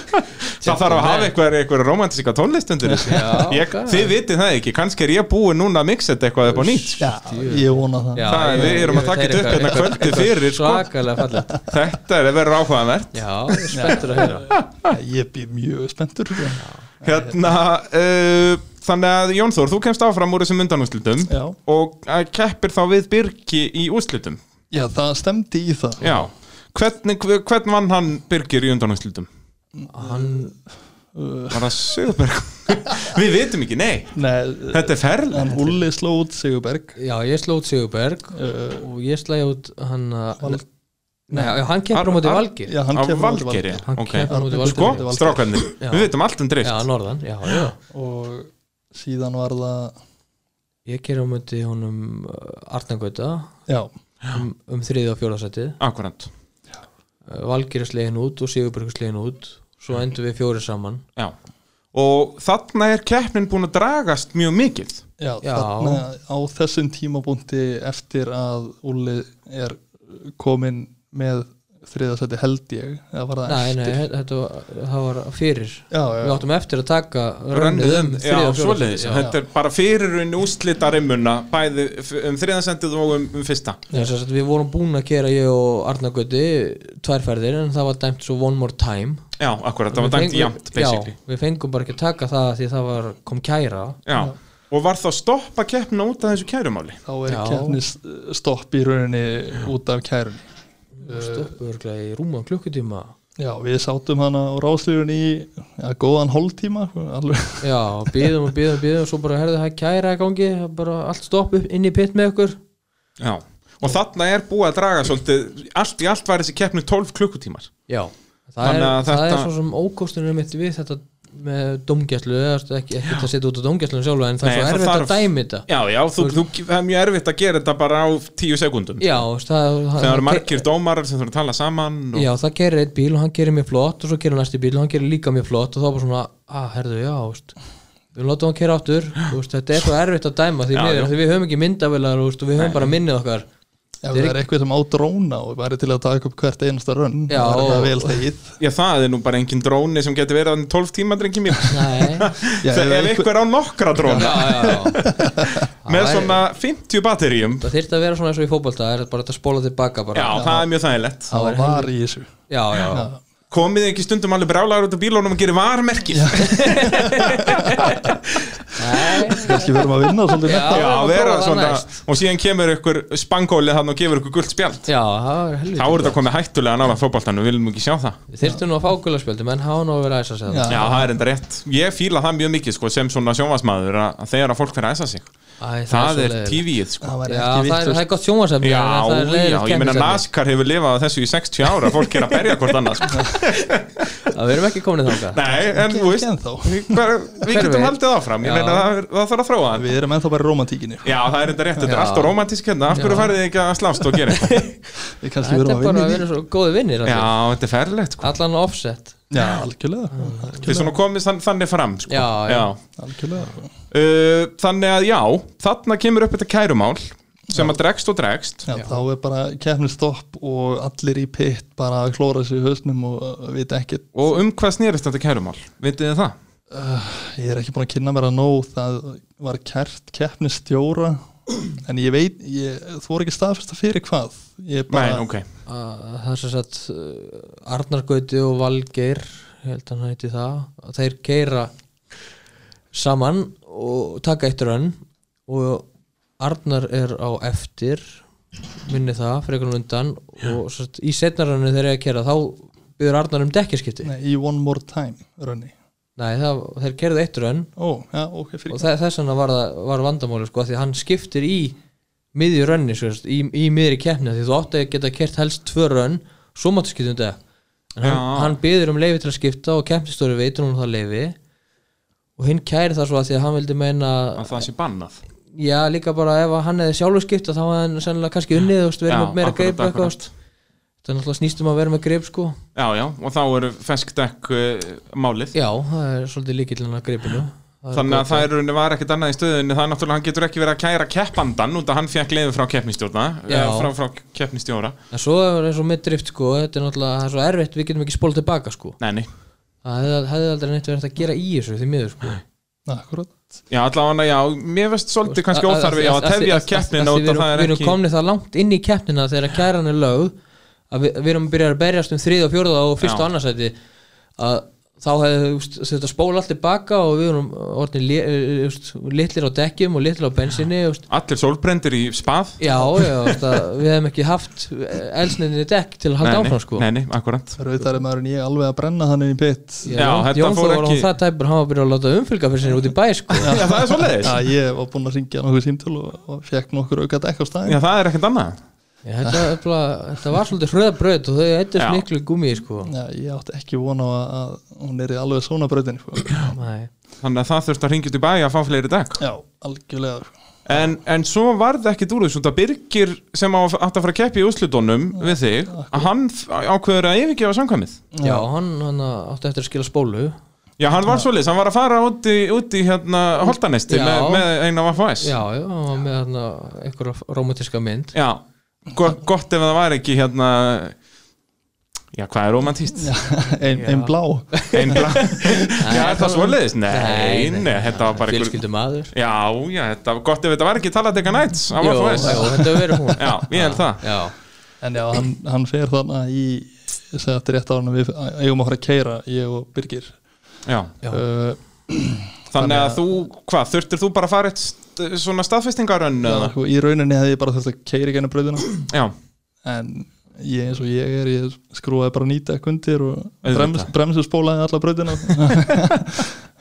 Speaker 1: Það þarf að hafa eitthvað, eitthvað romantíska tónlistundur
Speaker 3: Já,
Speaker 1: ég,
Speaker 3: ok.
Speaker 1: Þið vitið það ekki, kannski er ég búin núna að mixa þetta eitthvað upp á nýtt
Speaker 2: Já, ég vona það
Speaker 3: Já,
Speaker 1: Það er- við
Speaker 3: ég-
Speaker 1: erum að
Speaker 3: ég-
Speaker 1: taka
Speaker 3: þeir
Speaker 1: þetta upp
Speaker 3: eitthvað-
Speaker 1: hérna kvöldið
Speaker 3: eitthvað
Speaker 1: fyrir, sko.
Speaker 3: Svakalega fallegt
Speaker 1: Þetta er verið áhugavert
Speaker 3: Já, ég er spenntur
Speaker 1: [laughs]
Speaker 3: að heyra
Speaker 2: Ég býð mjög spenntur sko.
Speaker 1: hérna, uh, Þannig að Jón Þór, þú kemst áfram úr þessum undanúslitum
Speaker 2: Já.
Speaker 1: og eh, keppir þá við Birgi í úslitum
Speaker 2: Já, það stemdi í það
Speaker 1: Já Hvernig, hvern vann hann Birgir í undanúslitum?
Speaker 3: Hann,
Speaker 1: Var það
Speaker 3: [laughs]
Speaker 1: Sigurberg? Við vitum ekki, nei
Speaker 2: Nei,
Speaker 1: Þetta er ferli
Speaker 2: en Ulli sló út Sigurberg
Speaker 3: já, ég sló út Sigurberg og ég slæði út hann að-
Speaker 2: Val-
Speaker 3: Uh, Nei, já, hann kemur á móti
Speaker 1: Ar-
Speaker 3: Valgir
Speaker 2: Já, hann
Speaker 1: á
Speaker 2: kemur út í
Speaker 1: Valgeri
Speaker 3: Hann
Speaker 1: ok.
Speaker 3: kemur á móti
Speaker 2: Sko?
Speaker 3: Valgir
Speaker 1: Sko, strákarnir,
Speaker 3: Já.
Speaker 1: við vitum allt um drift
Speaker 3: Já, norðan, já, já
Speaker 2: Valgeir. og síðan var það
Speaker 3: Ég kemur á móti honum Arnangauta
Speaker 2: já,
Speaker 3: um, um þriði og fjóðarsætið
Speaker 1: Akkurant,
Speaker 3: Valgir er slegin út og Sigurberg er slegin út Svo
Speaker 1: Mm.
Speaker 3: endur við fjóri saman
Speaker 1: já Og þarna er keppnin búin að dragast mjög mikið
Speaker 2: já,
Speaker 3: Já.
Speaker 2: þarna á þessum tímabúndi eftir að Ulli er komin með þriðasæti held ég eða var það
Speaker 3: Nei,
Speaker 2: eftir
Speaker 3: nei, þetta var, það var fyrir
Speaker 2: Já,
Speaker 3: Við
Speaker 2: já,
Speaker 3: áttum eftir að taka rönnið
Speaker 1: Rönnið
Speaker 3: um
Speaker 1: já,
Speaker 3: þriðja og fjórða
Speaker 1: svoleiðis
Speaker 3: sætið, já.
Speaker 1: Þetta er bara fyrirun úslita rimmuna Bæði f- um þriðasendið og um, um fyrsta
Speaker 3: Já, sem sagt, við vorum búin að gera ég og Arna Göti tværferðir en það var dæmt svo one more time
Speaker 1: Já, akkurat, það var
Speaker 3: Við
Speaker 1: dæmt
Speaker 3: fengum-
Speaker 1: jæmt basically
Speaker 3: Um Já, við fengum bara ekki að taka það því það var, kom kæra
Speaker 1: já. Og var þá stoppa keppna út af þessu kærumáli
Speaker 2: þá er
Speaker 3: Já.
Speaker 2: keppnis stopp í rauninni út af kærun Eh.
Speaker 3: stoppu örglega í rúma klukkutíma
Speaker 2: já, við sátum hana á ráslífun í já, góðan hóltíma
Speaker 3: [laughs]
Speaker 2: alveg
Speaker 3: Já, býðum og býðum og býðum og svo bara herðu það er kæra í gangi það er bara allt stopp upp inn í pitt með okkur
Speaker 1: Já Og þarna er búið að draga svolítið Allt í allt var þessi keppni 12 klukkutímar
Speaker 3: Já, það, er,
Speaker 1: Þannig að
Speaker 3: það er
Speaker 1: þetta-
Speaker 3: svo sem ókostunum mitt við þetta með domgæslu ekki, ekki að setja út á domgæslunum sjálfa en það
Speaker 1: Nei,
Speaker 3: er svo
Speaker 1: það
Speaker 3: erfitt
Speaker 1: þarf-
Speaker 3: að dæmi þetta
Speaker 1: Já, já, þú, þú, það er mjög erfitt að gera þetta bara á 10 sekundum
Speaker 3: Já, þú veist, það,
Speaker 1: sko. Það eru margir dómarar sem þurfum að tala saman og...
Speaker 3: Já, það gerir eitt bíl og hann gerir mér flott og svo gerir næsti bíl og hann gerir líka mér flott og þá bara svona, að, herðu, já, úst við látum hann kera áttur, úst, þetta er eitthvað erfitt að dæma því
Speaker 1: Já,
Speaker 3: miður,
Speaker 1: já.
Speaker 3: því við höfum ekki myndavilar úst, og við höfum bara minnið okkar
Speaker 2: Ef það er eitthvað sem á dróna og væri til að taka upp hvert einasta rönn
Speaker 3: Já,
Speaker 2: það er
Speaker 3: og-
Speaker 2: það vel stegið
Speaker 1: Já, það er nú bara engin dróni sem getur verið þarna í 12 tíma, drengi mín [laughs]
Speaker 3: Nei
Speaker 2: Já,
Speaker 1: Þegar ef
Speaker 2: einhver-
Speaker 1: einhver á nokkra dróna
Speaker 3: Já, já, já
Speaker 1: með
Speaker 3: Það er-
Speaker 1: svona 50 batteríum
Speaker 3: Það þyrfti að vera svona eins og í fótbolta Það er bara hægt að spóla tilbaka
Speaker 1: Já,
Speaker 3: bara
Speaker 1: það er mjög þægilegt
Speaker 2: það
Speaker 3: er
Speaker 2: var í þessu
Speaker 3: já, já, já.
Speaker 1: Komið þið ekki stundum alveg brálaður út af bílónum og gerir varmerki Já,
Speaker 3: Nei,
Speaker 2: kannski verðum að vinna svolítið með það
Speaker 3: Já, við
Speaker 1: vera
Speaker 3: prófa það
Speaker 1: svona
Speaker 3: næst.
Speaker 1: Og síðan kemur ykkur spangólið hann og gefur ykkur gult spjald
Speaker 3: já, það er
Speaker 1: Þá
Speaker 3: helvita
Speaker 1: er þetta komið hættulega nála fótboltanum, við viljum ekki sjá það
Speaker 3: Við þyrftum nú að fá gularspjöldi menn hafa nú að vera að æsa sig
Speaker 2: Já.
Speaker 1: Já, það er enda rétt Ég fíla það mjög mikið sko, sem svona sjónvarsmaður að að þegar að fólk fyrir að æsa sig
Speaker 3: Æ,
Speaker 1: Það er
Speaker 3: svo leiðilegt.
Speaker 1: tífið sko.
Speaker 2: það var
Speaker 3: Já, það er,
Speaker 2: ekki
Speaker 3: það
Speaker 2: vittlust
Speaker 3: er gott sjónvarsefni
Speaker 1: Já,
Speaker 3: en það
Speaker 1: já,
Speaker 3: er leiðilegt
Speaker 1: ég meina
Speaker 3: keppnisefni.
Speaker 1: NASCAR hefur lifað að þessu í 60 ára Fólk er að berja hvort annars
Speaker 3: [laughs]
Speaker 1: sko.
Speaker 3: Já, Við erum ekki komin í þanga
Speaker 1: Nei, en þú veist Við, bara, við
Speaker 3: Hver
Speaker 1: getum
Speaker 3: veit?
Speaker 1: haldið áfram, ég
Speaker 3: Já.
Speaker 1: meina það, er- það þarf að þróa það
Speaker 2: við erum ennþá bara í romantíkinni sko.
Speaker 1: Já, það er enda rétt, þetta er
Speaker 3: Já.
Speaker 1: alltaf romantísk hérna, af hverju farið þið ekki að slást og
Speaker 3: [laughs]
Speaker 1: gera eitthvað?
Speaker 2: við kannski
Speaker 3: Þetta er
Speaker 2: verðum að
Speaker 3: bara
Speaker 2: vinna
Speaker 3: að
Speaker 2: í
Speaker 3: vera svo góði vinnir
Speaker 1: Já, þetta er ferlegt, sko.
Speaker 3: Allan offset
Speaker 2: því já, algjörlega
Speaker 1: Þið svona komið þann, þannig fram, sko.
Speaker 3: Já, já.
Speaker 2: algjörlega
Speaker 1: Uh, þannig að já, þarna kemur upp þetta kærumál sem að dregst og dregst.
Speaker 2: Já, þá er bara keppni stopp og allir í pitt bara að klóra sér í hausnum og uh, vita ekkert
Speaker 1: Og um hvað snerist þetta kærumál? Vitið þið það?
Speaker 2: ég er ekki búin að kynna mér að nóg það var kært keppni stjóra en ég veit, ég, þú voru ekki staðfesta fyrir hvað ég bara,
Speaker 1: Nei, ok.
Speaker 3: Að- Það er sem sagt uh, Arnar Gauti og Valgeir ég held að hann hætti það að þeir keira saman og taka eitt rönn og Arnar er á eftir minni það frekar hún undan og sem sagt, í setnarönnu þeir eru að keira þá byrður Arnar um dekkjaskipti nei,
Speaker 2: Nei, í One More Time Rönni,
Speaker 3: það, þeir keirðu eitt rönn
Speaker 2: ó, já, ok fyrir
Speaker 3: og
Speaker 2: hvað
Speaker 3: þe- þess vegna var, það- var vandamáli sko, af því að hann skiptir í miðju rönni sko, í, í miðri keppni af því þú átti að geta kert helst tvö rönn svo máttu skipta um dag En hann,
Speaker 1: Já.
Speaker 3: hann byður um leifi til að skipta og keppnistóri veitur hún það leifi og hinn kæri það svo að því að hann vildi meina
Speaker 1: Að það sé bannað.
Speaker 3: já líka bara ef að hann hefði sjálfur skipta þá hefði hann sennilega kannski unnið þú veist, verið
Speaker 1: Já,
Speaker 3: með meira
Speaker 1: akkurat,
Speaker 3: greip og
Speaker 1: akkurat.
Speaker 3: eitthvað þú veist. þetta er náttúrulega snýstum að vera með greip sko
Speaker 1: Já, já, og þá eru feskdekk uh, málið.
Speaker 3: já það er svolítið líkillin að greipinu Það er
Speaker 1: Þannig að
Speaker 3: gott.
Speaker 1: það er rauninni var ekkert annað í stöðunni, það er náttúrulega hann getur ekki verið að kæra keppandan út að hann fekk leiðin frá keppnistjórna,
Speaker 3: Já.
Speaker 1: eh, frá, frá keppnistjóra.
Speaker 3: En svo er eins og með drift sko, þetta er náttúrulega það er svo erfitt, við getum ekki spóla tilbaka sko.
Speaker 1: Nei, nei.
Speaker 3: Það hefði, hefði aldrei neitt verið hægt að gera í þessu því miður sko.
Speaker 2: Akkurat,
Speaker 1: Já, allavega, já, mér veist svolítið kannski óþarfi já, að tefja keppnina út
Speaker 3: og
Speaker 1: og það er
Speaker 3: Við erum
Speaker 1: ekki
Speaker 3: komnið það langt inn í keppnina þegar kæran er lögð að við, við erum að byrja að berjast um þrið og fjórða og fyrst
Speaker 1: Já.
Speaker 3: og annarsæti að þá hefði úst, þetta spóla allt tilbaka og við erum eh, orðin litlir á dekkjum og litlir á bensinni úst.
Speaker 1: allir sólbrendir í spað
Speaker 3: Já, já, úst, að við hefum ekki haft elsninni dekk til að halda
Speaker 1: Nei, nei,
Speaker 3: áfram sko.
Speaker 1: Nei, nei,
Speaker 3: [laughs]
Speaker 1: akkurat
Speaker 2: rauðar er maður en ég alveg að brenna hann inn í pitt
Speaker 3: Já,
Speaker 1: Já,
Speaker 3: Jón-
Speaker 1: þetta
Speaker 3: Jón
Speaker 1: fór
Speaker 3: Þór var
Speaker 1: ekki-
Speaker 3: á það tæpur hann var að byrja að láta umfylga fyrir sinni út í bæ sko.
Speaker 1: Já, það er svolítið
Speaker 2: Já, ég var búinn að syngja nokkuð símtöl og, og fekk nokkur auka dekk á
Speaker 1: Já,
Speaker 2: staðin
Speaker 1: það er ekkert annað
Speaker 3: Já, þetta, er nefnilega- þetta var svolítið hröðabraut og þau eittir
Speaker 1: Já.
Speaker 3: miklu gummi sko.
Speaker 2: Já, ég átti ekki vona að, að hún er í alveg svona brautin sko.
Speaker 3: Nei.
Speaker 1: Þannig að það þurfti að ringja út í bæja að fá fleiri dekk
Speaker 2: Já, algjörlega sko.
Speaker 1: En, en svo varð ekkert úr þessu út að Birgir sem á, átti að fara að keppi í úrslutónum við þig, að hann f- ákveður að yfirgefa samkvæmið
Speaker 3: Já, hann, hann átti eftir að skila spólu
Speaker 1: Já, hann var svolítið, hann var að fara út í, út í hérna Holtanesti
Speaker 3: Já.
Speaker 1: með, með eina af FHS
Speaker 3: Já, já, hann var með þarna einhverja romantíska mynd
Speaker 1: Já, go, gott ef það var ekki hérna Já, hvað er romantíst?
Speaker 2: Ein, ein blá
Speaker 1: Einn blá Já, er [laughs] það svoleiðis? Nei,
Speaker 3: Nei,
Speaker 1: nei,
Speaker 3: nei.
Speaker 1: þetta var bara einhver-
Speaker 3: Fjölskyldu maður
Speaker 1: Já, já, þetta var gott ef þetta var ekki Taladega Nights á
Speaker 3: Jó,
Speaker 1: VFS
Speaker 3: jó, þetta hefur verið hún
Speaker 1: Já, ég held það
Speaker 3: Já,
Speaker 2: En já, hann, hann fer þarna í ég segi þetta rétt á hann að við eigum að fara að keira ég og Birgir
Speaker 1: já.
Speaker 3: Já.
Speaker 2: uh,
Speaker 1: Þannig að þú, hvað, þurftir þú bara að fara eitt st- svona staðfestingarönn
Speaker 2: já,
Speaker 1: eða?
Speaker 2: sko, Í rauninni hefði ég bara þess að keira ekki henni brautina
Speaker 1: Já,
Speaker 2: en ég eins og ég er ég skrúaði bara nýta ekk undir og
Speaker 1: Auðvitað.
Speaker 2: brems, bremsu spólaði alla [laughs] brautina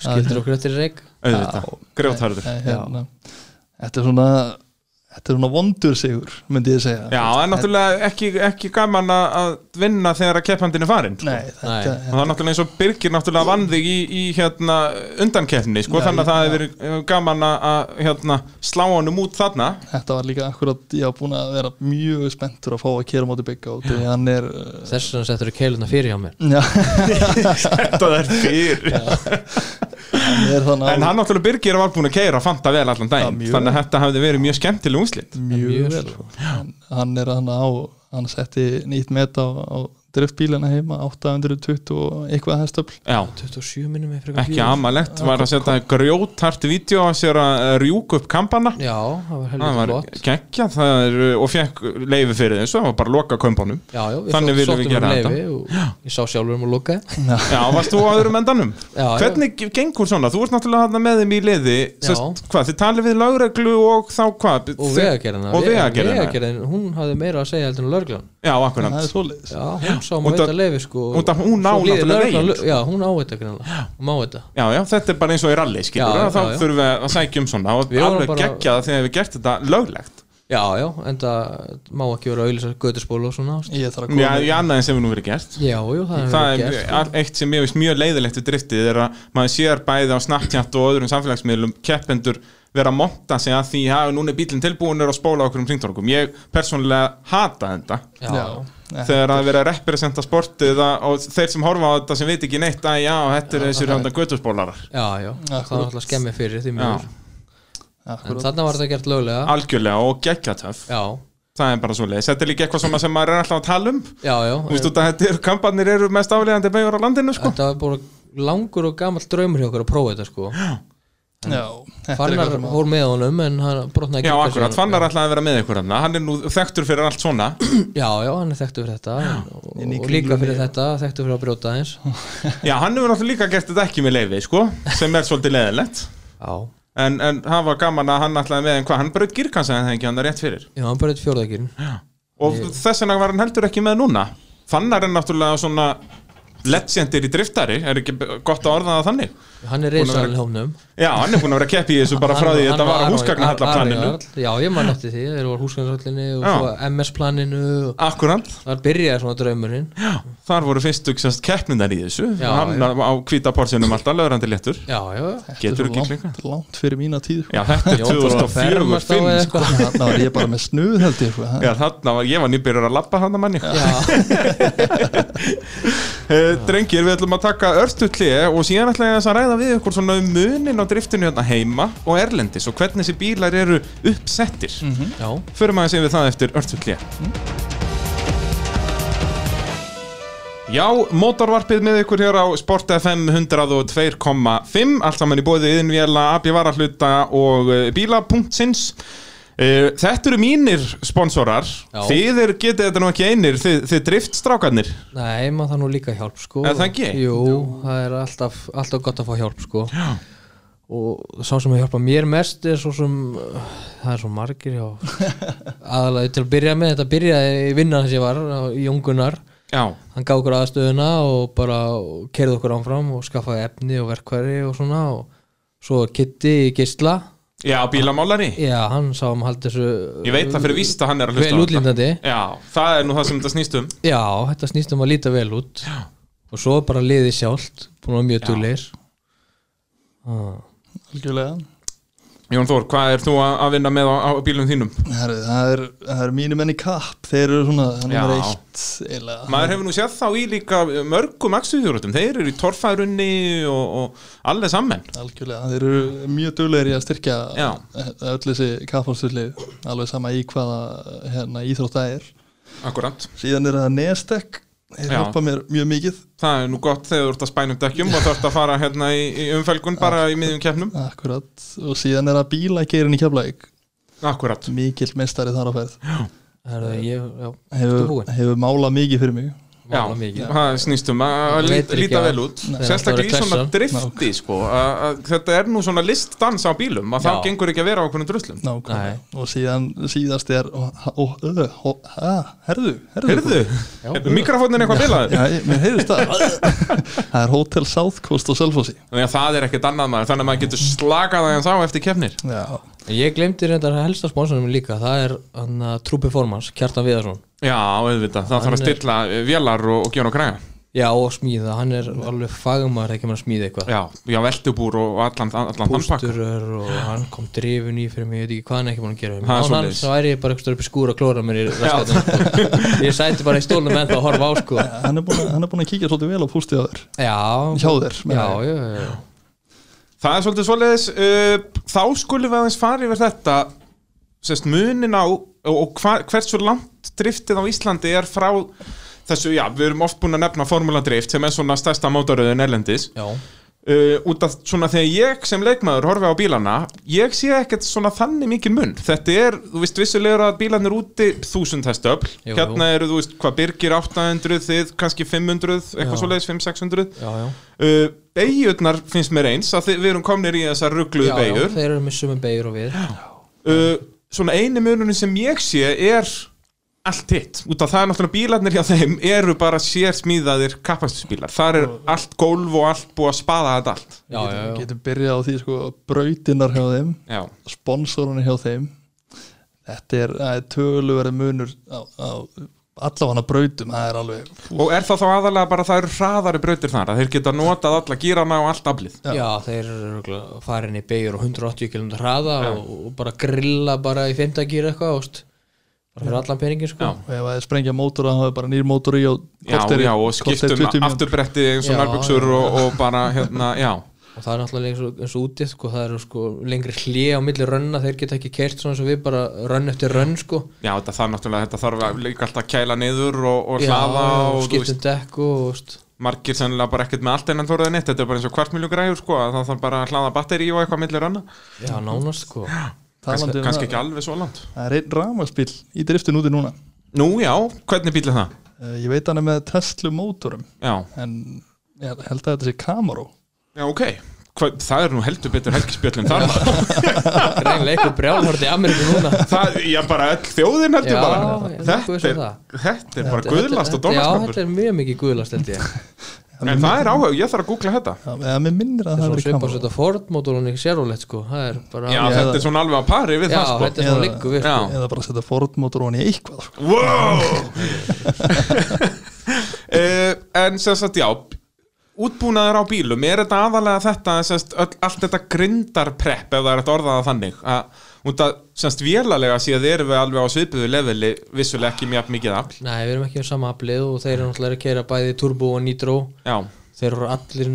Speaker 3: skildur okkur eftir reik
Speaker 1: auðvitað, grjótharður
Speaker 2: En hérna, þetta er svona þetta er svona vondur sigur myndi ég segja
Speaker 1: Já, það er náttúrulega ekki, ekki gaman að að vinna þegar að keppandin er farin
Speaker 2: Nei, þetta,
Speaker 3: Nei.
Speaker 1: Og það er náttúrulega eins og Birgir náttúrulega vann þig í, í hérna undankeppni sko,
Speaker 2: Já,
Speaker 1: þannig að það
Speaker 2: já.
Speaker 1: hefur verið gaman að- að hérna, slá honum út þarna
Speaker 2: þetta var líka akkurat ég var búin að vera mjög spenntur að fá að kera móti byggja og því hann er uh, [laughs]
Speaker 3: Þess vegna settur þú keiluna fyrir hjá mér
Speaker 2: já,
Speaker 1: Þetta er fyrir
Speaker 3: Já,
Speaker 2: Hann er þannig
Speaker 1: En hann náttúrulega Birgir var búin að keira Fanta vel allan
Speaker 2: Já,
Speaker 1: daginn
Speaker 2: mjög.
Speaker 1: Þannig að þetta hafði verið mjög skemmtileg úslit
Speaker 2: mjög,
Speaker 3: mjög
Speaker 2: vel
Speaker 3: vel.
Speaker 2: sko. hann, hann er hann á hann setti nýtt met á, á driftbílana heima 820 og eitthvað hestöfl
Speaker 1: Já,
Speaker 3: 27 minnum er frekar
Speaker 1: ekki
Speaker 3: bíður.
Speaker 1: amalegt Var að setja grjótart vídeo að sér að eh, rjúka upp kampana
Speaker 3: Já, það
Speaker 1: Það
Speaker 3: var helvita
Speaker 1: var
Speaker 3: flott
Speaker 1: geggja og fekk leifi fyrir þessu Það var bara að loka kompanum
Speaker 3: Já, já, við
Speaker 1: Þannig
Speaker 3: sótt-
Speaker 1: viljum við
Speaker 3: sóttum
Speaker 1: gera
Speaker 3: um
Speaker 1: þetta.
Speaker 3: leyfi og Ég sá sjálfur um að lukka
Speaker 1: Já, varst þú á öðrum endanum?
Speaker 3: Já, já.
Speaker 1: Hvernig gengur svona? Þú ert náttúrulega þarna með þeim í liði Sest, Hvað, þið talið við lagreglu og þá hvað?
Speaker 3: Og vegagerðina
Speaker 1: Og vegagerðina
Speaker 3: Vegagerðin, Hún hafði meira að segja heldur en löglan
Speaker 1: Já, akkurat
Speaker 2: það er svoleiðis
Speaker 3: Já, hún sá
Speaker 1: Út
Speaker 3: maður
Speaker 1: af-
Speaker 3: þetta leiði sko
Speaker 1: út af- hún á
Speaker 3: Svo líður
Speaker 1: náttúrulega
Speaker 3: lögreglan
Speaker 1: veginn, sko.
Speaker 3: lö- Já, hún á þetta greinlega Hún má þetta
Speaker 1: Já, já, þetta er bara eins og í rally, skilur
Speaker 3: Já,
Speaker 1: já, Þá
Speaker 3: já, já.
Speaker 1: þurfum við að sækja um svona og
Speaker 3: Við vorum
Speaker 1: alveg
Speaker 3: bara-
Speaker 1: geggja það þegar við gert þetta löglegt
Speaker 3: Já, já, en það má ekki vera auðvitað göttuspól og svona ást.
Speaker 2: ég þarf að
Speaker 1: Já,
Speaker 2: koma
Speaker 1: í annað en sem við nú verið gert
Speaker 3: Já, já, það er
Speaker 1: Það
Speaker 3: verið
Speaker 1: er
Speaker 3: gert
Speaker 1: all- eitt sem ég veist mjög leiðilegt við driftið er að maður sér bæði á Snapchat og öðrum samfélagsmiðlum keppendur vera að monta sig að því að núna er bílinn tilbúinur að spóla okkur um kringtorkum Ég persónulega hata þetta
Speaker 3: Já, já,
Speaker 2: Nei,
Speaker 1: þegar að vera að representa sportið að- og þeir sem horfa á þetta sem veit ekki neitt að já, þetta eru þessir hérna hönda göttuspólarar
Speaker 3: já, já Það er
Speaker 2: Akkurat.
Speaker 3: alltaf skemmi fyrir því
Speaker 1: Já,
Speaker 3: mjög En
Speaker 2: akkurat.
Speaker 3: þarna var þetta gert löglega
Speaker 1: algjörlega og geggja töff
Speaker 3: Já,
Speaker 1: Það er bara svo leiðis, þetta er líka eitthvað svona sem maður er alltaf að tala um
Speaker 3: já, já
Speaker 1: Þú veist þetta, þetta er, kampanir eru mest aflegandi beigur á landinu sko
Speaker 3: Þetta var bara langur og gamall draumur hjá okkur að prófa þetta
Speaker 1: [gasps]
Speaker 3: sko
Speaker 2: já, þetta er
Speaker 3: Fannar
Speaker 2: eitthvað sem að-
Speaker 3: fór með honum en hann brotnaði
Speaker 1: Já,
Speaker 3: ekki
Speaker 1: akkurat, fannar alltaf að vera með ykkur hann Hann er nú þekktur fyrir allt svona
Speaker 3: Já, já, hann er þekktu fyrir þetta en- og,
Speaker 2: Inn í
Speaker 3: og líka
Speaker 2: Kringlunni,
Speaker 3: fyrir
Speaker 2: já.
Speaker 3: þetta, þekktu fyrir að brjóta aðeins
Speaker 1: Já, hann hefur náttúrulega líka gert þetta ekki með leiði sko Sem er svolítið leiðilegt
Speaker 3: Já,
Speaker 1: En, en það var gaman að hann alltaf með en hvað Hann braut girkansa en það ekki hann er rétt fyrir
Speaker 3: já, hann brjóði fjórðakýrin
Speaker 1: Og þess vegna var hann heldur ekki með núna Fannar er náttúrulega svona Legendir í driftari, er ekki gott að orða það þannig
Speaker 3: Hann er reysaðan í hófnum
Speaker 1: Já, hann er bún að vera að keppi í þessu bara frá því Þetta var á húsgagnahallaplaninu
Speaker 3: Já, ég man eftir því, þeir voru húsgagnahallinu og
Speaker 1: Já.
Speaker 3: svo MS-planinu og
Speaker 1: Akkurant
Speaker 3: þar byrjaði svona draumurinn
Speaker 1: Já, þar voru fyrst uksast keppnindar í þessu
Speaker 3: Já,
Speaker 1: hann
Speaker 3: já.
Speaker 1: á hvíta porsinum alltaf löðrandi léttur
Speaker 3: Já, já, já
Speaker 1: getur
Speaker 2: Þetta er
Speaker 1: ekki
Speaker 2: svo
Speaker 1: klikkað
Speaker 2: langt, langt fyrir mína tíð sko.
Speaker 1: Já, þetta er
Speaker 3: Jón fór að fermast á
Speaker 1: 2004 5
Speaker 3: eða eitthvað.
Speaker 2: þarna var ég bara með snuð held ég sko. Það-
Speaker 1: sko. Já, þarna var, ég var nýbyrjar að labba hann að manni
Speaker 3: [laughs] Já,
Speaker 1: Eh, Drengir, við ætlum að taka örstutlið og síðan ætla ég aðeins að ræða við ykkur svona um munin á driftinu hérna heima og erlendis og hvernig þessi bílar eru uppsettir
Speaker 3: já,
Speaker 1: Förum aðeins yfir það eftir örstutlið
Speaker 3: Mhm.
Speaker 1: Já, mótorvarpið með ykkur hér á Sport FM 102.5 Allt saman í bóði yðinvéla, abbi varahluta og eh, bíla.sins Eh, Þetta eru mínir sponsorar
Speaker 3: Já.
Speaker 1: Þið er, getið þetta nú ekki einir Þið, þið driftstrákarnir
Speaker 3: nei, maður það nú líka hjálp sko
Speaker 1: Er það ekki?
Speaker 3: Jú, það er alltaf, alltaf gott að fá hjálp sko Já og sá sem að hjálpa mér mest er svo sem uh, það er svo margir já aðalega til að byrja með þetta byrjaði í vinnan þess ég var á- í Jóngunar
Speaker 1: Já,
Speaker 3: hann gaf okkur aðstöðuna og bara kerði okkur áfram og skaffaði efni og verkværi og svona og svo Kitty í Gistla
Speaker 1: Já, bílamálari
Speaker 3: já hann sá um haldi þessu
Speaker 1: Ég veit það fyrir víst að hann er að hlusta
Speaker 3: vel
Speaker 1: á þetta.
Speaker 3: útlýndandi
Speaker 1: Já, það er nú það sem þetta snýst um
Speaker 3: já þetta snýst um að líta vel út já. og svo bara liði sjálft búin að vera mjög dugleir Ah.
Speaker 2: algjörlega
Speaker 1: Jón Þór, hvað er þú að að vinna með á, á bílum þínum?
Speaker 2: Herru, það er, það er mínu menni kapp þeir eru svona nummer
Speaker 1: Já.
Speaker 2: eitt eiginlega.
Speaker 1: Maður hefur nú séð þá í líka mörgum axuðjóruðum Þeir eru í torfærunni og, og allir sammen
Speaker 2: Algjörlega, þeir eru mjög duglegir í að styrkja
Speaker 1: Já.
Speaker 2: öll þessi kapphálsvöldi alveg sama í hvaða hérna, íþrótt það er
Speaker 1: Akkurant
Speaker 2: síðan er það Nestek þeir
Speaker 1: Já.
Speaker 2: hjálpa mér mjög mikið
Speaker 1: Það er nú gott þegar þú ert að spænum dekkjum og þarft að fara hérna í, í umfelgun bara í miðjum keppnum
Speaker 2: akkurat, og síðan er það bílageirin í Keflæk
Speaker 1: Akkurat
Speaker 2: mikill mestari þar á ferð
Speaker 3: Herðu, ég, já, ertu
Speaker 2: hefur,
Speaker 3: búinn?
Speaker 2: hefur málað mikið fyrir mig
Speaker 1: Já,
Speaker 3: Mála mikið.
Speaker 1: það snýst um að að
Speaker 3: Þú
Speaker 1: lít-
Speaker 3: veitir
Speaker 1: líta
Speaker 3: ekki
Speaker 1: vel
Speaker 3: að-
Speaker 1: út
Speaker 3: Nei.
Speaker 1: Sérstaklega í
Speaker 3: Það er
Speaker 1: svona
Speaker 3: klessan.
Speaker 1: drifti sko, að, að, Þetta er nú svona listdans á bílum að það
Speaker 3: Já.
Speaker 1: gengur ekki að vera á okkur um druslum
Speaker 2: Nákvæmlega. og síðan síðast er og, og, og, og, ha, herðu, herðu,
Speaker 1: Heyrðu,
Speaker 3: Já.
Speaker 1: mikrofónin eitthvað bilaður
Speaker 2: Já, ég- mér heyrðist það það er Hotel South Coast á Selfossi
Speaker 1: Þannig að það er ekkert annað maður Þannig að maður getur slakað aðeins á eftir kefnir
Speaker 2: Já,
Speaker 3: Ég glemdi reyndar að helsta sponsorum minn líka það er hann að True Performance, Kjartan Viðarsson
Speaker 1: Já, auðvitað, það þarf að
Speaker 3: Hann er-
Speaker 1: stilla eh, vélar og, og gera og græja
Speaker 3: Já og smíða, hann er alveg fagumar ekki maður að smíða eitthvað
Speaker 1: Já, já veltubúr og allan, allan þannpakk
Speaker 3: Pústurur og hann kom drifun í fyrir mig, ég veit ekki hvað hann er ekki búin að gera
Speaker 1: Það er
Speaker 3: Án hann
Speaker 1: svoleiðis.
Speaker 3: svo væri ég bara eitthvað upp í skúr að klóra mér í raskatum sko. Ég sæti bara í stólnum ennþá að horfa á sko
Speaker 2: hann er búin að, hann er búin að kíkja svolítið vel á pústið á þér
Speaker 3: Já,
Speaker 2: hjá þér
Speaker 3: já,
Speaker 2: meina ég.
Speaker 3: já, já
Speaker 1: Það er svolítið svoleiðis uh, Þá skulum við aðeins fara yfir þetta sérst munin á og, og hva, hversu langt driftið á Íslandi er frá þessu, já, við erum oft búin að nefna formúlandrift sem er svona stærsta mótaröðin erlendis
Speaker 3: Já,
Speaker 1: uh, út af svona þegar ég sem leikmaður horfi á bílana, ég sé ekkert svona þannig mikið mun, þetta er þú veist vissulega eru að bílarnir úti 1000 hestöfl,
Speaker 3: Jú, jú.
Speaker 1: hérna eru þú veist hvað byrgir 800, þið kannski 500 eitthvað
Speaker 3: Já.
Speaker 1: svoleiðis 500-600
Speaker 3: já, já
Speaker 1: uh, Beigjurnar finnst mér eins að þið, við erum komnir í þessar ruggluðu
Speaker 3: Já, já,
Speaker 1: beigjur
Speaker 3: þeir eru með sumu beigur og við
Speaker 1: uh, Svona eini mununin sem ég sé er allt hitt út af það er náttúrulega bílarnir hjá þeim eru bara sérsmíðaðir kapastusbílar þar er allt gólf og allt búið að spaða þetta allt
Speaker 3: Já, já,
Speaker 2: Við
Speaker 3: já,
Speaker 2: getum byrjað á því sko brautinnar hjá þeim
Speaker 1: Já,
Speaker 2: sponsorunni hjá þeim þetta er, það er töluverið munur á, á allafana brautum það er alveg,
Speaker 1: og er það þá aðalega bara að það eru hraðari brautir þar að þeir geta notað alla gírana og allt aflið
Speaker 2: Já.
Speaker 3: já þeir eru örugglega farin í beigur og 180 km hraða og, og bara grilla bara í fimmtagýr eitthvað ást bara fyrir allan peningin sko
Speaker 1: Já.
Speaker 2: og ef það er sprengja mótor þá er bara nýr mótor í og
Speaker 1: Já,
Speaker 2: korter í-
Speaker 1: já, og
Speaker 2: korter
Speaker 1: skiptum
Speaker 2: 20 mínútur.
Speaker 1: afturbretti eins og
Speaker 3: Já,
Speaker 1: nærbuksur
Speaker 3: já.
Speaker 1: og, og bara hérna, já
Speaker 3: og það er náttúrulega eins og, eins og útið sko, það eru sko lengri hlið á milli rönna þeir geta ekki kert svona eins og við bara rönn eftir rönn sko
Speaker 1: Já, þetta þarf náttúrulega, þetta þarf að líka alltaf að kæla niður og, og hlaða og, þú veist,
Speaker 3: skiptum dekk og veist,
Speaker 1: margir sennilega bara ekkert með allt einan þorðið neitt, þetta er bara eins og hvart miljú græður sko, að það þarf bara að hlaða batteri og eitthvað millir anna,
Speaker 3: já nánast sko
Speaker 2: Talandi
Speaker 1: kannski, kannski
Speaker 2: um það,
Speaker 1: ekki alveg svo langt
Speaker 2: það er einn ramaspíl í driftin úti núna
Speaker 1: Nú já, hvernig bíl er það?
Speaker 2: Eh, ég veit hann er með Tesla mótorum
Speaker 1: Já,
Speaker 2: en ég held að þetta sé Camaro
Speaker 1: já ok Hva, það er nú heldur betur helgispjöllin þar maður.
Speaker 3: reynilega eitthvað brjálhort í Ameríku núna
Speaker 1: það, já bara öll þjóðin heldur
Speaker 3: Já,
Speaker 1: bara
Speaker 3: ég er
Speaker 1: þetta
Speaker 3: nokkuð viss um
Speaker 1: er,
Speaker 3: það.
Speaker 1: þetta er bara [laughs] guðlast og
Speaker 3: Þetta- já þetta
Speaker 1: dónaskapur
Speaker 3: er mjög mikið guðlast held ég
Speaker 1: en það er áhug, ég þarf að googla þetta
Speaker 2: Já, eða mér minnir að
Speaker 3: það er
Speaker 2: það veri
Speaker 3: svona
Speaker 2: Camaro
Speaker 3: svipasöta Ford mótorunni sérulegt sko það er bara
Speaker 1: Já,
Speaker 3: já,
Speaker 1: þetta er svona alveg á pari við það sko
Speaker 3: þetta er svona
Speaker 2: Eða-
Speaker 3: líku við
Speaker 1: Já.
Speaker 3: sko.
Speaker 2: eða bara setja Ford mótor ofan í eitthvað sko.
Speaker 3: [laughs]
Speaker 1: Wow uh, En sem sagt já Útbúnaður á bílum Er þetta aðalega þetta sem sagt, öll, Allt þetta grindarprepp Ef það er þetta orðaða þannig að, Út að semst vélalega síðan erum við alveg á svipuðu leveli Vissulega ekki mjög mikið afl
Speaker 3: nei við erum ekki um sama aflið og þeir eru náttúrulega að kera bæði turbo og nitro
Speaker 1: Já,
Speaker 3: þeir eru allir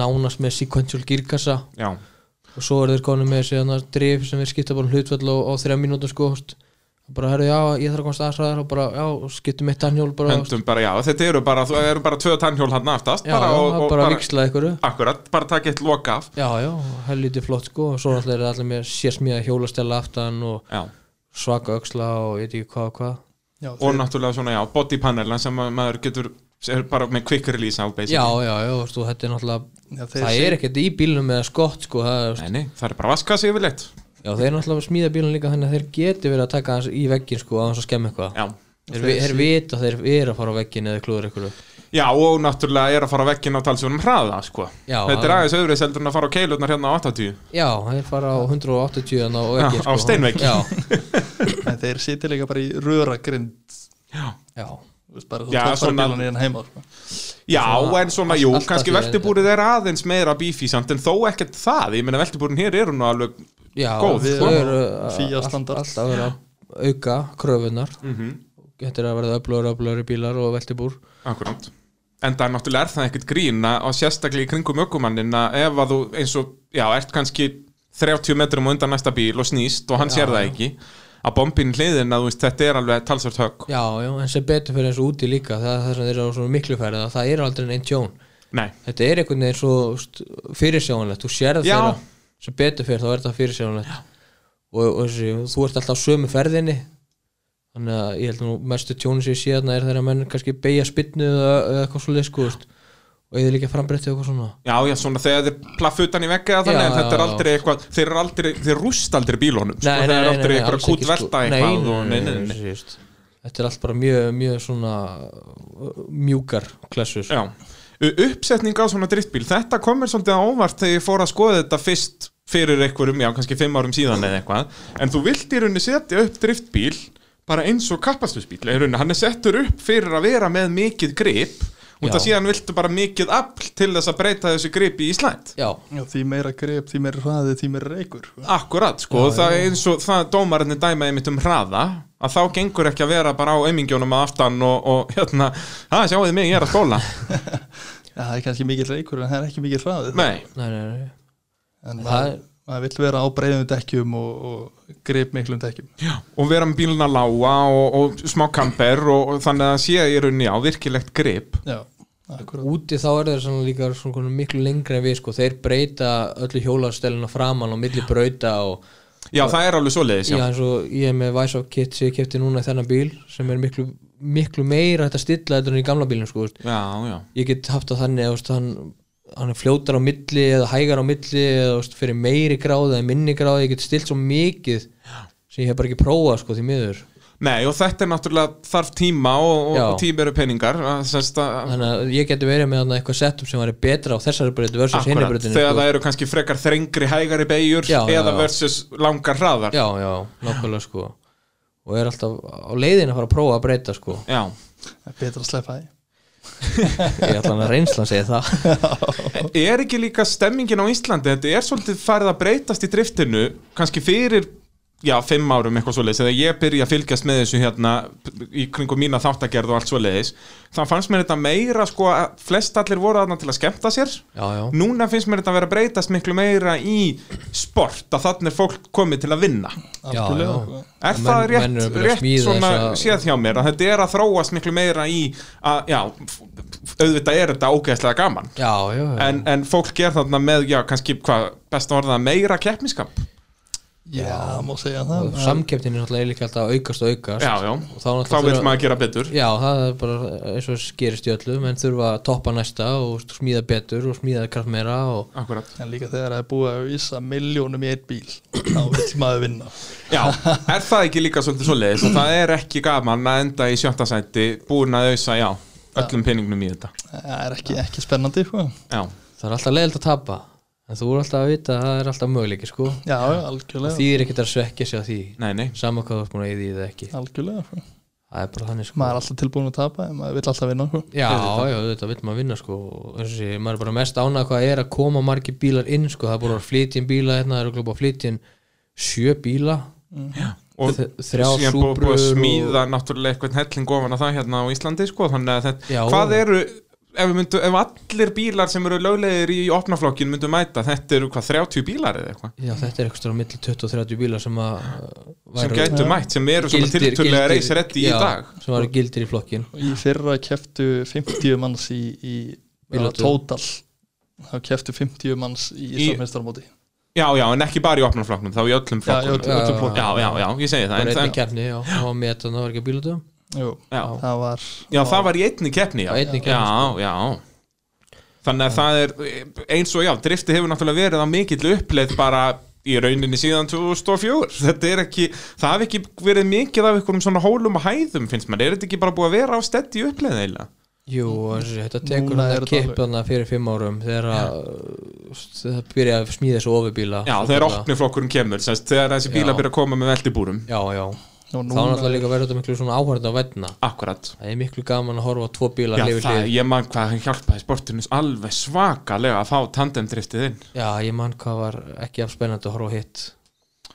Speaker 3: nánast með sequential gírkassa
Speaker 1: já,
Speaker 3: og svo eru þeir konum með síðan að drif sem við skipta bara um hlutvöll á, á þrjá mínútum sko veist. bara herru já ég þarf að komast aðsraðar og bara já skiptum eitt tannhjól bara veist.
Speaker 1: höndum bara já Þetta eru bara, þú eru bara tvö tannhjól hann aftast
Speaker 3: já, bara, já, bara, bara viksla ykkur
Speaker 1: Akkurat, bara taka eitt loka af
Speaker 3: já já helviti flott sko og svo náttúrulega eru allir með sérsmíða hjólastella aftan og
Speaker 1: Já
Speaker 3: svaka öxla og ég veit ekki hvað og hvað
Speaker 2: Já,
Speaker 1: Og náttúrulega svona, já, bodypanelna sem ma- maður getur, er bara með quick release á basically.
Speaker 3: Já, já, já, veist, og þetta er náttúrulega
Speaker 2: Já, þeir
Speaker 3: það
Speaker 2: segja-
Speaker 3: er ekkert í bílunum eða skott sko, það, er,
Speaker 1: Nei, nei, það er bara vaskassi yfirleitt
Speaker 3: já, þeir er náttúrulega að smíða bílun líka þannig að þeir geti verið að taka hans í veggin sko, að hans að skemma eitthvað
Speaker 1: Já,
Speaker 3: þeir, vi- þeir vita að þeir eru að fara á veggin eða klúður eitthvað upp.
Speaker 1: já og náttúrulega er að fara vekkinn á talsvunum hraða sko.
Speaker 3: Já,
Speaker 1: Þetta er
Speaker 3: það-
Speaker 1: aðeins öðru seldur en að fara á keilurnar hérna á 80
Speaker 3: já, þeir fara á 180 en á veggin
Speaker 1: Já, á steinvegg.
Speaker 3: já,
Speaker 2: en þeir sitja líka bara í röragrind
Speaker 1: Já,
Speaker 3: já,
Speaker 2: þú veist, bara þú
Speaker 1: Já,
Speaker 2: toppar
Speaker 1: svona-
Speaker 2: bílan í hann heima sko.
Speaker 1: já
Speaker 3: Svona
Speaker 1: en svona,
Speaker 3: allt-
Speaker 1: jú,
Speaker 3: allt að
Speaker 1: kannski
Speaker 3: því
Speaker 1: veltubúrið er aðeins meira bífi samt en þó ekkert það, ég meina veltubúrin hér eru nú alveg
Speaker 3: já
Speaker 1: Góð,
Speaker 3: þau
Speaker 1: sko.
Speaker 3: eru að-
Speaker 2: Fía
Speaker 3: all-
Speaker 2: standard.
Speaker 3: alltaf að vera að auka kröfunar
Speaker 1: Mhm.
Speaker 3: þetta er að verða öflugur, öflugur í bílar og veltibúr
Speaker 1: akkurát En það er náttúrulega er það ekkert grín að og sérstaklega í kringum ökumannin að ef að þú eins og, já, ert kannski 30 metrum á undan næsta bíl og snýst og hann sér það ekki að bombin hliðin að þú veist, þetta er alveg talsvart högg
Speaker 3: já, já, en sem betur fyrir eins og úti líka það, það sem þeir eru á svona miklu færið að það eru aldrei einn tjón
Speaker 1: Nei,
Speaker 3: þetta er einhvern veginn svo st- fyrirsjáanlegt, þú sérð
Speaker 1: Já.
Speaker 3: þeirra sem betur fyrir þá er þetta fyrirsjáanlegt og, og þessi, þú ert alltaf á sömu ferðinni þannig að ég held nú mestu tjónu sem ég sé þarna er þeirra menn kannski beigja spinnu eða eða eitthvað svo leysku og eða líka frambrettið eitthvað svona
Speaker 1: Já, já, svona þegar þeir plaff utan í veggi eða þannig,
Speaker 3: Já,
Speaker 1: en þetta er
Speaker 3: já,
Speaker 1: aldrei eitthvað, þeir eru aldrei, þeir rúst aldrei bílunum, sko,
Speaker 3: Nei,
Speaker 1: þeir
Speaker 3: nei,
Speaker 1: eru
Speaker 3: nei,
Speaker 1: aldrei
Speaker 3: nei,
Speaker 1: eitthvað
Speaker 3: alls ekki,
Speaker 1: kút velta
Speaker 3: sko.
Speaker 1: eitthvað og
Speaker 3: Nei,
Speaker 1: nei, nei, nei,
Speaker 3: þú veist. Þetta er allt bara mjög, mjög svona uh, mjúkar klessur
Speaker 1: Já, U- uppsetning á svona driftbíl, þetta komur svolítið á óvart þegar ég fór að skoða þetta fyrst fyrir einhverjum, já, kannski fimm árum síðan eða eitthvað, en þú vilt í rauninni setja upp driftbíl bara eins og kappastusbíl, í rauninni, hann er settur upp fyrir að vera með mikið grip, út að
Speaker 3: Já.
Speaker 1: síðan viltu bara mikið afl til þess að breyta þessu grip í slæmt.
Speaker 3: Já,
Speaker 2: Já, því meira grep, því meira hraði, því meira reykur sko.
Speaker 1: Akkurat, sko, það er eins og það dómarinni dæma einmitt um hraða að þá gengur ekki að vera bara á aumingjónum að aftan og, og hérna, það sjáuði mig, ég er að skóla
Speaker 2: Já, það er kannski mikið reykur en það er ekki mikið hraði
Speaker 1: Nei,
Speaker 3: nei, nei, nei
Speaker 2: en
Speaker 3: Það
Speaker 2: maður,
Speaker 3: er-
Speaker 2: maður vill vera á breyðum dekkjum og, og grip miklum dekkjum
Speaker 1: og vera með bíluna lága og, og smá kamper og, og þannig að það sé í rauninni á virkilegt grip
Speaker 2: já, akkurat
Speaker 3: úti þá er þeir svona líka svona konar miklu lengri en við sko, þeir breyta öllu hjólastelina framan og milli brauta og
Speaker 1: já það er alveg svoleiðis
Speaker 3: já,
Speaker 1: já.
Speaker 3: eins og ég er með Vice of Kit sem ég kefti núna í þennan bíl sem er miklu, miklu meira hægt að stilla þetta en í gamla bílum sko, þú veist.
Speaker 1: já, já,
Speaker 3: ég get haft það þannig að hann, hann er fljótar á milli eða hægar á milli eða þú veist, fyrir meiri gráð eða minni gráð, ég get stillt svo mikið sem ég hef bara ekki prófað sko, því miður
Speaker 1: nei og þetta er náttúrulega þarf tíma og, og,
Speaker 3: Já.
Speaker 1: og tíma eru peningar að, semst, að,
Speaker 3: þannig að ég geti verið með þarna eitthvað setup sem væri betra á þessari breytu versus hinni sko.
Speaker 1: akkurat,
Speaker 3: breytinu
Speaker 1: þegar það eru kannski frekar þrengri hægari beigjur
Speaker 3: Já, já,
Speaker 1: eða
Speaker 3: já.
Speaker 1: versus langar hraðar
Speaker 3: já, já, nákvæmlega sko og er alltaf á leiðin að fara að prófa að breyta sko
Speaker 1: já.
Speaker 2: Það er betra að sleppa því
Speaker 3: ég ætla hann að reynsla að segja það
Speaker 1: [laughs] er ekki líka stemmingin á Íslandi þetta er svolítið farið að breytast í driftinu kannski fyrir já, fimm árum eitthvað svoleiðis, eða ég byrja að fylgjast með þessu hérna í kringum mína þáttagerð og allt svoleiðis, þannig fannst mér þetta meira sko að flest allir voru aðna til að skemmta sér
Speaker 3: já, já,
Speaker 1: núna finnst mér þetta að vera að breytast miklu meira í sport, að þannig er fólk komið til að vinna
Speaker 3: já, já.
Speaker 2: Algjörlega, sko.
Speaker 1: Er
Speaker 3: Menn-
Speaker 1: það
Speaker 3: menn eru að
Speaker 1: rétt,
Speaker 3: byrja að
Speaker 1: rétt
Speaker 3: smíða
Speaker 1: svona
Speaker 3: þessa-
Speaker 1: séð hjá mér að þetta er að þróast miklu meira í að, já, f- f- auðvitað er þetta ógeðslega gaman
Speaker 3: já, já, já.
Speaker 1: en, en fólk ger þarna með, já, kannski hvað, best að orða meira keppniskap
Speaker 2: já, má segja það
Speaker 3: og samkeppnin er náttúrulega líka alltaf að aukast og aukast
Speaker 1: Já, já,
Speaker 3: og þá
Speaker 1: þá vil
Speaker 3: náttúrulega
Speaker 1: maður gera betur
Speaker 3: já, það er bara eins og skerist í öllu menn þurfa að toppa næsta og smíða betur og smíða kraft meira og
Speaker 1: Akkurat.
Speaker 2: en líka þegar það er búið að vísa miljónum í einn bíl þá vill maður vinna
Speaker 1: Já, er það ekki líka svolítið svoleiðis og það er ekki gaman að enda í sjötta sæti búin að ausa, já, öllum peningnum í þetta
Speaker 2: það er ekki, ekki spennandi sko.
Speaker 1: Já,
Speaker 3: það er alltaf leiðilt að tapa en þú er alltaf að vita að það er alltaf möguleiki sko
Speaker 2: já, já, algjörlega,
Speaker 3: því er ekkert að svekkja sig á því
Speaker 1: nei, nei
Speaker 3: sama hvað þú ert múin að eyða í því eða ekki
Speaker 2: algjörlega sko.
Speaker 3: það er bara þannig sko
Speaker 2: maður er alltaf tilbúin að tapa en maður vill alltaf vinna sko.
Speaker 3: Já, já, þetta vil maður vinna sko og eins og sé, maður er bara mest ánað hvað er að koma margir bílar inn sko, það er búin að flytja inn bíla hérna, það eru glópa að flytja inn sjö bíla
Speaker 1: og
Speaker 3: Þ- þrjár
Speaker 1: síðan búið, búið að
Speaker 3: Subarur og-
Speaker 1: smíða náttúrulega eitthvað helling ofan að það hérna á Íslandi sko, þannig að þetta,
Speaker 3: Já.
Speaker 1: hvað eru ef, við myndu, ef allir bílar sem eru löglegir í opnaflokkin myndu mæta, þetta eru hvað 30 bílar eða eitthvað,
Speaker 3: Já, þetta er eitthvað á milli 20 og 30 bíla sem að
Speaker 1: sem gætu mætt sem eru svona tilturlega reisrætti í dag
Speaker 3: sem var gildir í flokkin
Speaker 2: í fyrra keftu 50 manns í, í já,
Speaker 3: Bílatu.
Speaker 2: total þá keftu 50 manns í Íslandsmeistarmóti
Speaker 1: já, já, en ekki bara í opnaflokknum, þá í öllum
Speaker 2: Já, í
Speaker 1: flokkum
Speaker 2: öllum- öllum flokkum.
Speaker 1: já, já, já, ég segi það
Speaker 3: bara
Speaker 1: en,
Speaker 3: einnig
Speaker 1: það-
Speaker 3: keppni, já, það var metan, það var ekki bílatu
Speaker 2: Jú,
Speaker 1: já,
Speaker 2: það var
Speaker 1: já, það var í einni keppni já,
Speaker 3: Á einni keppni,
Speaker 1: já,
Speaker 3: sko.
Speaker 1: já þannig að það er eins og já, drifti hefur náttúrulega verið á mikill uppleið bara í rauninni síðan 2004 [laughs] þetta er ekki, það hafi ekki verið mikið af einhverjum svona hólum og hæðum finnst maður, er þetta ekki bara búið að vera á steddi uppleið eiginlega?
Speaker 3: Jú, og eins og sé, þetta tekur
Speaker 2: Núna
Speaker 3: hann
Speaker 2: er
Speaker 3: að
Speaker 2: þetta alveg-
Speaker 3: kippa hann fyrir fimm árum þegar að það byrja að smíða þessu ofubíla
Speaker 1: Já, þegar opni flokkurinn kemur, semst, þegar þessi bíla
Speaker 3: Já.
Speaker 1: byrja að koma með veldibúrum
Speaker 3: Já, já,
Speaker 2: og
Speaker 3: þá er
Speaker 2: núna,
Speaker 3: náttúrulega líka verður þetta miklu svona áhverðin að vegna
Speaker 1: Akkurat
Speaker 3: Það er miklu gaman að horfa á tvo bíla
Speaker 1: Já,
Speaker 3: hlið við
Speaker 1: það,
Speaker 3: hlið.
Speaker 1: ég man hvað hann hjálpaði sportinu alveg svakalega að fá tandemdriftið inn
Speaker 3: Já, ég man hvað var ekki af spennandi að horfa á hitt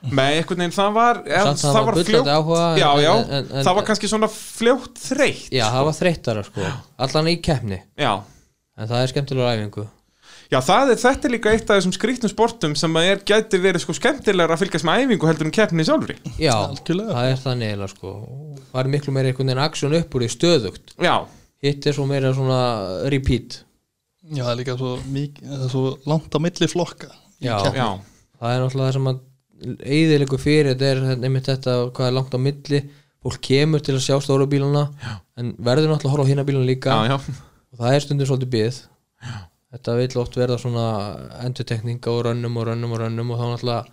Speaker 1: Með einhvern veginn, það var ja,
Speaker 3: Samt það var bullandi áhuga, en-
Speaker 1: Já, já,
Speaker 3: en- en- en-
Speaker 1: það var kannski svona fljótt þreytt
Speaker 3: Já, það var þreyttara sko Allan í keppni,
Speaker 1: já.
Speaker 3: en það er skemmtilega æfingu
Speaker 1: Já, það er, þetta er líka eitt af þessum skrýtnum sportum sem að er gæti verið sko skemmtilegra að fylgjast með æfingu heldur en keppni sjálfri.
Speaker 3: Já,
Speaker 2: Algjörlega.
Speaker 3: það er þannig eiginlega sko Var miklu meira einhvern veginn aksjón upp úr því stöðugt
Speaker 1: Já,
Speaker 3: Hitt er svo meira svona repeat
Speaker 2: já, það er líka svo, mik, það er svo langt á milli flokka í
Speaker 3: Já.
Speaker 2: keppni.
Speaker 1: já,
Speaker 3: Það er náttúrulega það sem að eðilegu fyrir þetta er nefnir þetta hvað er langt á milli Fólk kemur til að sjá stóru bílana já. En verður náttúrulega að horfa á hinna bílana líka
Speaker 1: já, já,
Speaker 3: og það er stundum svolítið bið þetta vil oft verða svona endurtekninga og rönnum og rönnum og rönnum og þá náttúrulega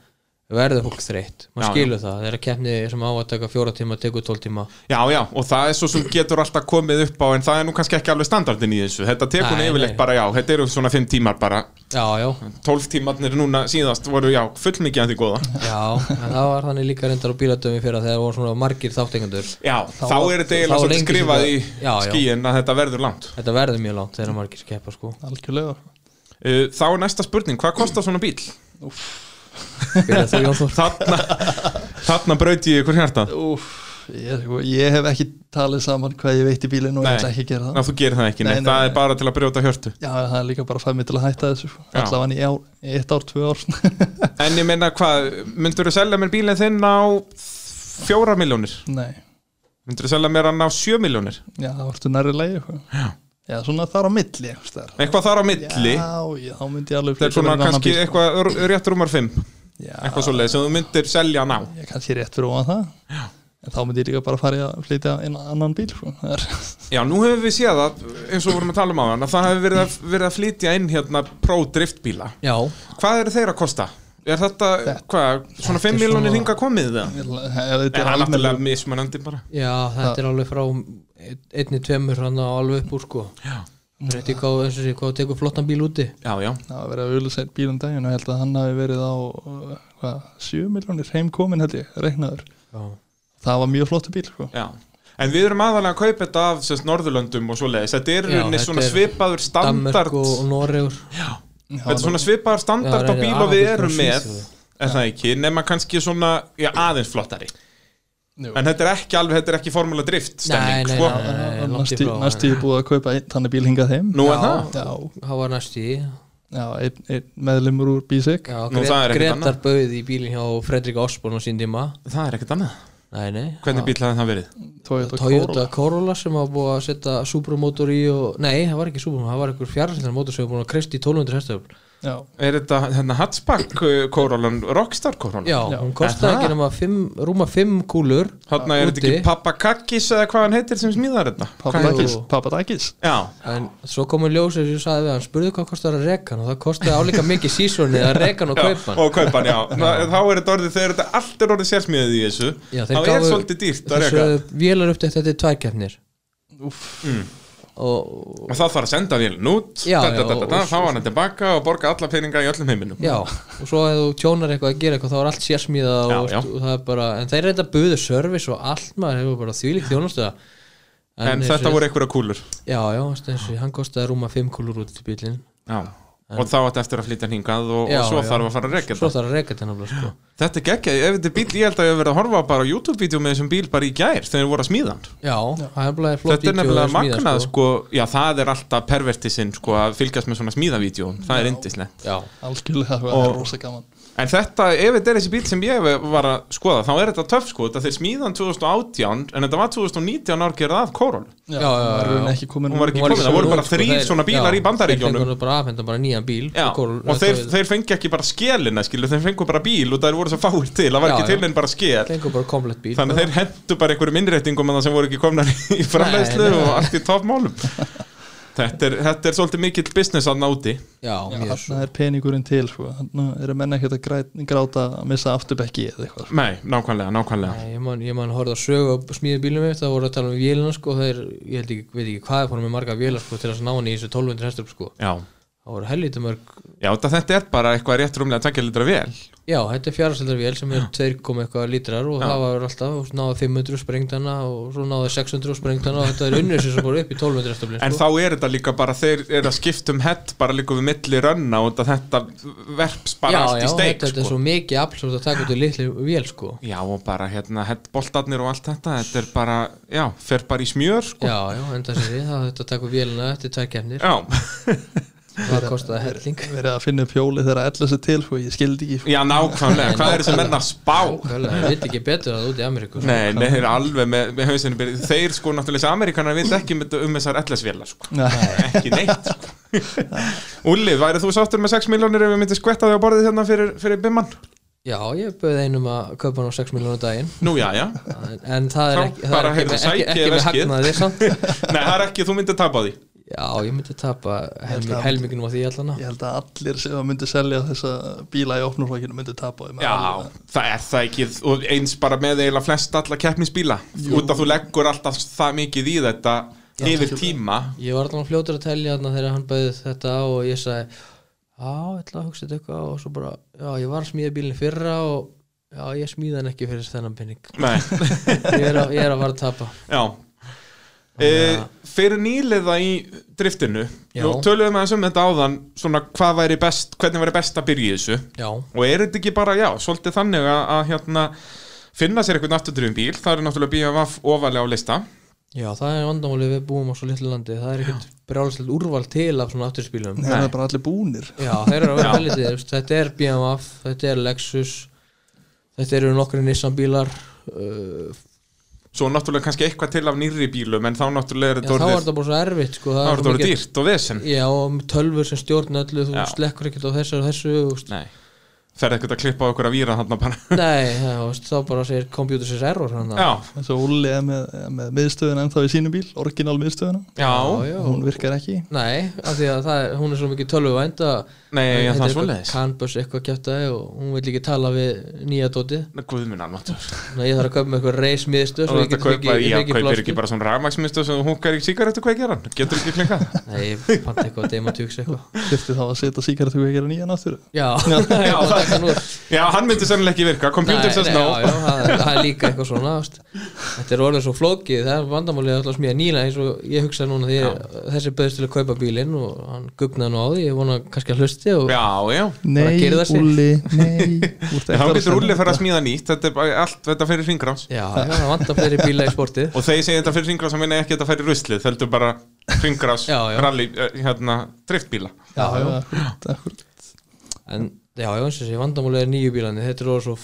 Speaker 3: verður fólk þreytt maður
Speaker 1: Já,
Speaker 3: skilur það, þeirra keppni sem á að taka fjóra tíma tekur tól tíma
Speaker 1: já, já, og það er svo sem getur alltaf komið upp á en það er nú kannski ekki alveg standardin í þessu. Þetta tekur
Speaker 3: Nei,
Speaker 1: nei, yfirleitt
Speaker 3: nei.
Speaker 1: bara, já, þetta eru svona fimm tímar bara.
Speaker 3: já, já,
Speaker 1: 12 tímarnir núna síðast voru, já, fullmikið að því góða.
Speaker 3: já, en það var þannig líka reyndar á bíladömi fyrir að þegar voru svona margir þáttengandur
Speaker 1: Já, þá, er þetta
Speaker 3: þá
Speaker 1: eiginlega
Speaker 3: var
Speaker 1: svolítið
Speaker 3: lengi
Speaker 1: skrifað í
Speaker 3: sem það- Já, já.
Speaker 1: skíin að þetta verður langt.
Speaker 3: þetta verður mjög langt þegar margir keppa sko
Speaker 2: algjörlega
Speaker 1: Uh, Þá er næsta spurning, hvað kostar svona bíl?
Speaker 3: Byrjar þú, Jón Þór?
Speaker 1: [laughs] Þarna, þarna braut ég ykkur hjartað.
Speaker 2: Úff, ég, sko, ég hef ekki talið saman hvað ég veit í bílinu og
Speaker 1: Nei.
Speaker 2: ég ætla ekki að gera
Speaker 1: Ná,
Speaker 2: það
Speaker 1: þú gerir það ekki, nei,
Speaker 2: Nei, nei,
Speaker 1: það er
Speaker 2: nei.
Speaker 1: bara til að brjóta hjörtu
Speaker 2: Já, það er líka bara að fæða mig til að hætta þessu sko.
Speaker 1: Já.
Speaker 2: allavega í, ár, í eitt ár, tvö ár [laughs]
Speaker 1: En ég meina hvað, myndur þú selja mér bílinn þinn á fjóra miljónir?
Speaker 2: Nei,
Speaker 1: Myndur þú selja mér hann á sjö miljónir?
Speaker 2: já, það vartu nærri lægi
Speaker 1: Já.
Speaker 2: Já, svona þar á milli einhvers staðar.
Speaker 1: Eitthvað þar á milli
Speaker 2: Já, já, þá myndi ég alveg
Speaker 1: Það er
Speaker 2: frekar
Speaker 1: svona
Speaker 2: vera í annan
Speaker 1: kannski
Speaker 2: bíl.
Speaker 1: eitthvað r- rétt rúmar fimm
Speaker 2: Já,
Speaker 1: Eitthvað svoleið sem þú myndir selja hann á
Speaker 2: Ég er kannski rétt fyrir ofan það En þá myndi ég líka bara fara í að flytja inn á annan bíl sko.
Speaker 1: [laughs]
Speaker 2: Það er,
Speaker 1: Já, nú hefur við séð að, eins og vorum að tala um á hann Það hefur verið að, verið að flytja inn hérna pro-driftbíla
Speaker 3: Já,
Speaker 1: Hvað eru þeir að kosta? Er þetta,
Speaker 2: Þetta-
Speaker 1: hvað, svona fimm
Speaker 2: er
Speaker 1: miljónir
Speaker 2: svona-
Speaker 1: hinga komið það?
Speaker 2: Ég held að þetta
Speaker 1: Er
Speaker 2: er
Speaker 1: það
Speaker 2: almennilega
Speaker 1: náttúrulega mismunandi bara?
Speaker 3: já, þetta er alveg frá ein- einni, tveimur hann og alveg upp úr sko
Speaker 1: Já.
Speaker 3: Rétti hvað, eins og sé, hvað tekur flottan bíl úti
Speaker 1: Já, já
Speaker 2: Það var verið að auðvitað bíl um daginn og ég held að hann hafi verið á uh, hvað, 7 miljónir heimkomin held ég, reiknaður
Speaker 3: Já,
Speaker 2: Það var mjög flottu bíl sko.
Speaker 1: Já. En við erum aðalega að kaupa þetta af sérst, Norðurlöndum og svoleiðis. Þetta er
Speaker 3: Já,
Speaker 1: unni
Speaker 3: þetta
Speaker 1: svona
Speaker 3: er
Speaker 1: svipaður standard
Speaker 3: Danmörk og, og Noregur
Speaker 1: Þetta er svona svipaður standard á
Speaker 3: Já, reyndar
Speaker 1: bíl og við
Speaker 3: arabískur
Speaker 1: erum
Speaker 3: og
Speaker 1: með
Speaker 3: svíþjóð.
Speaker 1: er það ekki, nema kannski svona já, aðeins flottari.
Speaker 2: Jú.
Speaker 1: En þetta er ekki alveg, þetta er ekki formúla drift
Speaker 3: Nei,
Speaker 1: stemning,
Speaker 3: nei,
Speaker 1: sko.
Speaker 3: nei, nei. Eh, langt í
Speaker 2: Næstu
Speaker 3: frá,
Speaker 2: næstu ég búið að kaupa einn þannig bíl hingað heim
Speaker 1: Nú er
Speaker 3: Já.
Speaker 1: það.
Speaker 2: Já,
Speaker 3: Það var næst í Já,
Speaker 2: já einn ein meðlumur úr Bísik
Speaker 1: Nú, það er
Speaker 3: Gret,
Speaker 1: ekkert
Speaker 3: Gretar
Speaker 1: annað.
Speaker 3: bauð í bílinn hjá Fredrik Osborn á sín tíma
Speaker 1: Það er ekkert annað.
Speaker 3: Nei, nei
Speaker 1: Hvernig bíl hafði það verið?
Speaker 2: Toyota Corolla
Speaker 3: Toyota Corolla sem var búið að setja Subramotor í og, nei, það var ekki Subramotor, það var einhver fjarlæðan motor sem var búin að kristi í 1200 hestöfl
Speaker 2: Já,
Speaker 1: Er þetta hérna Hatchback uh, Corollan, Rockstar Corollan?
Speaker 3: já,
Speaker 2: Já.
Speaker 3: hún kostaði
Speaker 1: Er það?
Speaker 3: ekki nema fimm, rúma 5 kúlur
Speaker 1: Þarna er þetta
Speaker 3: Úti.
Speaker 1: ekki Pappakakis eða hvað hann heitir sem smíðar þetta?
Speaker 2: Papadakis
Speaker 3: Jú.
Speaker 2: Papadakis
Speaker 1: Já,
Speaker 3: en svo komum ljósið sem ég sagði við hann spurðu hvað kostaði að reka hann og það kostaði álíka mikið sísonið að reka hann og
Speaker 1: já,
Speaker 3: kaupa hann
Speaker 1: og kaupan, já. já. Þá er þetta orðið, þegar þetta allt er orðið sérsmíðið í þessu,
Speaker 3: Já,
Speaker 1: þá
Speaker 3: þeir
Speaker 1: er
Speaker 3: gáfu-
Speaker 1: svolítið dýrt að reka.
Speaker 3: þessu vélar upptækt þetta er tværkeppnir
Speaker 2: Úff.
Speaker 1: Mm.
Speaker 3: og
Speaker 1: og þá þarf að senda vélun út
Speaker 3: Já,
Speaker 1: da,
Speaker 3: já,
Speaker 1: da, da, da, da,
Speaker 3: og-
Speaker 1: fá hann tilbaka og borga alla peninga í öllum heiminum
Speaker 3: Já, og svo ef þú tjónar eitthvað að gera eitthvað þá er allt sérsmíða
Speaker 1: Já,
Speaker 3: og,
Speaker 1: já.
Speaker 3: og það er bara, en þeir reynda að buðu service og allt maður hefur bara þvílíkt þjónastöða
Speaker 1: en þetta voru einhverja kúlur
Speaker 3: Já, já, eins og hann kostaði rúma 5 kúlur út í bílinn
Speaker 1: já. og þá átti eftir að flytja hann hingað og,
Speaker 3: Já,
Speaker 1: og svo
Speaker 3: já.
Speaker 1: þarf að fara að rekja
Speaker 3: Svo
Speaker 1: þetta
Speaker 3: þarf að reka þetta nefnilega sko
Speaker 1: þetta er geggjað, ef þetta er bíl, ég held að ég hef verið að horfa bara á YouTube-vídeó með þessum bíl bara í gær þegar þeir voru að smíða hann
Speaker 3: Já, það er nefnilega flott
Speaker 1: þetta er
Speaker 3: vídeó að
Speaker 1: nefnilega
Speaker 3: smíða,
Speaker 1: magnað sko. já það er alltaf pervertisinn sko, að fylgjast með svona smíðavídeó, það er indislegt
Speaker 3: Já,
Speaker 2: Algjörlega, það
Speaker 1: Og-
Speaker 2: var rosa gaman
Speaker 1: En þetta, ef þetta er þessi bíl sem ég var að skoða, þá er þetta töff sko, þetta þeir smíðan 2018, en þetta var 2019 árgerð af Korol.
Speaker 2: Já,
Speaker 3: já, já,
Speaker 2: hún var í rauninni
Speaker 3: já.
Speaker 2: ekki komin
Speaker 1: Hún var
Speaker 2: út.
Speaker 1: ekki
Speaker 3: Hún var í
Speaker 1: komin, það voru
Speaker 3: sölu
Speaker 1: bara
Speaker 3: út, sko,
Speaker 1: þrír
Speaker 3: þeir-
Speaker 1: svona bílar
Speaker 3: já,
Speaker 1: í Bandaríkjónum.
Speaker 3: Þeir fengur bara aðfenda bara nýjan bíl
Speaker 1: Já,
Speaker 3: Kor-
Speaker 1: og þeir,
Speaker 3: Toyota.
Speaker 1: þeir fengi ekki bara skélina skilur, þeir fengu bara bíl og það voru svo fáir til það var
Speaker 3: Já,
Speaker 1: ekki
Speaker 3: já.
Speaker 1: til en bara skél
Speaker 3: fengur bara komplett bíl
Speaker 1: þannig að þeir hendu bara einhverjum innréttingum að það sem voru ekki komnar í framleiðslu
Speaker 3: Nei, nei.
Speaker 1: og allt í toppmálum þetta, er- þetta er svolítið mikill business að náti
Speaker 3: Já, mjög svo
Speaker 2: Þarna er peningurinn til sko. Þarna eru menn ekkert að græ- gráta að missa afturbekki eða eitthvað sko.
Speaker 1: nei, nákvæmlega, nákvæmlega
Speaker 3: Nei, Ég man, ég man horfði að sögu að smíða bílum mitt það voru að tala um vélina sko þeir, ég held ekki, veit ekki hvað er fórum með marga vélar sko til að ná hann í þessu 1200 hestur sko
Speaker 1: já,
Speaker 3: það voru helvítið mörg
Speaker 1: já þetta, þetta er bara eitthvað rétt rúmlega tvekja litra vel
Speaker 3: já, þetta er fjárhastaldar vél sem er 2,1 eitthvað lítrar og það var alltaf, og náði 500 sprengdana og svo náði 600 sprengdana og þetta er unnur sem fór upp í 1200 hestur
Speaker 1: en
Speaker 3: sko.
Speaker 1: þá er þetta líka bara þeir eru að skipta um hett bara líka við milli rönna og þetta verps bara
Speaker 3: já,
Speaker 1: allt
Speaker 3: já,
Speaker 1: í steik
Speaker 3: þetta þetta er
Speaker 1: sko.
Speaker 3: svo mikið afl sem þetta taka út í litli vél sko
Speaker 1: já og bara hérna hettboltarnir og allt þetta þetta er bara, já, fer bara í smjör sko.
Speaker 3: já, já, enda sér því, það þetta taka vélina eftir tvær
Speaker 1: [laughs]
Speaker 3: kemnir,
Speaker 1: Já,
Speaker 3: það kostaði helling
Speaker 2: verið að finna upp hjóli þegar að ella sér til sko. ég skildi ekki sko.
Speaker 1: já nákvæmlega, hvað er þessi menn að spá?
Speaker 3: það veit ekki betur að það út í Ameríku sko.
Speaker 1: Nei, nei, þeir eru alveg með, með hausinu byrjið Þeir sko, náttúrulega, þessi Amerikanar veit ekki með, um þessar ellasvélar, sko
Speaker 2: Nei,
Speaker 1: Ekki neitt, sko Ulli, værið þú sáttur með 6 miljónir ef við myndið skvetta því á borðið hérna fyrir, fyrir bimman?
Speaker 3: já, ég bauði einum að kaupa hann á 6 miljónu daginn
Speaker 1: Nú, já, já
Speaker 3: en, en það er
Speaker 1: Þá
Speaker 3: ekki, það er
Speaker 1: bara
Speaker 3: ekki,
Speaker 1: heyrðu,
Speaker 3: með- ekki,
Speaker 1: sækið
Speaker 3: ekki með
Speaker 1: veskið.
Speaker 3: hagnaði samt
Speaker 1: [laughs] Nei, það er ekki, þú myndið tapa á því
Speaker 3: já, ég myndi tapa
Speaker 2: held að-
Speaker 3: helmingunum á því allan
Speaker 2: [laughs] ég held að allir sem að myndi selja þessa bíla í opnurflokkinu myndi tapa þeim
Speaker 1: Já, það er það ekki og eins bara með eiginlega flest alla keppnisbíla út að þú leggur alltaf það mikið í þetta yfir tíma
Speaker 3: Ég var alltaf fljótur að telja þarna þegar hann bauði þetta á og ég sagði Já, ég ætla að hugsa þetta eitthvað og svo bara Já, ég var að smíða bílinn í fyrra og Já, ég smíða hann ekki fyrir þennan penning
Speaker 1: Nei,
Speaker 3: [laughs] Ég er að, ég er að fara að tapa
Speaker 1: Já e, Fyrir nýliða í driftinu
Speaker 3: Já.
Speaker 1: Nú töluðum aðeins um þetta áðan Svona hvað væri best, hvernig væri best að byrja í þessu
Speaker 3: Já,
Speaker 1: Og er þetta ekki bara, já, svolítið þannig að, að hérna finna sér eitthvað náttúrulega bíl, það eru náttúrulega bíja vaff ofalega á lista
Speaker 3: Já, það er vandamálið við búum á svo litlu landi Það er ekkert brjálslega úrval til af svona afturspílum
Speaker 2: það er bara allir búnir
Speaker 3: Já, þeir eru að vera helítið þú veist, Þetta er BMW, þetta er Lexus Þetta eru nokkri Nissan bílar uh,
Speaker 1: svo náttúrulega kannski eitthvað til af nýrri bílum en þá náttúrulega er
Speaker 3: Já,
Speaker 1: þetta
Speaker 3: þá er
Speaker 1: orðið
Speaker 3: þetta bara svo erfitt sko,
Speaker 1: þá
Speaker 3: Það
Speaker 1: er
Speaker 3: svo
Speaker 1: þetta orðið
Speaker 3: mikið-
Speaker 1: dýrt og vesen
Speaker 3: Já, og með tölfur sem stjórn öllu Þú
Speaker 1: Já.
Speaker 3: slekkur ekkert á þessu og þessu þú veist.
Speaker 1: nei, ferð ekkert að klippa á okkur að víra hann bara,
Speaker 3: Nei, [laughs] það, þú veist, þá bara segir computer says error hann
Speaker 1: já,
Speaker 2: eins og Ulli er með, er með miðstöðuna ennþá í sínum bíl, orginal miðstöðuna
Speaker 1: já
Speaker 2: hún virkar ekki
Speaker 3: Nei, af því að það, er- hún er svo mikið tölvuvænd að
Speaker 1: nei,
Speaker 3: Þetta
Speaker 1: en það
Speaker 3: er
Speaker 1: er svoleiðis
Speaker 3: Canbus eitthvað kjæftaði og hún vil ekki tala við nýja dótið
Speaker 1: Guðminn almatur
Speaker 3: Þannig að ég þarf að kaupa með eitthvað reis miðstu
Speaker 1: og þetta kaupa, já, kaupir ekki bara svona rafmaksmistu sem húkar í sigarettu kveikjaran getur ekki
Speaker 3: [laughs]
Speaker 1: klinkað
Speaker 3: Nei, ég fann eitthvað dematjúks eitthvað
Speaker 2: þurfti þá að setja síkartu og gera nýja náttúru
Speaker 3: Já,
Speaker 1: [laughs]
Speaker 3: já,
Speaker 1: það-
Speaker 3: taka hann úr.
Speaker 1: já, hann myndi sennilega ekki virka, computer
Speaker 3: Nei,
Speaker 1: says
Speaker 3: nei,
Speaker 1: no
Speaker 3: já, já, það er- það er líka eitthvað svona veist. Þetta er orðið svo flókið Það er vandamálið alltaf smíða nýla eins og ég hugsa núna því þessi bauðist til að kaupa bílinn og hann gugnaði nú á því, ég vona kannski að hlusti og
Speaker 1: já, já
Speaker 3: Bara
Speaker 2: nei,
Speaker 3: gerðu það sig.
Speaker 2: Ulli, nei
Speaker 1: [laughs]
Speaker 2: Þú ert
Speaker 1: En
Speaker 2: ekki
Speaker 1: þá
Speaker 2: að
Speaker 1: getur
Speaker 2: senda
Speaker 1: Rúli að fara að smíða nýtt Þetta er bara allt, þetta fyrir ringráns
Speaker 3: já, já það vantar fleiri bíla í sportið
Speaker 1: Og þegar ég segi þetta fyrir ringrás þá meina ég ekki að þetta færi ruslið Þetta er bara ringrás,
Speaker 3: Já, já.
Speaker 1: rally, eh, hérna, driftbíla
Speaker 2: Já, já, akkurat, akkurat.
Speaker 3: En já, já, eins og þessi vandamálið er nýju bílarnir Þetta er orðið svo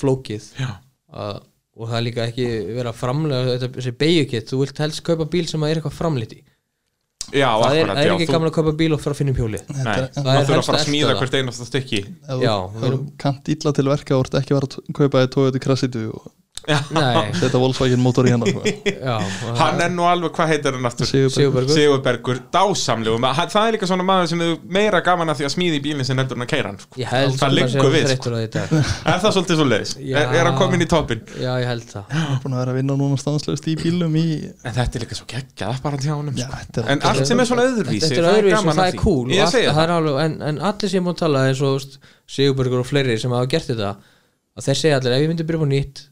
Speaker 3: flókið
Speaker 1: Já,
Speaker 3: að, og það er líka ekki verið að framlega þetta, þessi beigjukett, þú vilt helst kaupa bíl sem að er eitthvað framliti
Speaker 1: já
Speaker 3: það er,
Speaker 1: akkurat
Speaker 3: það er
Speaker 1: já,
Speaker 3: ekki
Speaker 1: þú-
Speaker 3: gaman að kaupa bíl og fara að finna um
Speaker 1: [laughs]
Speaker 3: hjólið
Speaker 1: Nei,
Speaker 2: Þetta er-
Speaker 1: það
Speaker 3: það er
Speaker 1: er að
Speaker 3: helst
Speaker 1: fara að
Speaker 3: að
Speaker 1: smíða
Speaker 3: elta
Speaker 1: hvert einasta stykki
Speaker 2: Ef
Speaker 3: Já, við
Speaker 2: þú- ef þú
Speaker 3: erum-
Speaker 2: kannt illa til verka og ert ekki að fara að kaupa þið tóið til krassitu og
Speaker 3: Nei,
Speaker 2: setja Volkswagen mótor í
Speaker 3: [laughs]
Speaker 2: hennar
Speaker 3: já
Speaker 1: Hann er nú alveg, hvað heitir hann aftur?
Speaker 2: Sigurberg
Speaker 3: Sigurbergur
Speaker 1: Sigurbergur, dásamlegu Það er líka svona maður sem er meira gaman að því að smíða í bílinn sem heldur hann að keira hann sko.
Speaker 3: Ég held
Speaker 1: Það
Speaker 3: að
Speaker 1: liggur við,
Speaker 3: sé
Speaker 1: sko.
Speaker 3: hann þreyttur á því í dag.
Speaker 1: Er það svolítið svo leiðis?
Speaker 3: Já.
Speaker 1: Er, er hann komin í toppin?
Speaker 3: Já, ég held það
Speaker 2: er búin að vera að vinna núna stanslöst í bílum í
Speaker 1: En þetta er líka svo geggjað bara hjá honum
Speaker 2: Já,
Speaker 1: sko.
Speaker 2: þetta er
Speaker 1: En allt sem er svona öðruvísi
Speaker 3: Þetta er öðruvísi og það er cool
Speaker 1: Ég
Speaker 3: og allt-
Speaker 1: segi
Speaker 3: það
Speaker 1: það
Speaker 3: er alveg, en, en allir sem ég múið tala eins og þú veist, Sigurbergur og fleiri sem hafa gert þetta að þeir segja allir ef ég myndi byrja upp á nýtt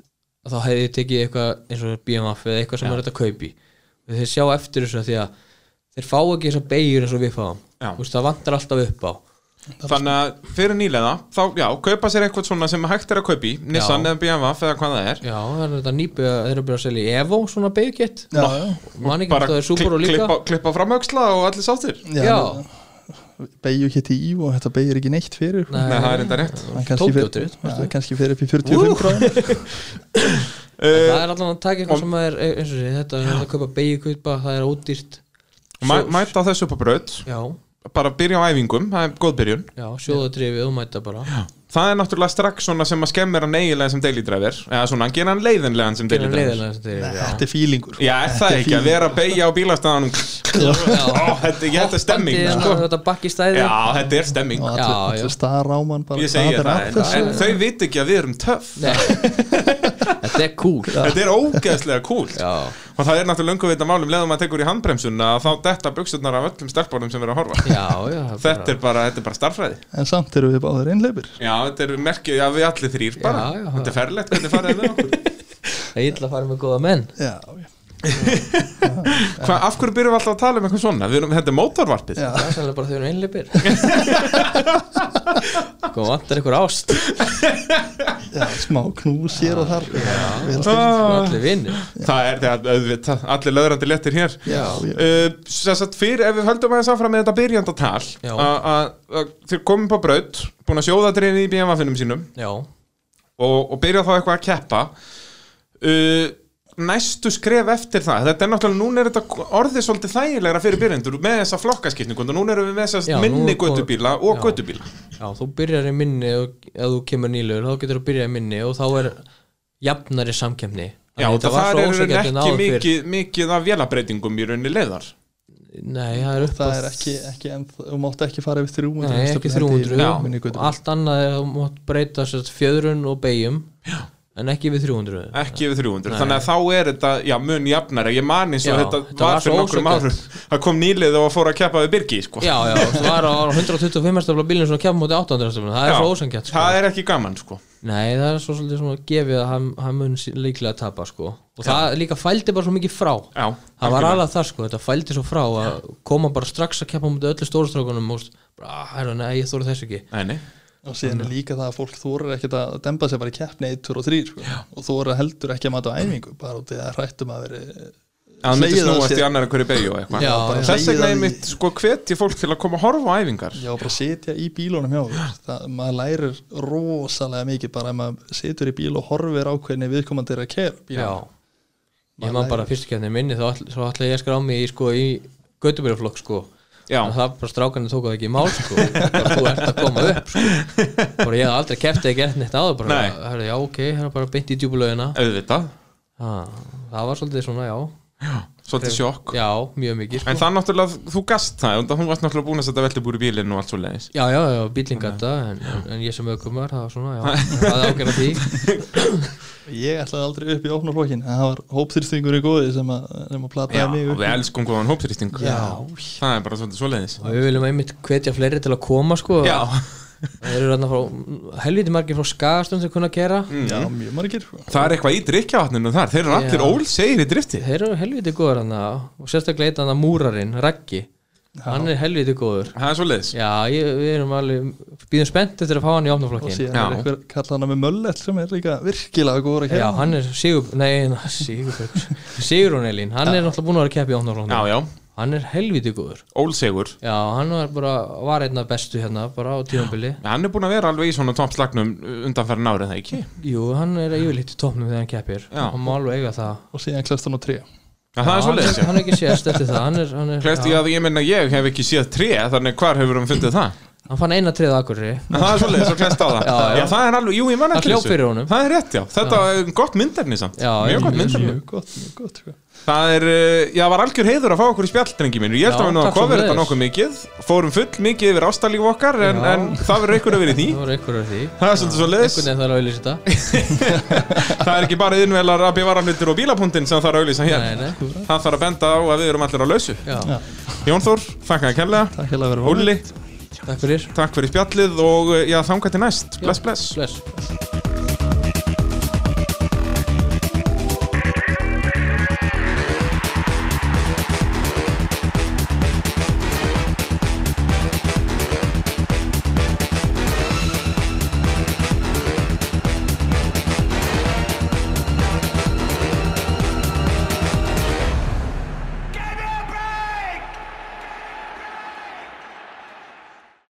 Speaker 3: þá hefði ég tekið eitthvað eins og BMF eða eitthvað sem er hægt að kaupi og þeir sjá eftir þessu því að þeir fá ekki þessar beigjur eins og við fáum
Speaker 1: Já.
Speaker 3: Þú veist, það vantar alltaf upp á
Speaker 1: Þannig að fyrir nýlega, þá já, kaupa sér eitthvað svona sem hægt er að kaupa í Nissan
Speaker 3: Já.
Speaker 1: eða BMW eða hvað það er
Speaker 3: Já, það er þetta nýbið að þeir eru að byrja að selja í Evo svona beigjukett
Speaker 2: Já, já,
Speaker 3: Man ekki hvort það er Subaru
Speaker 1: kli-
Speaker 3: líka
Speaker 1: klippa, klippa fram öxla og allir sáttir Nei,
Speaker 3: Já,
Speaker 2: beigju ekki til í og þetta beigir ekki neitt fyrir
Speaker 3: Nei.
Speaker 1: það er enda rétt
Speaker 2: Hann kannski fer-
Speaker 3: Tókjóttur,
Speaker 2: Já, hann kannski fer upp í 45 krónir
Speaker 1: uh,
Speaker 3: það er allan að taka eitthvað sem er e, eins og sé, þetta er hægt að kaupa beigjukaupa, það er ódýrt
Speaker 1: mæ- Mæta á þessu upp á braut
Speaker 3: Já,
Speaker 1: bara byrja á æfingum, það er góð byrjun
Speaker 3: já, sjóða drifið og mæta bara
Speaker 1: Það er náttúrulega strax svona sem að skemmir hann eiginlega sem daily driver eða svona, hann gera hann leiðinlegan sem daily
Speaker 3: Gerum
Speaker 1: driver
Speaker 3: leiðilega þess að þeir eru, já.
Speaker 2: Þetta er fílingur
Speaker 1: Já, er það ekki að vera að beigja á bílastæðanum Ó, Þetta ég- þetta er stemming
Speaker 3: Hoppandi,
Speaker 1: sko.
Speaker 3: Þetta bakk í stæði
Speaker 1: Já, þetta er stemming
Speaker 2: og
Speaker 3: Já,
Speaker 2: allir,
Speaker 3: já.
Speaker 2: allir staráman bara
Speaker 1: Ég segi
Speaker 2: það
Speaker 1: það,
Speaker 2: er
Speaker 1: en,
Speaker 2: að þessu.
Speaker 1: en þau viti ekki að við erum töff
Speaker 3: Nei. Þetta er cool
Speaker 1: Þetta er ógeðslega kúl
Speaker 3: Já,
Speaker 1: Og það er náttúrulega löngu vita málum leðum maður tekur í handbremsuna að þá detta buksurnar af öllum stelpunum sem eru að horfa
Speaker 3: já, já
Speaker 1: Þetta er bara, þetta er bara starfræði
Speaker 2: en samt eru við báðir einleipir
Speaker 1: Já, þetta er merkið að við allir þrýr bara
Speaker 3: Já, já.
Speaker 1: Þetta er ferlegt hvernig farið með okkur
Speaker 3: Það er illa að fara með góða menn
Speaker 2: já, já.
Speaker 1: Hva, Af hverju byrjum við alltaf að tala um eitthvað svona? Við Erum, þetta er mótorvarpið
Speaker 2: Já.
Speaker 3: Það er sannlega bara þau eru einleipir Góð vantar ykkur ást
Speaker 2: Já, smá knús hér og þar já,
Speaker 1: Ah,
Speaker 3: Allir vinnir
Speaker 1: Það er þetta auðvitað, allir löðrandi letir hér
Speaker 2: já, já.
Speaker 1: Uh, sem sagt, fyrir, ef við höldum aðeins áfram með þetta byrjandatal
Speaker 3: Já.
Speaker 1: að að- að þeir komum på braut búin að sjóða dreifin í BMW-finnum sínum
Speaker 3: Já,
Speaker 1: og, og byrja þá eitthvað að keppa uh, næstu skref eftir það þetta er náttúrulega, núna er þetta orðið svolítið þægilegra fyrir byrjendur með þessa flokkaskipningu og núna erum við með þessa
Speaker 3: Já, nú er
Speaker 1: minni
Speaker 3: komið-
Speaker 1: göttubíla og
Speaker 3: Já.
Speaker 1: göttubíla
Speaker 3: já, þú byrjar í minni og ef þú kemur nýlur, þá getur þú byrjað í minni og þá er jafnari samkemni
Speaker 1: Já, og það, það eru
Speaker 3: ósanngjarnt en
Speaker 1: ekki
Speaker 3: áður fyrr.
Speaker 1: mikið, mikið af vélabreitingum í rauninni leiðar
Speaker 3: Nei, það er upp
Speaker 2: það
Speaker 3: að-
Speaker 2: er ekki, ekki en, þú mátt ekki fara yfir 300
Speaker 3: Nei,
Speaker 2: Þetta
Speaker 3: ekki
Speaker 2: er hendi í
Speaker 3: 300
Speaker 2: minni götu.
Speaker 3: og allt annað er að mátt breyta sérst, fjöðrun og beigjum en ekki við 300
Speaker 1: ekki yfir 300, þannig að þá er þetta já, mun jafnara, ég man eins og
Speaker 3: Já,
Speaker 1: þetta,
Speaker 3: þetta var
Speaker 1: var
Speaker 3: svo
Speaker 1: fyrir nokkrum
Speaker 3: ósanngjarnt.
Speaker 1: árum það kom nýlið og fór að keppa við Birgi sko.
Speaker 3: Já, já, það var á 125 stafla bílinn sem kemur mútið 800 stafla það er
Speaker 1: Já,
Speaker 3: svo ósangjart sko.
Speaker 1: það er ekki gaman sko.
Speaker 3: Nei, það er svo svolítið svona gefið að hann, hann mun sí- líklega að tapa sko. og það líka fældi bara svo mikið frá
Speaker 1: já,
Speaker 3: það var
Speaker 1: algjörlega.
Speaker 3: alveg það sko, þetta fældi svo frá "Ah, að koma bara strax að keppa mútið öllu stórastrákunum og bara, herra, nei, ég þóri þess ekki
Speaker 1: Nei, nei.
Speaker 2: og síðan er líka það að fólk þórar ekkert að demba sér bara í keppni 1, 2 og 3 sko. og þórar heldur ekki að mata á æfingu bara út í það hrættum að veri
Speaker 1: að hann myndi
Speaker 2: Segið það
Speaker 1: snúast
Speaker 2: sér.
Speaker 1: í annar einhverju beigju og eitthvað
Speaker 3: Já,
Speaker 2: bara
Speaker 3: já.
Speaker 1: þess
Speaker 2: segið
Speaker 1: vegna
Speaker 2: það í-
Speaker 1: einmitt sko hvetja fólk til að koma að horfa á æfingar
Speaker 2: Já, bara sitja í bílunum hjá þér. það, maður lærir rosalega mikið bara ef maður situr í bíl og horfir á hvernig viðkomandi er að kera bíl
Speaker 3: Já Ég man bara fyrstu kefni minni þá all, svo ætla ég að skrá mig í, sko, í Götubyrjaflokk sko
Speaker 1: Já.
Speaker 3: En það bara strákarnir tóku það ekki í mál sko bara þú ert að koma upp sko bara ég hef aldrei keppt eða gert neitt áður bara,
Speaker 1: Nei.
Speaker 3: herri, já ok, hérna bara beint í djúbulögina
Speaker 1: auðvitað,
Speaker 3: það var svolítið svona, já
Speaker 1: svolítið sjokk
Speaker 3: já, mjög mikið sko.
Speaker 1: en það náttúrulega, þú gast það undan hún varst náttúrulega búin að setja veltibúr í bílinn og allt svo leiðis
Speaker 3: já, já, já, bílingata en, en, en ég sem aukumar, það var svona,
Speaker 1: [laughs]
Speaker 3: já það ágjörna því
Speaker 2: Ég ætlaði aldrei upp í opnarflokkin en það var hópþyrstingur í góði sem að, sem að plataði
Speaker 1: Já,
Speaker 2: mig
Speaker 1: við
Speaker 2: upp
Speaker 1: elskum góðan hópsrýsting
Speaker 2: Já.
Speaker 1: Það er bara svolítið svoleiðis
Speaker 3: og við viljum einmitt hvetja fleiri til að koma sko
Speaker 1: Já,
Speaker 3: það eru þarna frá helviti margir frá skagastund sem kunna að gera
Speaker 1: Mm.
Speaker 2: Já, mjög margir sko.
Speaker 1: það er eitthvað í drikkjavatninu þar Þeir eru allir
Speaker 3: Já.
Speaker 1: ólsegir í drifti
Speaker 3: þeir eru helviti góður hann og sérstaklega eitt hann að múrarinn, Raggi hann er helviti góður
Speaker 1: Það er svoleiðis
Speaker 3: já, ég, við erum alveg býðum spennt eftir að fá hann í
Speaker 2: og
Speaker 3: opnaflokkin
Speaker 2: síðan er
Speaker 1: Já.
Speaker 2: eitthvað kallað hana með möllett sem er líka virkilega góður að
Speaker 3: já,
Speaker 2: kera
Speaker 3: hann er Sigur nei, [laughs] na, Sigur Sigurún Elín, hann er náttúrulega búin að vera að keppa í
Speaker 1: Já,
Speaker 3: opnaflokkin
Speaker 1: já,
Speaker 3: hann er helviti góður
Speaker 1: ólsegur
Speaker 3: já, hann var bara var einn af bestu hérna bara á tíðanbili
Speaker 1: Hann er búin að vera alveg í svona uh, toppslagnum undanferðin árið það ekki
Speaker 3: jú, hann er yfirleitt í topnum þegar hann keppir
Speaker 1: Já.
Speaker 3: hann má alveg eiga það
Speaker 2: og síðan klest hann á tré
Speaker 1: Já, það er
Speaker 3: hann,
Speaker 1: svoleiðis
Speaker 3: hann er ekki sést eftir það hann, er, hann, er,
Speaker 1: Klest ég að ég menna ég hef ekki séð tré Þannig hvar hefur hann fundið það
Speaker 3: hann fann eina treða akkurri
Speaker 1: En Það er svoleiðis og klest á það
Speaker 3: [laughs] Já, já.
Speaker 1: það er alveg, jú, ég menna
Speaker 3: Hann hljóp fyrir honum.
Speaker 1: Það er rétt, já, þetta er gott myndefni samt
Speaker 3: Já, já,
Speaker 1: Mjög gott
Speaker 3: mjög-
Speaker 1: myndefni
Speaker 2: mjög gott, mjög gott sko.
Speaker 1: Það er, uh, já, var algjör heiður að fá okkur í spjalldrengi mínu Ég held
Speaker 3: Já,
Speaker 1: að við nú að
Speaker 3: takk
Speaker 1: kofið
Speaker 3: sömuleiðis.
Speaker 1: þetta nokkuð mikið Fórum full mikið yfir ástalíf okkar En,
Speaker 3: Já.
Speaker 1: en það verður einhverju að vera í því
Speaker 3: [laughs] það voru einhverjur af því
Speaker 1: Það er svolítið svo leiðis
Speaker 3: einhvern veginn þarf að
Speaker 1: [laughs]
Speaker 3: auðlýsa þetta
Speaker 1: Það er ekki bara yðnvelar að bevara hlutir og bílapunktin sem þarf að auðlýsa hér
Speaker 3: Nei, nei.
Speaker 1: Það þarf að benda á að við erum allir á lausu
Speaker 3: já,
Speaker 2: Já.
Speaker 1: Jón Þór, þakka þér kærlega
Speaker 2: Takk hérlega fyrir að vera
Speaker 1: Óli,
Speaker 3: takk fyrir
Speaker 1: eh, takk fyrir spjallið og uh, já, þangat til næst Bless, bless
Speaker 3: bless